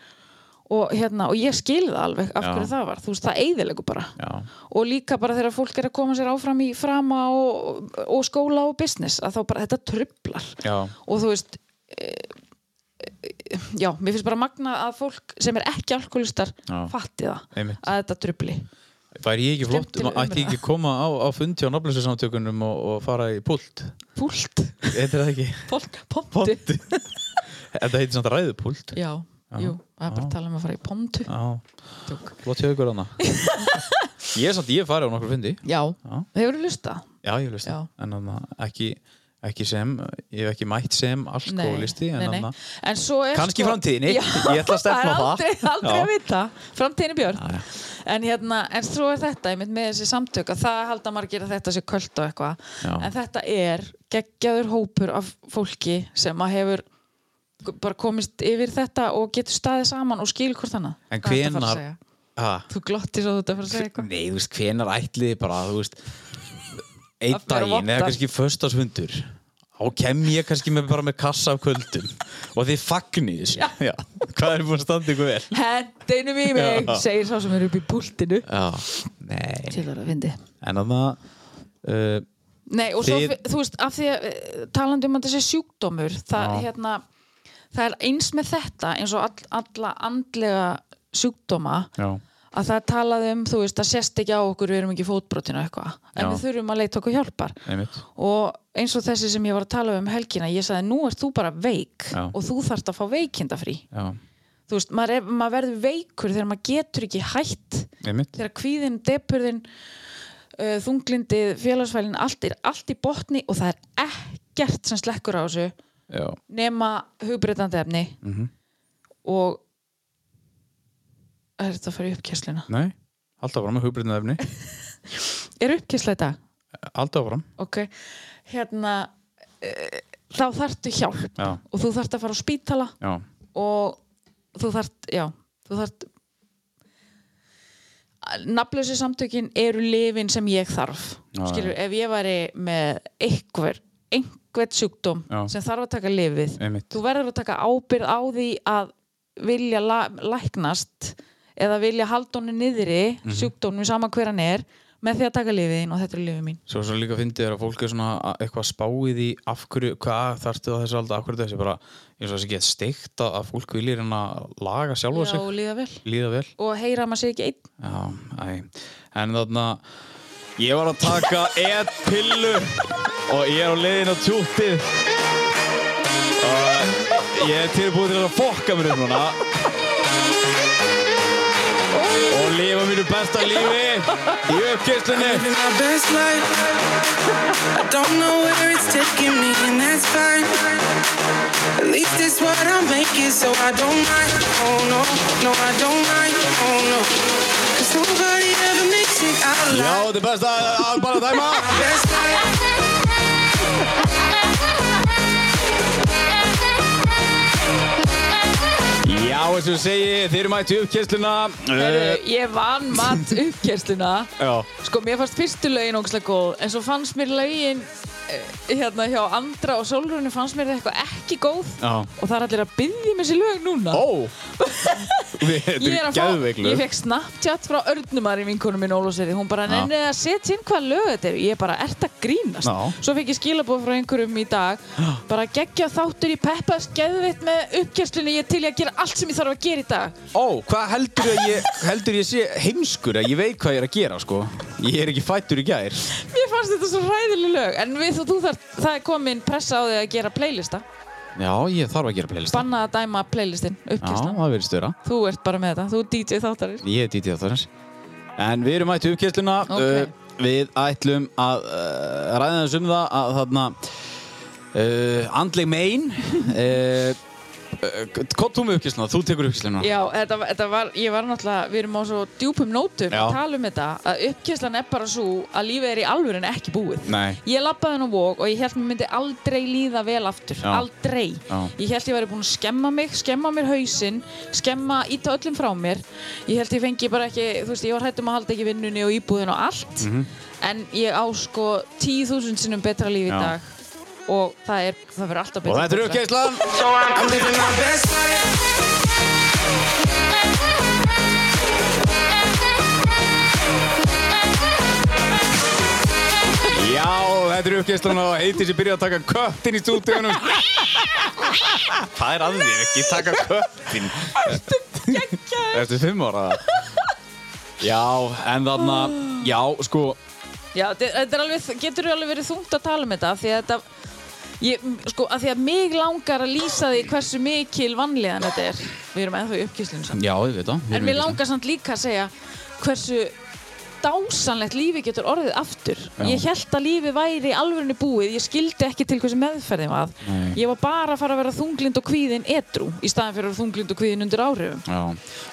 [SPEAKER 4] og, hérna, og ég skil það alveg af
[SPEAKER 1] Já.
[SPEAKER 4] hverju það var, þú veist, það eiðilegu bara
[SPEAKER 1] Já.
[SPEAKER 4] og líka bara þegar fólk er að koma sér áfram í frama og, og skóla og business að þá bara þetta trublar
[SPEAKER 1] Já.
[SPEAKER 4] og þú veist e, e, já, mér finnst bara magna að fólk sem er ekki alkoholistar
[SPEAKER 1] Já.
[SPEAKER 4] fatti það
[SPEAKER 1] Einmitt.
[SPEAKER 4] að þetta trubli
[SPEAKER 1] Væri ég ekki flott,
[SPEAKER 4] Skemmtileg
[SPEAKER 1] ætti ég ekki að koma á, á fundi á nafnleysusamtökunum og, og fara í pult?
[SPEAKER 4] púlt,
[SPEAKER 1] Heitir það ekki?
[SPEAKER 4] púlt, pontu
[SPEAKER 1] Pontu. Þetta heitir samt ræðupult.
[SPEAKER 4] já, jú, það er bara að tala um að fara í pontu
[SPEAKER 1] Já,
[SPEAKER 4] Tjók.
[SPEAKER 1] flott hjá ykkur hana. ég er samt, ég hef farið á nokkur fundi.
[SPEAKER 4] já, hefur þú lusta?
[SPEAKER 1] Já, ég veist það.
[SPEAKER 4] Já.
[SPEAKER 1] En þarna ekki, ekki sem, ég hef ekki mætt sem alkoholisti. en
[SPEAKER 4] nei, nei.
[SPEAKER 1] þarna-
[SPEAKER 4] en svo er sko-
[SPEAKER 1] Kannski í framtíðinni. Ég ætla að stefna á það.
[SPEAKER 4] það er aldrei, aldrei
[SPEAKER 1] Já.
[SPEAKER 4] að vita, framtíðinni björn en hérna, en svo er þetta einmitt með þessi samtök að það halda margir að þetta sé kvöld og eitthvað,
[SPEAKER 1] Já.
[SPEAKER 4] en þetta er geggjaður hópur af fólki sem að hefur bara komist yfir þetta og getur staðið saman og skil hvort annað
[SPEAKER 1] En
[SPEAKER 4] Hvað ertu að fara að
[SPEAKER 1] hvenar-
[SPEAKER 4] segja?
[SPEAKER 1] Ha?
[SPEAKER 4] þú glottir svo þú þetta að fara að segja eitthvað
[SPEAKER 1] Nei, þú veist, hvenar ætliði bara, þú veist einn
[SPEAKER 4] Að bera
[SPEAKER 1] daginn, eða
[SPEAKER 4] vottar.
[SPEAKER 1] kannski föstasfundur og kem ég kannski með, bara með kassa af kvöldum og þið fagnir þessu
[SPEAKER 4] Já.
[SPEAKER 1] Já. Hvað er búin að standa ykkur vel?
[SPEAKER 4] hendinum í mig,
[SPEAKER 1] Já.
[SPEAKER 4] segir sá sem er upp í púltinu
[SPEAKER 1] Já, nei
[SPEAKER 4] til að fyndi
[SPEAKER 1] En að það uh,
[SPEAKER 4] Nei, og
[SPEAKER 1] Þið-
[SPEAKER 4] svo, þú veist, af því að eh, talandi um að þessi sjúkdómur það,
[SPEAKER 1] Já.
[SPEAKER 4] hérna, það er eins með þetta eins og all, alla andlega sjúkdóma
[SPEAKER 1] Já,
[SPEAKER 4] að það er talað um, þú veist, það sérst ekki á okkur við erum ekki fótbrotinu eitthvað en
[SPEAKER 1] Já.
[SPEAKER 4] við þurfum að leita okkur hjálpar
[SPEAKER 1] einmitt
[SPEAKER 4] og eins og þessi sem ég var að tala um helgina ég sagði, nú ert þú bara veik
[SPEAKER 1] Já.
[SPEAKER 4] og þú þarft að fá veikindafrí
[SPEAKER 1] Já,
[SPEAKER 4] þú veist, maður, er, maður verður veikur þegar maður getur ekki hætt
[SPEAKER 1] einmitt
[SPEAKER 4] þegar kvíðin, depurðin uh, þunglindið, félagsfælin allt er allt í botni og það er ekkert sem slekkur á þessu
[SPEAKER 1] Já,
[SPEAKER 4] nema hugbreytandi efni -hmm. og er þetta að fara í uppkessluna?
[SPEAKER 1] nei, alltaf áfram með hugbrýtna efni
[SPEAKER 4] Er uppkessla þetta?
[SPEAKER 1] Alltaf áfram
[SPEAKER 4] Ok, hérna uh, þá þarftu hjálp
[SPEAKER 1] Já.
[SPEAKER 4] og þú þarft að fara á spítala
[SPEAKER 1] Já,
[SPEAKER 4] og þú þart, já, þú þart nafnlösi samtökin eru lifin sem ég þarf
[SPEAKER 1] Já,
[SPEAKER 4] skilur, ef ég væri með einhver, einhvert sjúkdóm
[SPEAKER 1] Já.
[SPEAKER 4] sem þarf að taka lifið
[SPEAKER 1] Einmitt.
[SPEAKER 4] þú verður að taka ábyrð á því að vilja
[SPEAKER 1] Mhm.
[SPEAKER 4] la, læknast eða vilja halda honum niðri mm -hmm. sjúkdómnum saman hver hann er með því að taka lífið þín og þetta er lífið mín
[SPEAKER 5] Svo svo líka fyndið er að fólk er svona að- eitthvað spáið í af hverju, hvað þarftu á þessu aldrei, af hverju þessi bara, eins og þessi get steikt að, að fólk viljir hann að laga sjálfa
[SPEAKER 4] Já,
[SPEAKER 5] sig,
[SPEAKER 4] og líða vel
[SPEAKER 5] líða vel.
[SPEAKER 4] og heyra að maður sé ekki einn
[SPEAKER 5] Já, æ, en þarna,
[SPEAKER 1] Ég var að taka e-pillu og ég er á leiðin á tjúttið og ég er tilbúið til að fokka mér upp núna og lifa mínu besta lífi í uppkistunni
[SPEAKER 7] Living my best life. I don't know where it's taking me, and that's fine. At least it's what I'm making, so I don't mind. Oh no, no, I don't mind. Oh no, cause nobody ever makes it out
[SPEAKER 1] Já,
[SPEAKER 7] alive.
[SPEAKER 1] þetta er besta albara dæma
[SPEAKER 7] My best life.
[SPEAKER 1] Já, eins og ég segi, þeir eru mætti uppkistluna
[SPEAKER 4] Heru, ég vann mat uppkersluna
[SPEAKER 1] Eh, Já,
[SPEAKER 4] sko mér fannst fyrstu lögin ógslag góð en svo fannst mér lögin eh, hérna hjá Andra og Solrunni fannst mér það eitthvað ekki góð
[SPEAKER 1] Já.
[SPEAKER 4] og það er allir að byggja mér þessi lög núna
[SPEAKER 1] ó Þetta
[SPEAKER 4] Ég er
[SPEAKER 1] er
[SPEAKER 4] að fá,
[SPEAKER 1] geðveiklu
[SPEAKER 4] ég fekk Snapchat frá Örnumar í vinkonu minn Ólúsverði, hún bara nenni að setja inn hvað lög þetta er, ég bara, ert að grínast
[SPEAKER 1] Já.
[SPEAKER 4] svo fekk ég skilabóð frá einhverjum í dag bara geggja þáttur í Peppas geðveitt með uppgjörslunni, ég er til í að gera allt sem ég þarf að gera í dag
[SPEAKER 1] Ó, hvað heldur að ég, heldur ég sé heimskur að ég veit hvað ég er að gera, sko Ég er ekki fættur í gær
[SPEAKER 4] mér fannst þetta svo ræðileg lög en við þú, þú þar, það er komin pressa á þig að gera playlista,
[SPEAKER 1] Já, ég þarf að gera playlist
[SPEAKER 4] banna að dæma playlistin
[SPEAKER 1] Já,
[SPEAKER 4] uppgjörslun,
[SPEAKER 1] það verður störa
[SPEAKER 4] þú ert bara með þetta þú er DJ þáttarins
[SPEAKER 1] Ég er DJ þáttarins En við erum mætti uppkjæsluna
[SPEAKER 4] Ok.
[SPEAKER 1] Eh, Við ætlum að uh, ræða þess um það að þarna uh, andleg mein uh, Hvað þú með uppkjæsluna? Þú tekur uppkjæsluna
[SPEAKER 4] Já, þetta, var- þetta var, ég var náttúrulega, við erum á svo djúpum nótum
[SPEAKER 1] Já.
[SPEAKER 4] að tala um þetta að uppkjæslan er bara svo að lífið er í alvöru en ekki búið.
[SPEAKER 1] Nei.
[SPEAKER 4] Ég labbaði henn á vók og ég held mér myndi aldrei líða vel aftur,
[SPEAKER 1] Já.
[SPEAKER 4] aldrei.
[SPEAKER 1] Já.
[SPEAKER 4] Ég held ég væri búin að skemma mig, skemma mér hausinn, skemma, íta öllum frá mér. Ég held ég fengi bara ekki, þú veist, ég var hættum að halda ekki vinnunni og íbúðin og allt.
[SPEAKER 1] Mhm.
[SPEAKER 4] En ég á sko 10.000 sinnum betra líf í
[SPEAKER 1] Já.
[SPEAKER 4] dag og það er, það verður alltaf betra.
[SPEAKER 1] Og þetta er uppkjæslan
[SPEAKER 7] So I'm, I'm living my best life.
[SPEAKER 1] Já, þetta er uppkjæslan og heitir sem byrja að taka köttin í stúdíunum Það er að því, ekki taka köttin Eftir fimm ára Já, en þarna Já, sko
[SPEAKER 4] Já, þe- þetta er alveg, getur alveg verið þungt að tala um þetta af því að þetta ég, sko, að því að mig langar að lýsa því hversu mikil vannlegan þetta er við erum ennþá í uppkyslun samt
[SPEAKER 1] Já, ég veit það
[SPEAKER 4] en mig langar samt líka að segja hversu dásanlegt lífi getur orðið aftur ég held að lífi væri í alvörinu búið ég skildi ekki til hversu meðferðin var
[SPEAKER 1] Nei.
[SPEAKER 4] ég var bara að fara að vera þunglind og kvíðin edru í staðin fyrir að vera þunglind og kvíðin undir áhrifum
[SPEAKER 1] Já,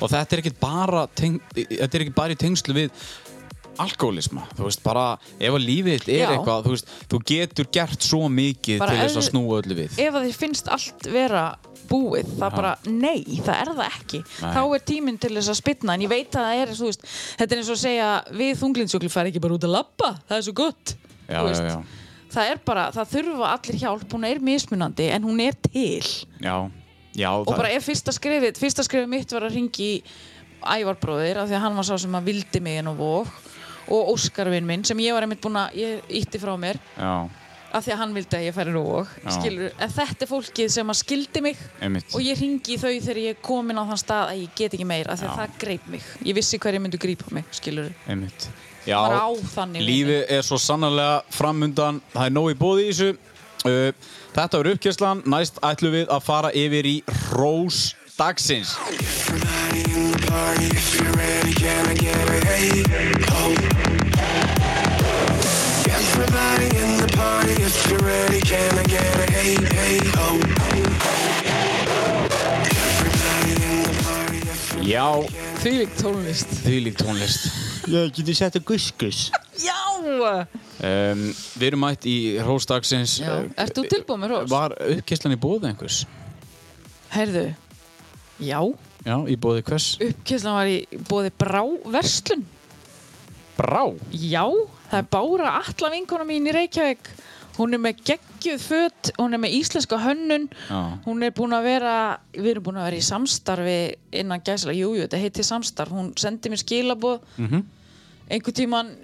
[SPEAKER 1] og þetta er ekki bara teng, þetta er ekki bara í tengslu við alkoholisma, þú veist, bara ef að lífið þitt er
[SPEAKER 4] Já.
[SPEAKER 1] eitthvað, þú veist, þú getur gert svo mikið
[SPEAKER 4] Bara
[SPEAKER 1] til þess
[SPEAKER 4] ef-
[SPEAKER 1] að snúa öllu við
[SPEAKER 4] ef að þið finnst allt vera búið, það bara, nei, það er það ekki þá er tíminn til þess að spytna en ég veit að það er, þú veist, þetta er eins og að segja við þunglindsjúkli fær ekki bara út að labba það er svo gott
[SPEAKER 1] Já,
[SPEAKER 4] þú veist.
[SPEAKER 1] já, já.
[SPEAKER 4] það er bara, það þurfa allir hjálp hún er mismunandi en hún er til
[SPEAKER 1] Já, já,
[SPEAKER 4] og bara ef fyrsta skrifið, fyrsta skrifið mitt var að ringi í ævarbróðir af því að hann var sá sem að vildi mig en og vók og Óskarvinn minn sem ég var einmitt búin að, ég ítti frá mér
[SPEAKER 1] já,
[SPEAKER 4] af því að hann vildi að ég færi róg
[SPEAKER 1] Já.
[SPEAKER 4] skilur, en þetta er fólkið sem að skildi mig
[SPEAKER 1] Einmitt.
[SPEAKER 4] og ég ringi þau þegar ég er komin á þann stað að ég get ekki meir af því að það greip mig, ég vissi hverju myndu grípa mig skilur,
[SPEAKER 1] einmitt já,
[SPEAKER 4] maður á þannig
[SPEAKER 1] lífið er svo sannarlega framundan, það er nóg í bóði í þessu uh, Þetta var uppkjörslan, næst ætlum við að fara yfir í Rós dagsins
[SPEAKER 7] Everybody in the party, if you're ready, can I get a hey? Oh. Everybody in the party, if you're ready, can I get a hey, hey, oh? Everybody in the party, if you're
[SPEAKER 1] Já,
[SPEAKER 4] því lík tónlist
[SPEAKER 1] því líkt tónlist
[SPEAKER 4] já,
[SPEAKER 1] um, Við erum mætt í Rós dagsins
[SPEAKER 4] já.
[SPEAKER 1] uh,
[SPEAKER 4] ert þú tilbúin með rós?
[SPEAKER 1] Var uppkesslan í bóði einhvers?
[SPEAKER 4] heyrðu, já
[SPEAKER 1] Já, í bóði hvers?
[SPEAKER 4] uppkesslan var í bóði brá verslun
[SPEAKER 1] Brá!
[SPEAKER 4] Já, það er Bára Atla vinkona mín í Reykjavík hún er með geggjuð föt hún er með íslenska hönnun
[SPEAKER 1] Já.
[SPEAKER 4] hún er búin að vera við erum búin að vera í samstarfi
[SPEAKER 1] Mhm.
[SPEAKER 4] innan gæsla, jújú, þetta heiti samstarf hún sendi mér skilaboð -hmm. einhver tíman uh,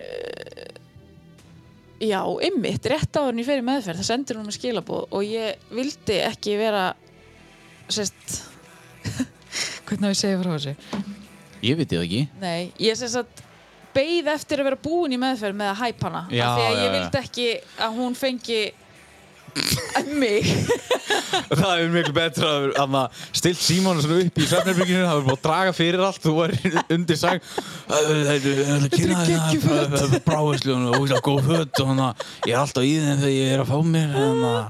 [SPEAKER 4] já, ymmit, rétt áður en ég fer í meðferð það sendir hún með skilaboð og ég vildi ekki vera sérst hvernig á ég segja frá þessu
[SPEAKER 1] Ég veit það ekki
[SPEAKER 4] Nei, ég sem sagt beið eftir að vera búin í meðferð með að hæpa hana
[SPEAKER 1] Já,
[SPEAKER 4] af því að
[SPEAKER 1] já,
[SPEAKER 4] ég
[SPEAKER 1] já.
[SPEAKER 4] vildi ekki að hún fengi mig
[SPEAKER 5] Það hefur miklu betra að hann að stilt Símónu svona upp í svefnirbyrginu það hefur búið að draga fyrir allt, þú var undir sæng Það er kynna þetta bráðislu og það er góð hött og hann að ég er alltaf í þeim þegar ég er að fá mér þannig að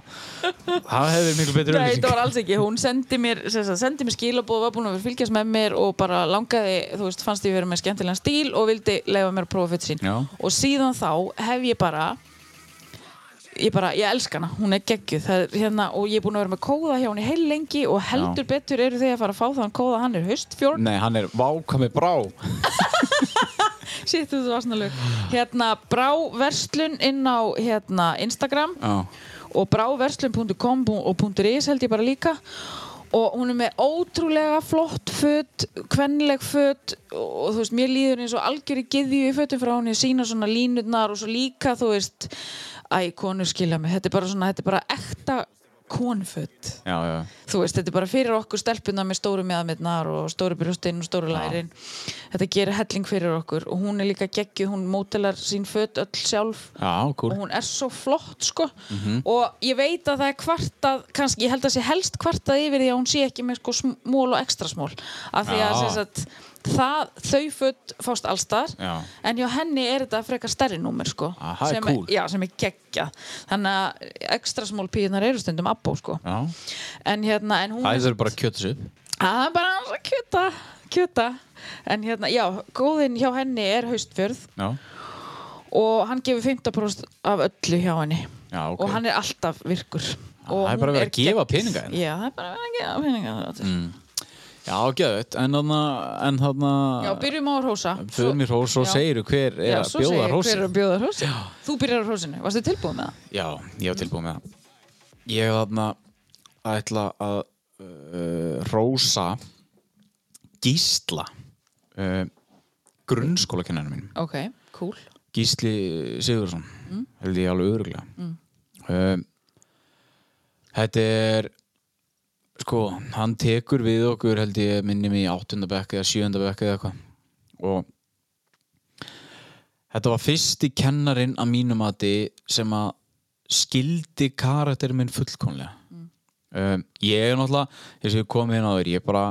[SPEAKER 5] það hefur miklu betri
[SPEAKER 4] Nei, þetta
[SPEAKER 5] auðlýsing
[SPEAKER 4] var alls ekki, hún sendi mér sem sagt, sendi mér skilaboð, var búin að vera að fylgjast með mér og bara langaði, þú veist, fannst ég vera með skemmtilegan stíl og vildi leifa mér að prófa fyrir sín
[SPEAKER 1] Já.
[SPEAKER 4] og síðan þá hef ég bara ég bara, ég elska hana, hún er geggjuð það, er, hérna, og ég er búin að vera með kóða hjá hún í heil lengi og heldur betur eru þau að fara að fá þann kóða, hann er haustfjórn
[SPEAKER 1] Nei, hann er vákami brá
[SPEAKER 4] Sitt, þú varst náttúrulega Hérna, bráverslun inn á hérna, Instagram
[SPEAKER 1] Já.
[SPEAKER 4] og bráverslun.com og .is held ég bara líka og hún er með ótrúlega flott föt, kvenleg föt og, og þú veist, mér líður eins og algjör í gyðju í fötum frá hún, ég sína svona línurnar og svo líka, þú veist æ, konur skilja mig, þetta er bara svona þetta er bara ekta konföt
[SPEAKER 1] Já, já
[SPEAKER 4] þú veist, þetta er bara fyrir okkur stelpuna með stóru meðamitnar og stóru brjóstinn og stóru lærin þetta gerir helling fyrir okkur og hún er líka geggjuð, hún mótelar sín fött öll sjálf
[SPEAKER 1] Já, Mhm. kúl
[SPEAKER 4] og hún er svo flott sko og ég veit að það er kvartað kannski, ég held að sé helst kvartað yfir því að hún sé ekki með sko smól og ekstra smól af því að
[SPEAKER 1] Já.
[SPEAKER 4] sem sagt, það, þau fött fást allstar
[SPEAKER 1] Já.
[SPEAKER 4] en hjá henni er þetta frekar stærri númer sko
[SPEAKER 1] Aha,
[SPEAKER 4] sem,
[SPEAKER 1] cool.
[SPEAKER 4] er, já, sem er geggjað þannig að ekstra smól píðunar eru stundum abbó sko
[SPEAKER 1] Já
[SPEAKER 4] en hérna en hún
[SPEAKER 1] Það er bara kjötsu
[SPEAKER 4] Það er bara hans að kjöta, kjöta. En hérna, já, góðinn hjá henni er haustfjörð
[SPEAKER 1] Já
[SPEAKER 4] og hann gefur 50% af öllu hjá henni.
[SPEAKER 1] Já, ok. Ah,
[SPEAKER 4] Og hann er alltaf virkur.
[SPEAKER 1] það er bara verið að gefa peninga hérna. Mm. henni.
[SPEAKER 4] henni. Já, það er bara verið að gefa peninga henni.
[SPEAKER 1] Já, geðut En þarna En þarna
[SPEAKER 4] Já, byrjum á að rósa.
[SPEAKER 1] Föðu mér hrós og
[SPEAKER 4] Já.
[SPEAKER 1] segiru hver er
[SPEAKER 4] Já,
[SPEAKER 1] að
[SPEAKER 4] svo
[SPEAKER 1] bjóða
[SPEAKER 4] segir
[SPEAKER 1] hrósi
[SPEAKER 4] Hver er að bjóða hrósi? Þú byrjar á hrósinu. Varstu tilbúin með það?
[SPEAKER 1] Já, ég var tilbúið með það Ég þarna ætla að uh, rósa Gísla uh, grunnskólakennarinn mínum
[SPEAKER 4] Ok, cool.
[SPEAKER 1] Gísli Sigurðsson held ég alveg öðruglega um, Þetta er sko, hann tekur við okkur held ég minni mig í áttunda bekk eða sjöunda bekk eða eitthvað og þetta var fyrsti kennarin að mínum mati sem að skildi karakter minn fullkomlega um, ég er náttúrulega þess að ég komið inn á þér ég bara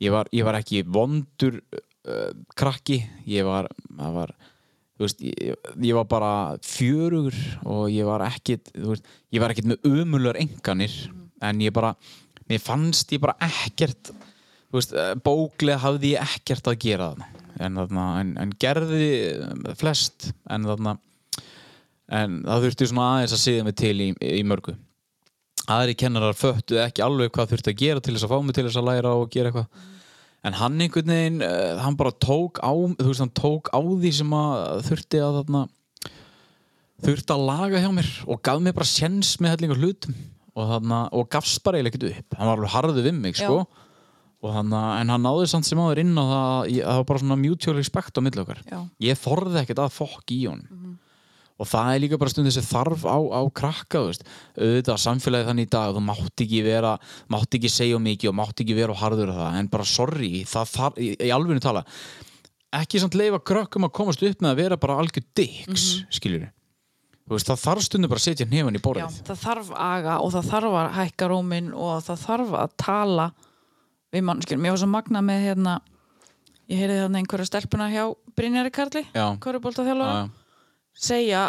[SPEAKER 1] ég var, ég var ekki vondur uh, krakki ég var, það var þú veist, ég, ég var bara fjörugur og ég var ekkit þú veist, ég var ekkit með ömulegar enganir en ég bara, mér fannst ég bara ekkert þú veist, eh, bóklega hafði ég ekkert að gera þarna en, þarna, en, en gerði eh, flest en, þarna, en það þurfti svona aðeins að siða mig til í, í mörgu aðri kennarar föttu ekki alveg hvað þurfti að gera til þess að fá mig til þess að læra og gera eitthvað en hann einhvern veginn, uh, hann bara tók á þú veist, hann tók á því sem að þurfti að þarna þurfti að laga hjá mér og gaf mér bara séns með hellingar hlutum og, þarna, og gafst bara eiginlega ekkert upp hann var alveg harðið við mig, sko
[SPEAKER 4] Já.
[SPEAKER 1] og hann, en hann náði samt sem áður inn á það að ég- það var bara svona mutual respect á milli okkar
[SPEAKER 4] Já. Mhm.
[SPEAKER 1] ég þorði ekkert að fokk í honum og það er líka bara stundin sem þarf á, á krakka, þú veist auðvitað samfélagið þannig í dag, þú mátt ekki vera mátt ekki segja of mikið og mátt ekki vera og harður og það, en bara sorry það þarf, í, í alvöru tala ekki samt leifa krökkum að komast upp með að vera bara algjör dicks, mm
[SPEAKER 4] Mhm.
[SPEAKER 1] þú veist, það þarf stundin bara að setja hnefann í
[SPEAKER 4] Já,
[SPEAKER 1] borðið
[SPEAKER 4] það þarf aga og það þarf að hækka róminn og það þarf að tala við mannskjörnum. Ég var svo magna með hérna, ég heyrði þarna einhverja stelpuna hjá Brynjari Karli,
[SPEAKER 1] Já.
[SPEAKER 4] Köruboltaþjálfara,
[SPEAKER 1] Já,
[SPEAKER 4] segja,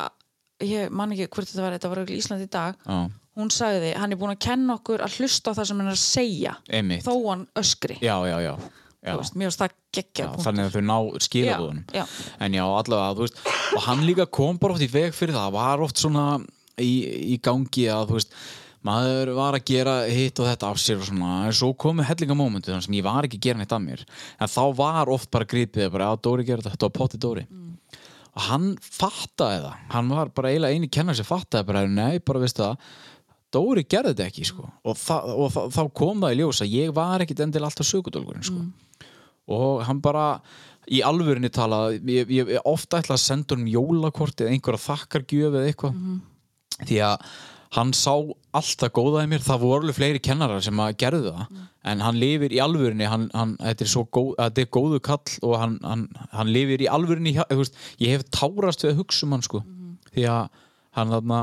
[SPEAKER 4] ég man ekki hvort þetta var, þetta var örugglega í Ísland í dag,
[SPEAKER 1] já,
[SPEAKER 4] hún sagði, hann er búin að kenna okkur að hlusta á það sem hann er að segja,
[SPEAKER 1] Einmitt.
[SPEAKER 4] þó hann öskri.
[SPEAKER 1] já, já, já, já.
[SPEAKER 4] Þú Veist, mér finnst það geggja
[SPEAKER 1] Já, þannig að þau ná
[SPEAKER 4] Já, já.
[SPEAKER 1] skilabúðunum en já, allavega, þú veist og hann líka kom bara oft í veg fyrir það var oft svona í, í gangi að þú veist, maður var að gera hitt og þetta af sér og svona en svo komu hellinga mómentu þannig sem ég var ekki að gera neitt af mér en þá var oft bara gripið bara að Dóri gera þetta, þetta var potti Dóri og hann fattaði það hann var bara eiginlega eini kennar sem fattaði bara, nei, bara veistu það Dóri gerði þetta ekki, sko og, það, og það, þá kom það í ljós að ég var ekkit endil alltaf sögudólgurinn, sko og hann bara í alvörinni tala ég, ég, ég ofta ætla að senda honum jólakort eða einhverja þakkargjöf eða eitthvað því að hann sá alltaf góða í mér, það voru alveg fleiri kennarar sem að gerðu það en hann lifir í alvörinni hann, hann, þetta, er svo góð, þetta er góðu kall og hann, hann, hann lifir í alvörinni hjá- þú veist, ég hef tárast við að hugsa um hann sko. því að hann þarna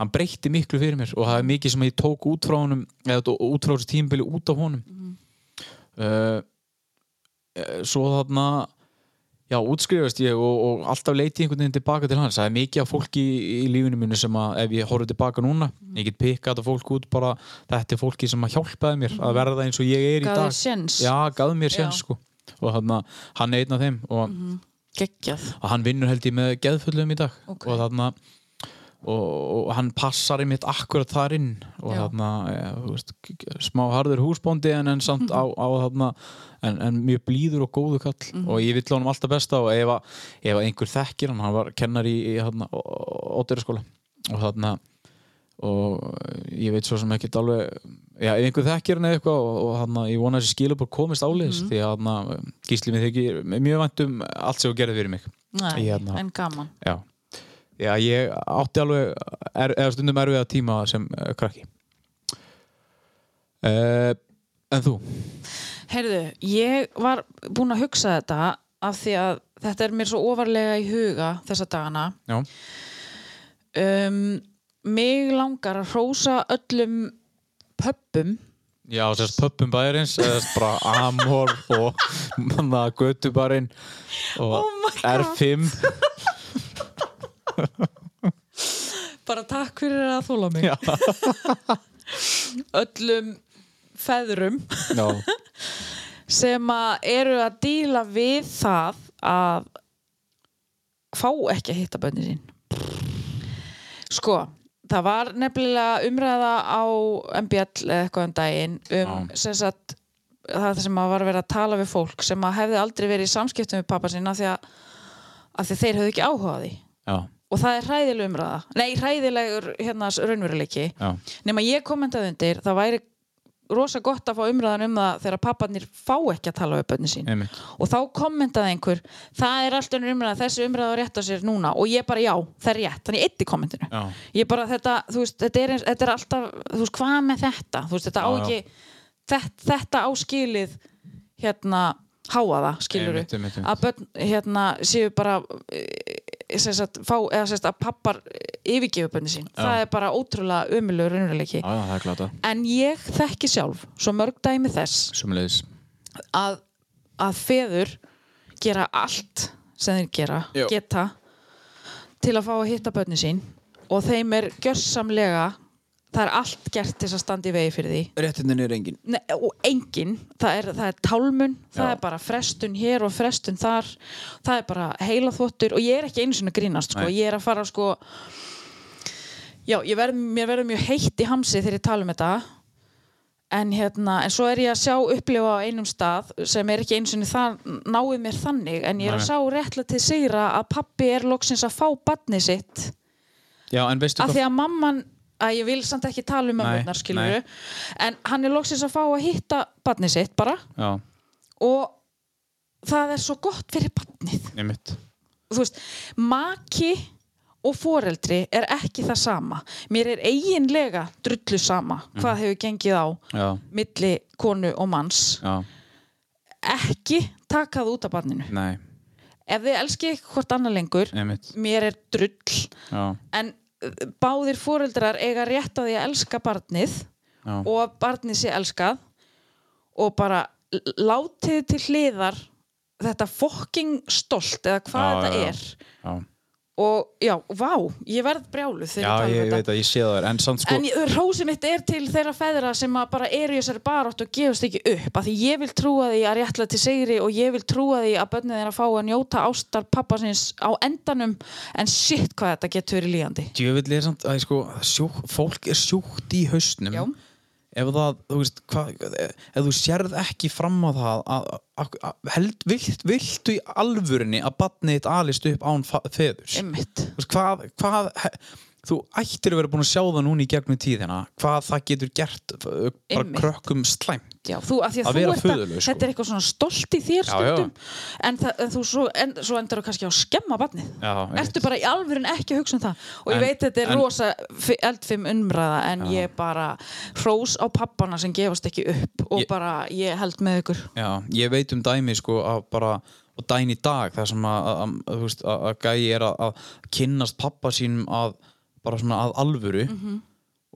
[SPEAKER 1] hann breytti miklu fyrir mér og það er mikið sem ég tók út frá honum eða tó- út frá þessu tímabili út af honum mm Eh, svo þarna já, útskrifast ég og, og alltaf leiti einhvern veginn tilbaka til hans það er mikið af fólki í, í lífinu mínu sem að ef ég horfði tilbaka núna
[SPEAKER 4] Mhm.
[SPEAKER 1] ég get pikkað þetta fólk út bara þetta er fólki sem að hjálpaði mér að verða eins og ég er
[SPEAKER 4] Gaf
[SPEAKER 1] í dag
[SPEAKER 4] þér Mhm. séns.
[SPEAKER 1] já, gaf mér séns
[SPEAKER 4] Já. Mhm.
[SPEAKER 1] sko og hann, hann er einn af þeim og
[SPEAKER 4] geggjað
[SPEAKER 1] og hann vinnur held ég með geðfullum í dag
[SPEAKER 4] Ok.
[SPEAKER 1] og þarna og, og hann passar einmitt akkurat þar inn og
[SPEAKER 4] Já.
[SPEAKER 1] þarna ja, þú veist, k- k- smá harður húsbóndi en, en samt á, á þarna en, en mjög blíður og góðu kall
[SPEAKER 4] Mhm.
[SPEAKER 1] og ég vill honum alltaf besta og ef, að- ef að einhver þekkir hann, hann var kennar í, í þarna, óderaskóla og þarna og ég veit svo sem ekkert alveg já, ef einhver þekkir hann eða eitthvað og, og hann, ég vona að þessi skilabur komist áleiðis
[SPEAKER 4] Mhm.
[SPEAKER 1] því að hann, gísli mér þykir mjög vænt um allt sem þú gerði fyrir mig
[SPEAKER 4] Nei,
[SPEAKER 1] Ég hérna-
[SPEAKER 4] en gaman
[SPEAKER 1] já, já ég átti alveg er, eða stundum erfiða tíma sem uh, krakki uh, en þú
[SPEAKER 4] Heyrðu, ég var búin að hugsa þetta af því að þetta er mér svo ofarlega í huga þessa dagana
[SPEAKER 1] já,
[SPEAKER 4] um, mig langar að hrósa öllum pöppum
[SPEAKER 1] já sérst pöppum bæjarins eða sérst bara Amor og manna Götubarinn og
[SPEAKER 4] Oh my God.
[SPEAKER 1] R5
[SPEAKER 4] bara takk fyrir að þóla mig
[SPEAKER 1] Já.
[SPEAKER 4] öllum feðrum
[SPEAKER 1] no.
[SPEAKER 4] sem að eru að díla við það að fá ekki að hitta bönni sín sko það var nefnilega umræða á MBL eða eitthvað um daginn um sem sagt það sem að var verið að tala við fólk sem að hefði aldrei verið í samskiptum við pappa sína því að, að því að þeir höfðu ekki áhuga á því
[SPEAKER 1] já,
[SPEAKER 4] og það er hræðileg umræða nei, hræðilegur hérna raunveruleiki
[SPEAKER 1] já,
[SPEAKER 4] nema ég kommentaði undir það væri rosa gott að fá umræðan um það þegar papparnir fá ekki að tala við bönni sín
[SPEAKER 1] einmitt
[SPEAKER 4] og þá kommentaði einhver það er allt önnur umræða, þessi umræða á rétt á sér núna og ég bara já, það er rétt, þannig eitt í kommentinu
[SPEAKER 1] Já.
[SPEAKER 4] ég bara þetta, þú veist, þetta er, eins- þetta er alltaf þú veist, hvað með þetta, þú veist, þetta á
[SPEAKER 1] Já, já.
[SPEAKER 4] ekki þetta, þetta á skilið hérna, háaða skiluru
[SPEAKER 1] Einmitt, einmitt, einmitt.
[SPEAKER 4] að börn, hérna, séu bara e, sem sagt, fá, eða sem sagt að pappar yfirgefu bönni sín, það er bara ótrúlega ömulegur raunveruleiki
[SPEAKER 1] já, það er klart að
[SPEAKER 4] en ég þekki sjálf svo mörg dæmi þess
[SPEAKER 1] Sumulegis
[SPEAKER 4] að, að feður gera allt sem þeir gera,
[SPEAKER 1] Já.
[SPEAKER 4] geta til að fá að hitta börni sín og þeim er gjörsamlega það er allt gert til þess að standa í vegi fyrir því
[SPEAKER 8] Réttindin er engin
[SPEAKER 4] Nei, og engin, það er, það er tálmun það
[SPEAKER 1] Já.
[SPEAKER 4] er bara frestun hér og frestun þar það er bara heilaþvottur og ég er ekki einu sinni að grínast sko.
[SPEAKER 1] Nei.
[SPEAKER 4] ég er að fara sko já, ég verð, mér verður mjög heitt í hamsi þegar ég tala um þetta en hérna, en svo er ég að sjá upplifa á einum stað sem er ekki einu sinni það, náið mér þannig en ég er að
[SPEAKER 1] Nei.
[SPEAKER 4] sjá réttlega til sigra að pappi er loksins að fá badni sitt
[SPEAKER 1] Já, en veistu
[SPEAKER 4] að
[SPEAKER 1] hvað
[SPEAKER 4] því að mamman að ég vil samt ekki tala um
[SPEAKER 1] Sko Nei,
[SPEAKER 4] mömmurnar skilur en hann er loksins að fá að hitta barnið sitt bara
[SPEAKER 1] Já,
[SPEAKER 4] og það er svo gott fyrir barnið
[SPEAKER 1] einmitt
[SPEAKER 4] þú veist, maki og foreldri er ekki það sama mér er eiginlega drullu sama hvað
[SPEAKER 1] Mm.
[SPEAKER 4] hefur gengið á
[SPEAKER 1] Já,
[SPEAKER 4] milli konu og manns
[SPEAKER 1] já,
[SPEAKER 4] ekki taka það út af barninu
[SPEAKER 1] nei,
[SPEAKER 4] ef þið elski hvort annað lengur
[SPEAKER 1] einmitt
[SPEAKER 4] mér er drull
[SPEAKER 1] Já,
[SPEAKER 4] en uh, báðir fóreldrar eiga rétt á því að elska barnið
[SPEAKER 1] Já.
[SPEAKER 4] og að barnið sé elskað og bara l- látið til hliðar þetta fokking stolt eða hvað
[SPEAKER 1] Já,
[SPEAKER 4] þetta
[SPEAKER 1] já, já.
[SPEAKER 4] er
[SPEAKER 1] já
[SPEAKER 4] og já, vá, ég verð brjálu þegar
[SPEAKER 1] Já, ég
[SPEAKER 4] ég tala um
[SPEAKER 1] veit
[SPEAKER 4] þetta
[SPEAKER 1] að ég sé það er En samt sko
[SPEAKER 4] En rósi mitt er til þeirra feðra sem að bara eru í þessari barótt og gefast ekki upp af því ég vil trúa því að réttla til sigri og ég vil trúa því að börnið þeirra fá að njóta ástar pappasins á endanum en shit hvað þetta getur verið líðandi
[SPEAKER 1] Djöfull er samt að sko sjúk, Fólk er sjúkt í hausnum
[SPEAKER 4] Já.
[SPEAKER 1] Ef það, þú veist hva, Ef þú sérð ekki fram á það að, að, að, held, vilt, Viltu í alvörinni að batnið þitt alist upp án fa- feðurs
[SPEAKER 4] Einmitt.
[SPEAKER 1] Þú veist, hvað, hvað he- þú ættir að vera búin að sjá það núna í gegnum tíðina hvað það getur gert f- bara
[SPEAKER 4] Einmitt.
[SPEAKER 1] krökkum slæmt
[SPEAKER 4] Já, þú, að því að,
[SPEAKER 1] Að
[SPEAKER 4] þú
[SPEAKER 1] vera
[SPEAKER 4] ert að,
[SPEAKER 1] föðurlaus, sko.
[SPEAKER 4] þetta er eitthvað svona stolt í þér
[SPEAKER 1] Já,
[SPEAKER 4] stundum En, það, en þú svo, en, svo endar þú kannski á að skemma barnið
[SPEAKER 1] Já, einmitt.
[SPEAKER 4] Ertu bara í alvöru en ekki að hugsa um það Og ég
[SPEAKER 1] En-
[SPEAKER 4] veit þetta er
[SPEAKER 1] en-
[SPEAKER 4] rosa fi- eldfim umræða En ég bara hrós á pappana sem gefast ekki upp Og
[SPEAKER 1] Ég-
[SPEAKER 4] bara ég held með ykkur
[SPEAKER 1] Já, ég veit um dæmi sko að bara og dæn í dag þar sem að, að, að, þú veist, að, að gæi er að, að kynnast pappa sínum að bara svona að alvöru
[SPEAKER 4] Mhm.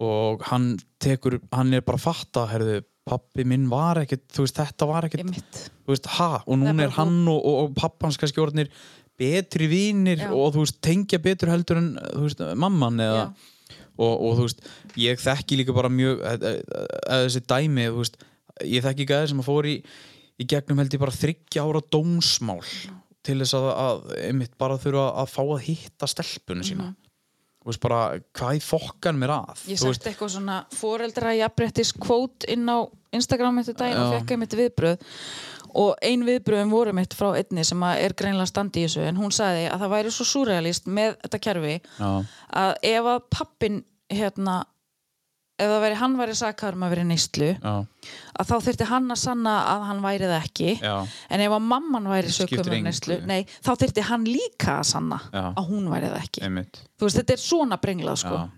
[SPEAKER 1] og hann tekur, hann er bara að fatta herðu, pappi minn var ekkit þú veist, þetta var ekkit
[SPEAKER 4] Einmitt.
[SPEAKER 1] þú veist, ha, og
[SPEAKER 4] Það er
[SPEAKER 1] núna
[SPEAKER 4] bara
[SPEAKER 1] er hann og, og, og pappans kannski orðnir betri vinir
[SPEAKER 4] Já.
[SPEAKER 1] og þú veist, tengja betur heldur en þú veist, mamman eða
[SPEAKER 4] Já.
[SPEAKER 1] og, og þú veist, ég þekki líka bara mjög að, að, að þessi dæmi þú veist, ég þekki gæði sem að fór í í gegnum held ég bara þryggja ára dómsmál til þess að, að einmitt bara þurfa að fá að hitta stelpunum sína þú veist bara, hvað í fokkan mér að
[SPEAKER 4] Mhm. Ég
[SPEAKER 1] Þú veist,
[SPEAKER 4] sett eitthvað svona foreldra jafnbrettis kvót inn á Instagram eftir daginn og
[SPEAKER 1] Já.
[SPEAKER 4] fekk einmitt viðbröð og ein viðbröðum voru mitt frá einni sem að er greinilega standi í þessu en hún sagði að það væri svo surrealist með þetta kerfi
[SPEAKER 1] Já.
[SPEAKER 4] að ef að pappin hérna ef það væri hann væri sakar um að vera neyslu
[SPEAKER 1] já,
[SPEAKER 4] að þá þyrfti hann að sanna að hann væri það ekki
[SPEAKER 1] Já.
[SPEAKER 4] en ef að mamman væri
[SPEAKER 1] Skiptir
[SPEAKER 4] sökum um
[SPEAKER 1] engu.
[SPEAKER 4] neyslu nei, þá þyrfti hann líka að sanna
[SPEAKER 1] Já.
[SPEAKER 4] að hún væri það ekki
[SPEAKER 1] einmitt
[SPEAKER 4] þú veist, þetta er svona brenglað sko.
[SPEAKER 1] Já.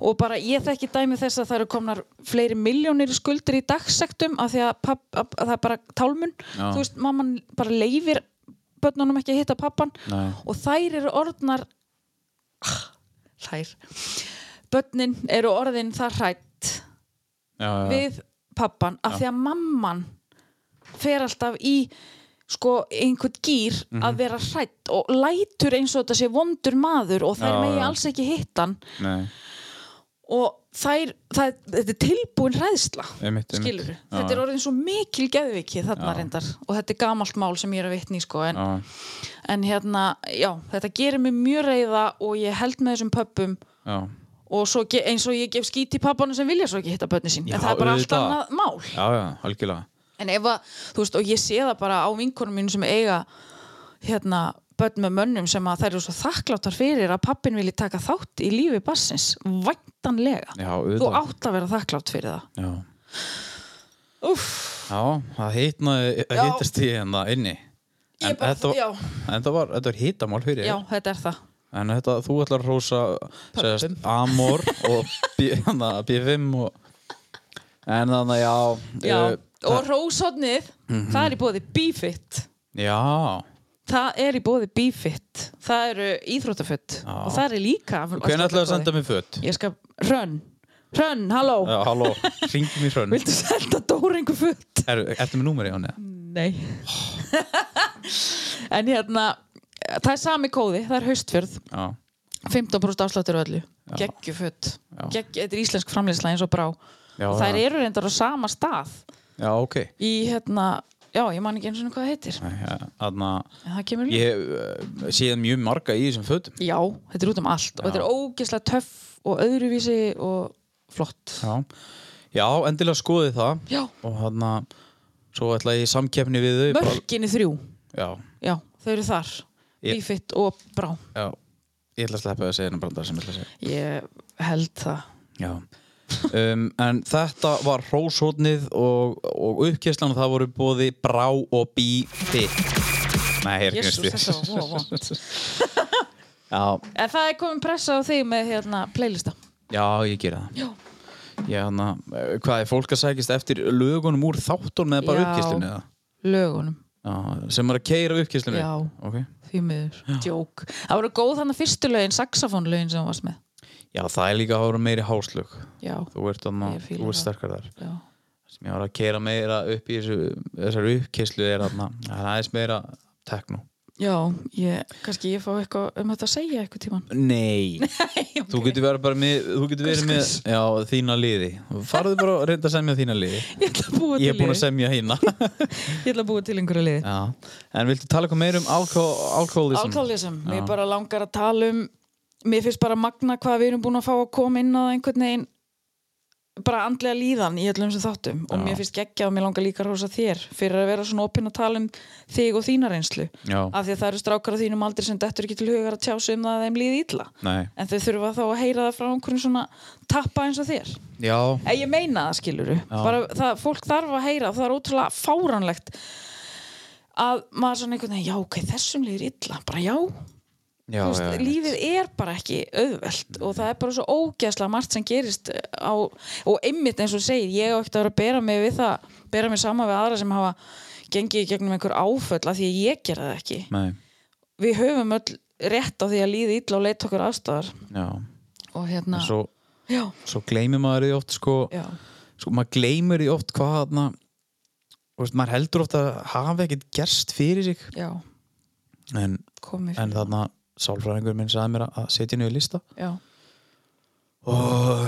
[SPEAKER 4] og bara ég þekki dæmi þess að það eru komnar fleiri miljónir í skuldir í dagsektum af því að, papp, að, að það er bara tálmun
[SPEAKER 1] Já.
[SPEAKER 4] þú veist, mamman bara leifir börnunum ekki að hitta pappan
[SPEAKER 1] Nei.
[SPEAKER 4] og þær eru orðnar þær börnin eru orðin það hrætt
[SPEAKER 1] já, já,
[SPEAKER 4] við pappan af því að mamman fer alltaf í sko einhvern gýr
[SPEAKER 1] Mhm.
[SPEAKER 4] að vera hrætt og lætur eins og þetta sé vondur maður og þær
[SPEAKER 1] Já,
[SPEAKER 4] megi
[SPEAKER 1] já.
[SPEAKER 4] alls ekki hittan
[SPEAKER 1] nei,
[SPEAKER 4] og þær, það, þetta er tilbúin hræðsla
[SPEAKER 1] Einmitt, einmitt.
[SPEAKER 4] skilur
[SPEAKER 1] Já,
[SPEAKER 4] þetta er
[SPEAKER 1] já.
[SPEAKER 4] orðin svo mikil geðviki þarna
[SPEAKER 1] Já.
[SPEAKER 4] reyndar og þetta er gamalt mál sem ég er að vitni í, sko en,
[SPEAKER 1] já,
[SPEAKER 4] en hérna, já, þetta gerir mig mjög reyða og ég held með þessum pöppum
[SPEAKER 1] já,
[SPEAKER 4] og svo ge- eins og ég gef skít í pappanu sem vilja svo ekki hitta bönni sín
[SPEAKER 1] Já,
[SPEAKER 4] en það er bara allt
[SPEAKER 1] auðvitað.
[SPEAKER 4] annað mál
[SPEAKER 1] já, já, algjörlega
[SPEAKER 4] En ef að, þú veist, og ég sé það bara á vinkonum mínu sem eiga hérna, börn með mönnum sem að þær eru svo þakkláttar fyrir að pappin vilji taka þátt í lífi bassins, væntanlega
[SPEAKER 1] já,
[SPEAKER 4] þú
[SPEAKER 1] auðvitað
[SPEAKER 4] átt að vera þakklátt fyrir það
[SPEAKER 1] já.
[SPEAKER 4] Úff,
[SPEAKER 1] já, það hitnaði
[SPEAKER 4] Já.
[SPEAKER 1] hittast í hérna inni
[SPEAKER 4] Ég
[SPEAKER 1] en,
[SPEAKER 4] bara-
[SPEAKER 1] þetta, var-
[SPEAKER 4] já.
[SPEAKER 1] en það var, þetta var hittamál fyrir
[SPEAKER 4] já, þetta er það
[SPEAKER 1] En þetta, þú ætlar að hrósa segast, Amor og B- hana, B5 og... En þannig að já
[SPEAKER 4] já.
[SPEAKER 1] eh,
[SPEAKER 4] og rósotnið, það er í bóði Bífitt
[SPEAKER 1] Já
[SPEAKER 4] það er í bóði Bífitt það eru íþróttafött og það er líka
[SPEAKER 1] Hvernig ætlar að senda mér fött?
[SPEAKER 4] Ég skal, Hrönn, Hrönn, halló
[SPEAKER 1] Já, halló, ringi mér hrönn
[SPEAKER 4] Viltu senda Dóra einhver fött?
[SPEAKER 1] er, Ertu með númeri á henni?
[SPEAKER 4] Nei En hérna Það er sami kóði, það er haustfjörð
[SPEAKER 1] Já,
[SPEAKER 4] 15% afsláttur á öllu Geggjuföt, Gegg, þetta er íslensk framleiðsla eins og brá
[SPEAKER 1] Já,
[SPEAKER 4] og þær
[SPEAKER 1] já.
[SPEAKER 4] eru reyndar á sama stað
[SPEAKER 1] já, ok
[SPEAKER 4] í hérna, já ég man ekki eins og hvað það heitir en
[SPEAKER 1] Þannig að
[SPEAKER 4] það kemur líka
[SPEAKER 1] ég hef eh, séð mjög marga í þessum fötum
[SPEAKER 4] Já, þetta er út um allt og þetta er ógeðslega töff og öðruvísi og flott
[SPEAKER 1] Já, já endilega skoði það
[SPEAKER 4] Já.
[SPEAKER 1] Og þannig að svo ætla ég í samkeppni við þau bara-
[SPEAKER 4] Mörkinni þrjú,
[SPEAKER 1] Já,
[SPEAKER 4] já, þau eru þar
[SPEAKER 1] Ég-
[SPEAKER 4] Bífitt og brá
[SPEAKER 1] já Ég ætla að sleppa að segja hennar brandar sem ég ætla að segja
[SPEAKER 4] Ég held það
[SPEAKER 1] Já um, En þetta var hróshóðnið og, og uppkjæslan og það voru bóði brá og bí fit Nei, hér er
[SPEAKER 4] Jésús, þetta
[SPEAKER 1] knistið
[SPEAKER 4] var voða vont
[SPEAKER 1] já,
[SPEAKER 4] En það er komin pressa á þig með hérna playlista.
[SPEAKER 1] já, ég gera það Já Já, hana, eh, hvað er fólk að sækist eftir lögunum úr þáttunum eða bara
[SPEAKER 4] Já.
[SPEAKER 1] uppkjæslunni eða?
[SPEAKER 4] Lögunum,
[SPEAKER 1] Já, sem er að keira uppkjæslunni?
[SPEAKER 4] Já.
[SPEAKER 1] Ok.
[SPEAKER 4] því miður, djók. Það voru góð þannig fyrstu lögin, saxofónlögin sem þú varst með.
[SPEAKER 1] Já, það er líka að vera meiri háslög.
[SPEAKER 4] Já,
[SPEAKER 1] Þú ert, anna,
[SPEAKER 4] Ég fíla
[SPEAKER 1] þú ert
[SPEAKER 4] það.
[SPEAKER 1] sterkar þar.
[SPEAKER 4] já,
[SPEAKER 1] sem ég var að keira meira upp í þessu, þessari uppkyslu er að það er aðeins meira tekno
[SPEAKER 4] já ég, kannski ég fá eitthvað um þetta að segja eitthvað tíman.
[SPEAKER 1] Nei, þú getur verið bara með, þú getur verið með já, þína liði, farðu bara að reynda að semja þína liði,
[SPEAKER 4] Ég ætla að búa
[SPEAKER 1] ég
[SPEAKER 4] til,
[SPEAKER 1] er búin að
[SPEAKER 4] lið.
[SPEAKER 1] semja hína
[SPEAKER 4] ég ætla að búa til einhverju liði.
[SPEAKER 1] Já, en viltu tala eitthvað meira um alkoholism?
[SPEAKER 4] Alkoholism, mér bara langar að tala um, mér finnst bara magna hvað við erum búin að fá að koma inn á einhvern veginn bara andlega líðan í öllum sem þáttum og mér finnst geggja og mér langar líka að rosa þér fyrir að vera svona opinn að tala um þig og þína reynslu
[SPEAKER 1] Já.
[SPEAKER 4] af því að það eru strákar á þínum aldrei sem dettur ekki til hugar að tjá sig um það að þeim líði illa
[SPEAKER 1] Nei.
[SPEAKER 4] en þau þurfa þá að heyra það frá einhverjum svona tappa eins og þér
[SPEAKER 1] Já,
[SPEAKER 4] Eða ég meina það skiluru bara það, fólk þarf að heyra það er ótrúlega fáránlegt að maður svona einhvern veginn já ok, þessum líður illa, bara já,
[SPEAKER 1] já,
[SPEAKER 4] Þú veist,
[SPEAKER 1] já,
[SPEAKER 4] lífið er bara ekki auðvelt og það er bara svo ógeðslega margt sem gerist á, og einmitt eins og þú segir ég á ekkert að vera að bera mig við það bera mig sama við aðra sem hafa gengið í gegnum einhver áföll af því að ég gera það ekki
[SPEAKER 1] Nei,
[SPEAKER 4] við höfum öll rétt á því að líði illa og leita okkur aðstæðar
[SPEAKER 1] já.
[SPEAKER 4] og hérna,
[SPEAKER 1] En Svo,
[SPEAKER 4] já,
[SPEAKER 1] svo gleymir maður því oft sko,
[SPEAKER 4] já,
[SPEAKER 1] sko maður gleymir því oft hvað hana, veist, maður heldur oft að hafa ekkert gerst fyrir sig
[SPEAKER 4] já
[SPEAKER 1] en,
[SPEAKER 4] komið
[SPEAKER 1] en þarna sálfræðingur minn sagði mér að- að setja niður lista
[SPEAKER 4] já,
[SPEAKER 1] og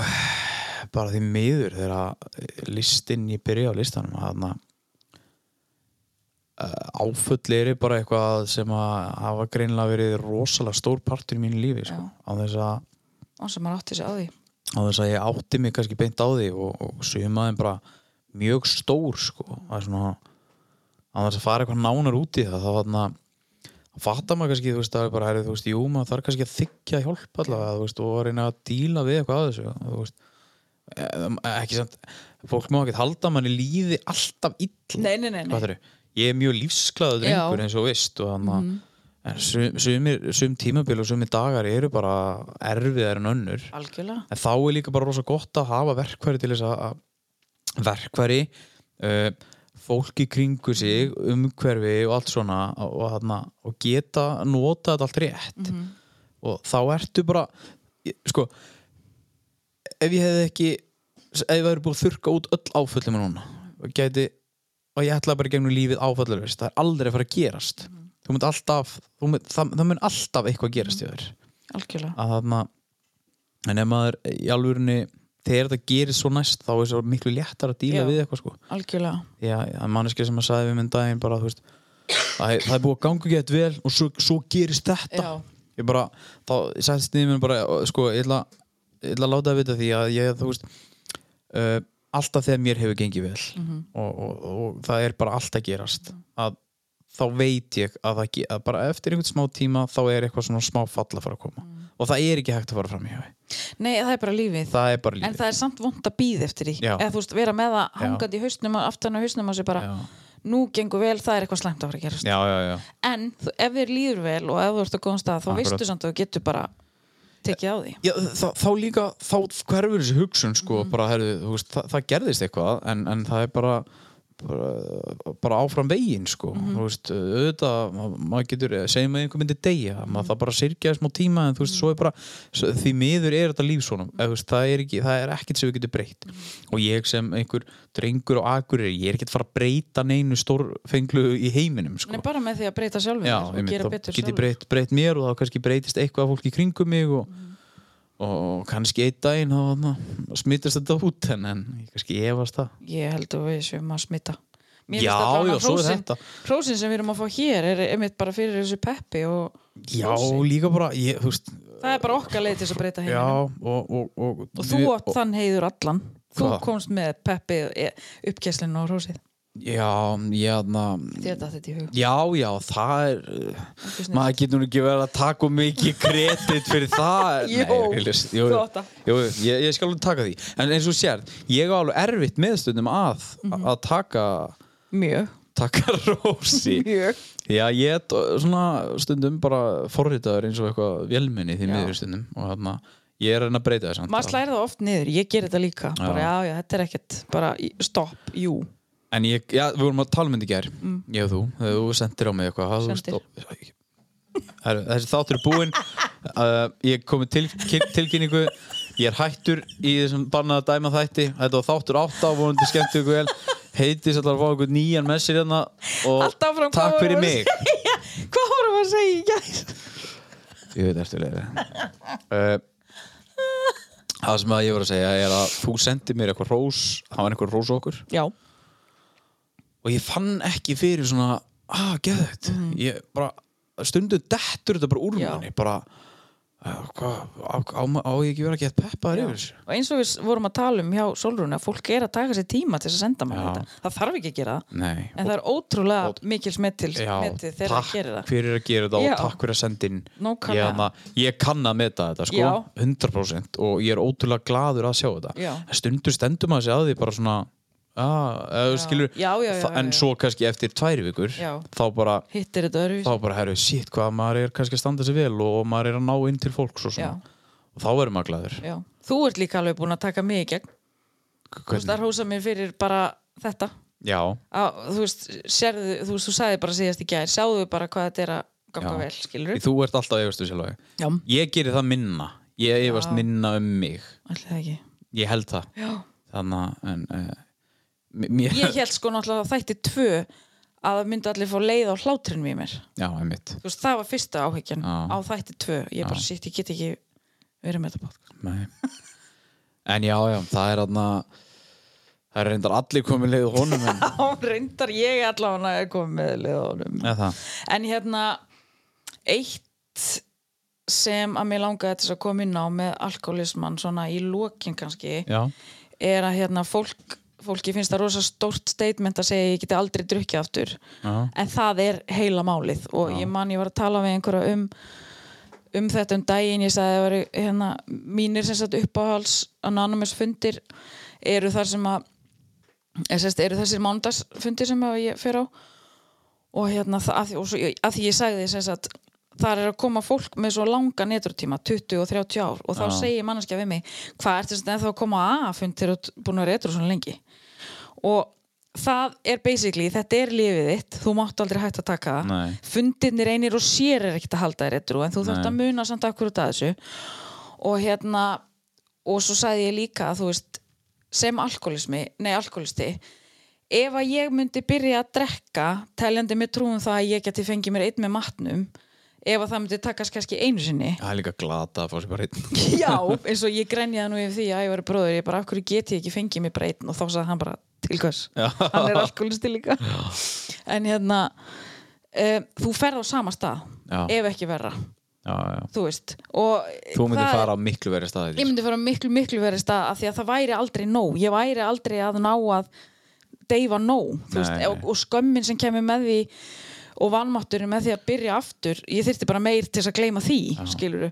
[SPEAKER 1] bara því miður þegar að eh, listin, ég byrja á listanum að þarna eh, áföll eru bara eitthvað sem að hafa greinlega verið rosalega stór partur í mínu lífi sko, á þess að
[SPEAKER 4] án sem maður átti sér að því
[SPEAKER 1] á þess að ég átti mig kannski beint á því og, og sumaðin bara mjög stór sko það er svona á þess að fara eitthvað nánar út í það þá þarna fattar maður kannski þú veist að bara herri, þú veist jú maður þarf kannski að þykja hjálp allavega þú veist og að reyna að díla við eitthvað að þessu þú veist Eh, ekki samt fólk má ekkert halda að manni líði alltaf ill
[SPEAKER 4] Nei, nei, nei, nei.
[SPEAKER 1] ég er mjög lífsklaður drengur
[SPEAKER 4] Já. Mhm.
[SPEAKER 1] eins og þú veist og þannig mm -hmm. sum, sumir- sum tímabil og sumir dagar eru bara erfiðar en önnur
[SPEAKER 4] algjörlega,
[SPEAKER 1] en þá er líka bara rosa gott að hafa verkværi til þess að- að verkværi uh, fólki kringu sig, umhverfi og allt svona og, og, þarna, og geta nota þetta allt rétt og þá ertu bara ég- sko ef ég hefði ekki ef ég hefði búið að þurka út öll áföllum núna og gæti og ég ætlaði bara í gegnum lífið áfallarvist það er aldrei að fara að gerast þú mynd alltaf, þú mynd, það, það mynd alltaf eitthvað gerast í þér
[SPEAKER 4] algjörlega
[SPEAKER 1] að þarna en ef maður í alvörunni þegar þetta gerir svo næst þá er svo miklu léttar að díla
[SPEAKER 4] Já.
[SPEAKER 1] við eitthvað sko
[SPEAKER 4] Ah. algjörlega,
[SPEAKER 1] já, já, manneskja sem að sagði við minn daginn bara þú veist, það, er- það er búið að ganga gett vel og svo, svo gerist þetta
[SPEAKER 4] Já.
[SPEAKER 1] ég bara, þá sættist niður mér bara sko, ég ætla, ég ætla að láta að vita því að ég, þú veist uh, alltaf þegar mér hefur gengið vel
[SPEAKER 4] Mhm.
[SPEAKER 1] og, og, og, það er bara allt að gerast að þá veit ég að, það, ge- að bara eftir einhvern smá tíma þá er eitthvað svona smá fall að fara að koma
[SPEAKER 4] Mm.
[SPEAKER 1] og það er ekki hægt að fara fram í hafi
[SPEAKER 4] nei, það er bara lífið
[SPEAKER 1] það er bara lífið
[SPEAKER 4] en það er samt vond að býða eftir því
[SPEAKER 1] Já.
[SPEAKER 4] eða þú veist, vera með það
[SPEAKER 1] Já.
[SPEAKER 4] hangandi í hausnum og aftan á hausnum og sér bara,
[SPEAKER 1] Já.
[SPEAKER 4] nú gengur vel, það er eitthvað slæmt að fara að gerast
[SPEAKER 1] já, já, já,
[SPEAKER 4] en þú, ef þér líður vel og ef þú ert á góðum stað, þá
[SPEAKER 1] Akkurat.
[SPEAKER 4] veistu samt að þú getur bara tekið á því
[SPEAKER 1] Já, þá, þá líka, þá hverfur þessi hugsun sko, bara, herðu, þú veist, það, það gerðist eitthvað en, en það er bara bara, bara áfram veginn sko. þú veist, auðvitað ma- maður getur, segjum að einhver myndi deyja maður það bara sirkjaði smá tíma en þú veist, svo er bara svo- því miður er þetta líf svona eða, þú veist, það, er ekki, það er ekkert sem við getum breytt og ég sem einhver drengur og agur ég er ekkert fara að breyta neinu stórfenglu í heiminum sko.
[SPEAKER 4] Nei, bara með því að breyta sjálfum
[SPEAKER 1] Já,
[SPEAKER 4] þér og
[SPEAKER 1] einmitt,
[SPEAKER 4] gera
[SPEAKER 1] þá
[SPEAKER 4] betur
[SPEAKER 1] get ég
[SPEAKER 4] sjálfur
[SPEAKER 1] breytt, breytt mér og þá kannski breytist eitthvað af fólki í kringum mig og, og kannski einn daginn þá na, smittist þetta út en, en ég kannski efast það
[SPEAKER 4] ég held að við séum að smita
[SPEAKER 1] Já, já, svo er þetta.
[SPEAKER 4] hrósin sem við erum að fá hér er einmitt bara fyrir þessu peppi og
[SPEAKER 1] Já,
[SPEAKER 4] Hrósi.
[SPEAKER 1] líka bara, ég, þú veist
[SPEAKER 4] það er bara okkar leið til þess að breyta
[SPEAKER 1] Já,
[SPEAKER 4] heiminum
[SPEAKER 1] og, og, og,
[SPEAKER 4] og þú átt þann heiður allan þú
[SPEAKER 1] Hvað?
[SPEAKER 4] komst með peppi uppkesslinu og hrósið
[SPEAKER 1] Já, já, na,
[SPEAKER 4] þér datt þetta í hug
[SPEAKER 1] já, já, það er
[SPEAKER 4] Ekki snillt.
[SPEAKER 1] maður getur nú ekki verið að taka of mikið kredit fyrir það
[SPEAKER 4] Jó,
[SPEAKER 1] Nei, ég les- jú,
[SPEAKER 4] þú átt það.
[SPEAKER 1] jú, ég, ég skal alveg taka því en eins og þú sér, ég á alveg erfitt meðstundum að, að taka
[SPEAKER 4] mjög
[SPEAKER 1] taka rósi
[SPEAKER 4] Mjög.
[SPEAKER 1] Já, ég er t- svona stundum bara forritaður eins og eitthvað vélminni því
[SPEAKER 4] Já.
[SPEAKER 1] miður stundum og þarna, ég er að reyna að breyta þessan
[SPEAKER 4] maður slæri það oft niður, ég ger þetta líka bara já, já, þetta er ekkert, bara í- stopp, jú
[SPEAKER 1] En ég, já, við vorum að tala myndi gær mm. ég og þú, þegar þú sendir á mig eitthvað það,
[SPEAKER 4] Sendir.
[SPEAKER 1] þú veist, og- Herru, Þessi þáttur er búinn uh, ég komið til, til, tilkynningu ég er hættur í þessum bannaða dæma þætti, þetta var þáttur átta og vonandi skemmtu ykkur vel heitis allar að fá ykkur nýjan með sér hérna og
[SPEAKER 4] alltaf frá
[SPEAKER 1] takk fyrir mig
[SPEAKER 4] hvað vorum við að segja í gær?
[SPEAKER 1] Ég veit eftir leiði uh, Það sem að ég var að segja er að þú sendir mér eitthvað rós það var eitthvað rós okkur
[SPEAKER 4] já,
[SPEAKER 1] og ég fann ekki fyrir svona Mhm. að ah, geðvægt ég bara stundum dettur þetta bara úr
[SPEAKER 4] Já.
[SPEAKER 1] manni bara "Ah, hvað, á, á, á ég ekki verið að geta peppaður yfir þessu
[SPEAKER 4] og eins og við s- vorum að tala um hjá Solrún að fólk er að taka sér tíma til þess að senda
[SPEAKER 1] Já.
[SPEAKER 4] maður þetta það þarf ekki að gera það
[SPEAKER 1] Nei,
[SPEAKER 4] en það er ótrúlega mikil smettil
[SPEAKER 1] Já,
[SPEAKER 4] metið þegar
[SPEAKER 1] takk
[SPEAKER 4] það gerir það
[SPEAKER 1] fyrir að gera það
[SPEAKER 4] Já.
[SPEAKER 1] og takk fyrir að senda inn
[SPEAKER 4] Nákvæmlega.
[SPEAKER 1] ég, hana, ég kann að meta þetta sko,
[SPEAKER 4] Já.
[SPEAKER 1] 100% og ég er ótrúlega gladur að sjá þetta
[SPEAKER 4] Já.
[SPEAKER 1] En stundur stendur maður sér að því bara svona að, já. Skilur,
[SPEAKER 4] Já, já, já,
[SPEAKER 1] þa-
[SPEAKER 4] já,
[SPEAKER 1] en
[SPEAKER 4] já.
[SPEAKER 1] svo kannski eftir tvær vikur
[SPEAKER 4] Já.
[SPEAKER 1] þá bara,
[SPEAKER 4] hittir þetta öðru
[SPEAKER 1] þá bara herru, shit hvað maður er kannski að standa sér vel og, og maður er að ná inn til fólks og,
[SPEAKER 4] Já.
[SPEAKER 1] svona. og þá verður maður gladur
[SPEAKER 4] Já. Þú ert líka alveg búin að taka mig í gegn. Þú
[SPEAKER 1] Hvernig-
[SPEAKER 4] veist, það hósa mér fyrir bara þetta.
[SPEAKER 1] já,
[SPEAKER 4] Að, þú veist, sérðu, þú veist, þú sagði bara síðast í gær, sjáðu bara hvað þetta er að ganga
[SPEAKER 1] Já.
[SPEAKER 4] vel, skilur við?
[SPEAKER 1] þú ert alltaf að efastu sjálf
[SPEAKER 4] Já,
[SPEAKER 1] ég gerir það minna ég efast minna um mig
[SPEAKER 4] alltaf ekki.
[SPEAKER 1] ég held það
[SPEAKER 4] Já.
[SPEAKER 1] þannig en uh, mér,
[SPEAKER 4] Ég held sko náttúrulega að þætti tvö að það myndu allir fá leið á hlátrinum í mér.
[SPEAKER 1] já, einmitt
[SPEAKER 4] Þú veist, það var fyrsta áhyggjan
[SPEAKER 1] Já.
[SPEAKER 4] á þætti tvö. Ég bara, shit, ég get ekki verið með þetta podcast.
[SPEAKER 1] Nei. en já, já, það er aðna það er reyndar allir komið leið honum en,
[SPEAKER 4] Þá reyndar ég allavega að koma með leið á honum.
[SPEAKER 1] eða það,
[SPEAKER 4] En hérna eitt sem að mér langaði til þess að koma inn á með alkoholismann svona í lokin kannski
[SPEAKER 1] já,
[SPEAKER 4] er að hérna fólk fólki finnst það rosa stórt statement að segja ég geti aldrei drukkið aftur
[SPEAKER 1] Já.
[SPEAKER 4] en það er heila málið og ég man ég var að tala við einhverja um um þetta um daginn ég sagði að það væri, hérna, mínir sem sagt uppáhals anonymous fundir eru þar sem að eða sem sagt, eru þessir mánudagsfundir sem að ég fer á og hérna það, að, því- og svo, að því ég sagði sem sagt þar er að koma fólk með svo langa neturtíma 20 og 30 ár og þá segir manneskja við mig hvað ertu sem ennþá að koma á A-fund þegar þú ert búin að retur svona lengi og það er basically þetta er lífið þitt, þú mátt aldrei hægt að taka það
[SPEAKER 1] Nei.
[SPEAKER 4] fundirnir einir og sér er ekkert að halda þér retur en þú þurft að muna samt akkur út að þessu og hérna og svo sagði ég líka að þú veist sem alkoholismi, nei alkoholisti ef að ég myndi byrja að drekka teljandi með trúum það að ég geti fengið mér einn með matnum ef að það myndi takast kannski einu sinni
[SPEAKER 1] það er líka glata að fá sér bara einn
[SPEAKER 4] já, eins og ég grenjaði nú yfir því að ég var bróður, ég bara, af hverju get ég ekki fengið mér bara einn og þá sagði hann bara, til hvers hann er alkoholisti líka en hérna e, þú ferð á sama stað,
[SPEAKER 1] Já.
[SPEAKER 4] ef ekki verra
[SPEAKER 1] já, já.
[SPEAKER 4] þú veist og
[SPEAKER 1] þú myndir
[SPEAKER 4] það-
[SPEAKER 1] fara á miklu verið staði
[SPEAKER 4] ég myndi fara á miklu, miklu verið stað af því að það væri aldrei nóg ég væri aldrei að ná að deyfa nóg þú veist,
[SPEAKER 1] Nei.
[SPEAKER 4] og, og skömmin sem kemur með því og vanmátturinn með því að byrja aftur ég þyrfti bara meir til þess að gleyma því skiluru,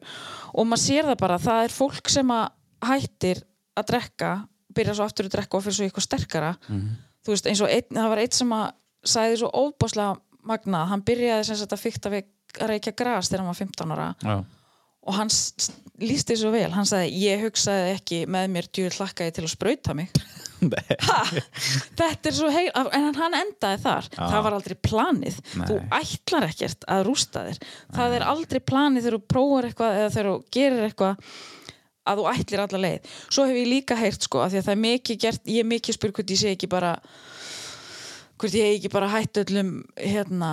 [SPEAKER 4] og maður sér það bara það er fólk sem að hættir að drekka, byrja svo aftur að drekka og fyrir svo eitthvað sterkara
[SPEAKER 1] Mhm.
[SPEAKER 4] þú veist, eins og einn, það var einn sem að sagði svo óbáslega magnað, hann byrjaði sem sagt að fykta við að reykja gras þegar hann var 15 ára
[SPEAKER 1] já,
[SPEAKER 4] og hann s- s- lísti svo vel hann sagði ég hugsaði ekki með mér djúið hlakkaði til að sprauta mig ha, þetta er svo heil en hann endaði þar, það var aldrei planið þú ætlar ekkert að rústa þér það er aldrei planið þegar þú prófar eitthvað eða þegar þú gerir eitthvað að þú ætlir alla leið svo hef ég líka heyrt sko að því að það er mikið gert ég er mikið spyr hvort ég sé ekki bara hvort ég hef ekki bara hætt öllum hérna,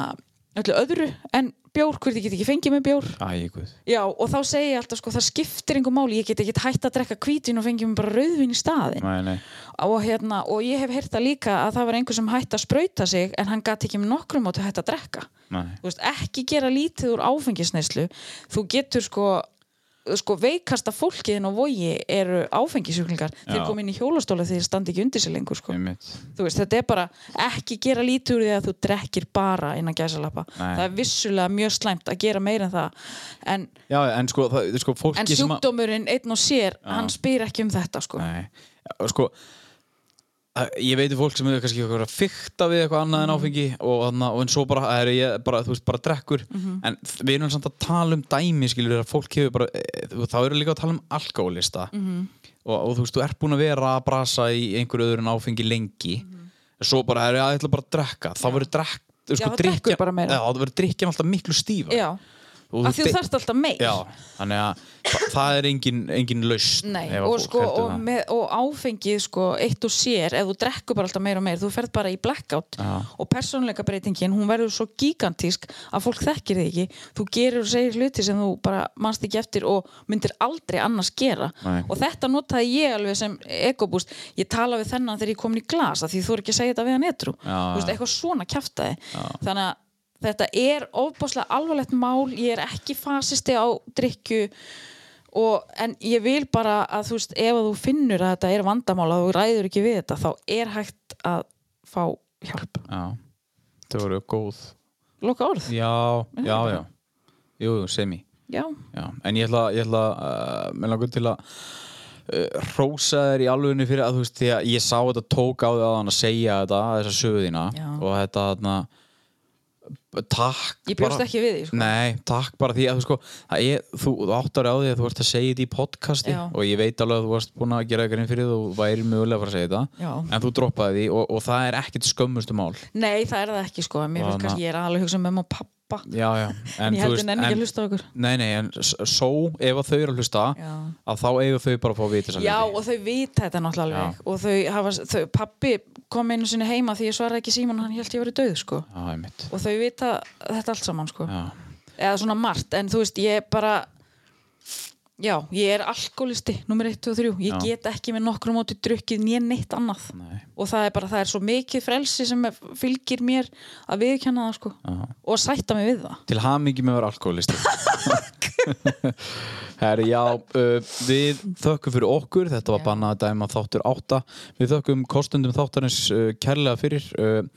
[SPEAKER 4] öllu öðru en bjór, hvort ég get ekki fengið með bjór
[SPEAKER 1] æ, guð
[SPEAKER 4] Já, og þá segi ég alltaf sko, það skiptir engum máli, ég get ekki hætt að drekka hvítin og fengi mér bara rauðvin í staðin
[SPEAKER 1] nei, nei,
[SPEAKER 4] og, hérna, og ég hef heyrt það líka að það var einhver sem hætt að sprauta sig en hann gat ekki með nokkrum áttu hætt að drekka
[SPEAKER 1] nei.
[SPEAKER 4] Þú veist, ekki gera lítið úr áfengisneislu þú getur sko, sko veikasta fólkiðin og vogi eru áfengisjúklingar þeir
[SPEAKER 1] Já.
[SPEAKER 4] koma inn í hjólastóla þegar þeir standi ekki undir sér lengur sko.
[SPEAKER 1] einmitt
[SPEAKER 4] Þú veist, þetta er bara ekki gera lítið úr því að þú drekkir bara innan gæsalappa
[SPEAKER 1] Nei.
[SPEAKER 4] það er vissulega mjög slæmt að gera meira en það en
[SPEAKER 1] já, en sko, það, sko fólki
[SPEAKER 4] En
[SPEAKER 1] sem að-
[SPEAKER 4] sjúkdómurinn einn og sér, hann spyr ekki um þetta sko.
[SPEAKER 1] Nei, Já, sko að- ég veit um fólk sem hefur kannski eitthvað að fykta við eitthvað annað
[SPEAKER 4] Mhm.
[SPEAKER 1] en áfengi og, anna, og en svo bara, er ég bara, þú veist, bara drekkur
[SPEAKER 4] Mhm.
[SPEAKER 1] en þ- við erum samt að tala um dæmi skilur að fólk hefur bara e, þú- þá erum við líka að tala um alkoholista
[SPEAKER 4] Mhm.
[SPEAKER 1] og, og þú veist, þú ert búin að vera að brasa í einhverju öðru en áfengi lengi svo bara, er ég að ætla bara að drekka þá verður drekk,
[SPEAKER 4] Mhm. Já,
[SPEAKER 1] sko,
[SPEAKER 4] þá drekkur
[SPEAKER 1] drykkjan-
[SPEAKER 4] bara meira.
[SPEAKER 1] Já, þá verður drikkjan alltaf miklu stífa
[SPEAKER 4] Já, að því þú þarft alltaf meir
[SPEAKER 1] Já, þannig að þa- það er engin, engin laust
[SPEAKER 4] Nei, og, sko, og, með, og áfengið sko, eitt og sér, ef þú drekkur bara alltaf meir og meir, þú ferð bara í blackout
[SPEAKER 1] Já.
[SPEAKER 4] og persónleika breytingin, hún verður svo gigantísk að fólk þekkir þig ekki þú gerir og segir hluti sem þú bara manst ekki eftir og myndir aldrei annars gera
[SPEAKER 1] Nei.
[SPEAKER 4] og þetta notaði ég alveg sem ekobúst, ég tala við þennan þegar ég komin í glasa því þú er ekki að segja þetta við hann etru
[SPEAKER 1] Já,
[SPEAKER 4] Þú veist,
[SPEAKER 1] já.
[SPEAKER 4] eitthvað svona kjaftaði þannig að þetta er ofbáslega alvarlegt mál ég er ekki fasisti á drikju og, en ég vil bara að þú veist, ef að þú finnur að þetta er vandamál að þú ræður ekki við þetta þá er hægt að fá hjálp
[SPEAKER 1] já þau voru góð
[SPEAKER 4] loka orð,
[SPEAKER 1] já, já, já jú, jú, semi
[SPEAKER 4] já,
[SPEAKER 1] já. en ég ætla, ég ætla uh, mér langar til að uh, hrósa þér í alvegni fyrir að þú veist því að ég sá þetta tók á því að hann að segja þetta þessa söguðina
[SPEAKER 4] Já.
[SPEAKER 1] og þetta þarna takk
[SPEAKER 4] ég bjóst
[SPEAKER 1] bara-
[SPEAKER 4] ekki við því sko.
[SPEAKER 1] Nei, takk bara því að þú sko að ég, þú, þú áttar á því að þú ert að segja þetta í podcasti
[SPEAKER 4] Já.
[SPEAKER 1] og ég veit alveg að þú varst búin að gera eitthvað fyrir því og væri mögulega að fara að segja þetta
[SPEAKER 4] Já.
[SPEAKER 1] en þú droppaði því og, og það er ekkit skömmustu mál
[SPEAKER 4] nei, það er það ekki sko, en mér
[SPEAKER 1] Og
[SPEAKER 4] finnst
[SPEAKER 1] þarna-
[SPEAKER 4] kannski ég er aðalega að hugsa um mamma og pappa
[SPEAKER 1] Já, já
[SPEAKER 4] en ég heldur enn ekki að hlusta á ykkur
[SPEAKER 1] Nei, nei, en s- svo ef að þau eru að hlusta
[SPEAKER 4] Já.
[SPEAKER 1] að þá eiga þau bara að fá að vita þessa
[SPEAKER 4] Já,
[SPEAKER 1] hluti.
[SPEAKER 4] og þau vita þetta náttúrulega alveg og þau hafa, þau, pappi kom einu sinni heima því ég svaraði ekki síman og hann held ég verið döð sko.
[SPEAKER 1] Já, einmitt
[SPEAKER 4] og þau vita þetta allt saman sko.
[SPEAKER 1] Já,
[SPEAKER 4] eða svona margt, en þú veist ég bara já, ég er alkoholisti, nummer 1 og 3 ég
[SPEAKER 1] Já.
[SPEAKER 4] get ekki með nokkru móti drukkið nén neitt annað
[SPEAKER 1] Nei.
[SPEAKER 4] og það er bara, það er svo mikið frelsi sem er- fylgir mér að viðkjanna það sko. og sætta mig við það
[SPEAKER 1] til hamingi með að vera alkoholisti Herri, já, uh, við þökkum fyrir okkur, þetta var
[SPEAKER 4] Já.
[SPEAKER 1] bannað að dæma þáttur átta. Við þökkum kostendum þáttarins uh, kærlega fyrir. Uh,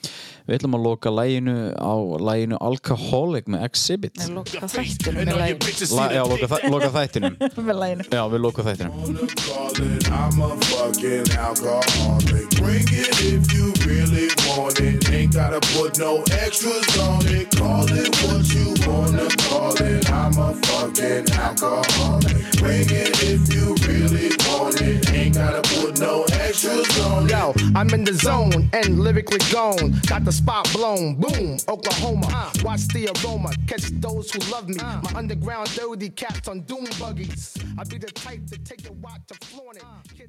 [SPEAKER 1] við ætlum að loka læginu á læginu Alcoholic með Exhibit.
[SPEAKER 4] en loka þættinum
[SPEAKER 2] And all
[SPEAKER 4] með
[SPEAKER 2] your
[SPEAKER 4] læginu
[SPEAKER 2] bitches see
[SPEAKER 1] La, já,
[SPEAKER 2] the
[SPEAKER 1] loka, þa loka þættinum.
[SPEAKER 4] með læginu
[SPEAKER 1] Já, við loka þættinum.
[SPEAKER 3] wanna call it, I'm a fucking alcoholic. Bring it if you really want it. Ain't gotta put no extras on it. Call it what you wanna call it. I'm a fucking alcoholic. Bring it if you really want it. Ain't gotta put no extras on it.
[SPEAKER 2] Yo, I'm in the zone and lyrically gone. Got the spot blown. Boom, Oklahoma. uh, Watch the aroma. Catch those who love me. My underground dirty cats on doom buggies. I be the type to take the watch to flaunt it. Kidnap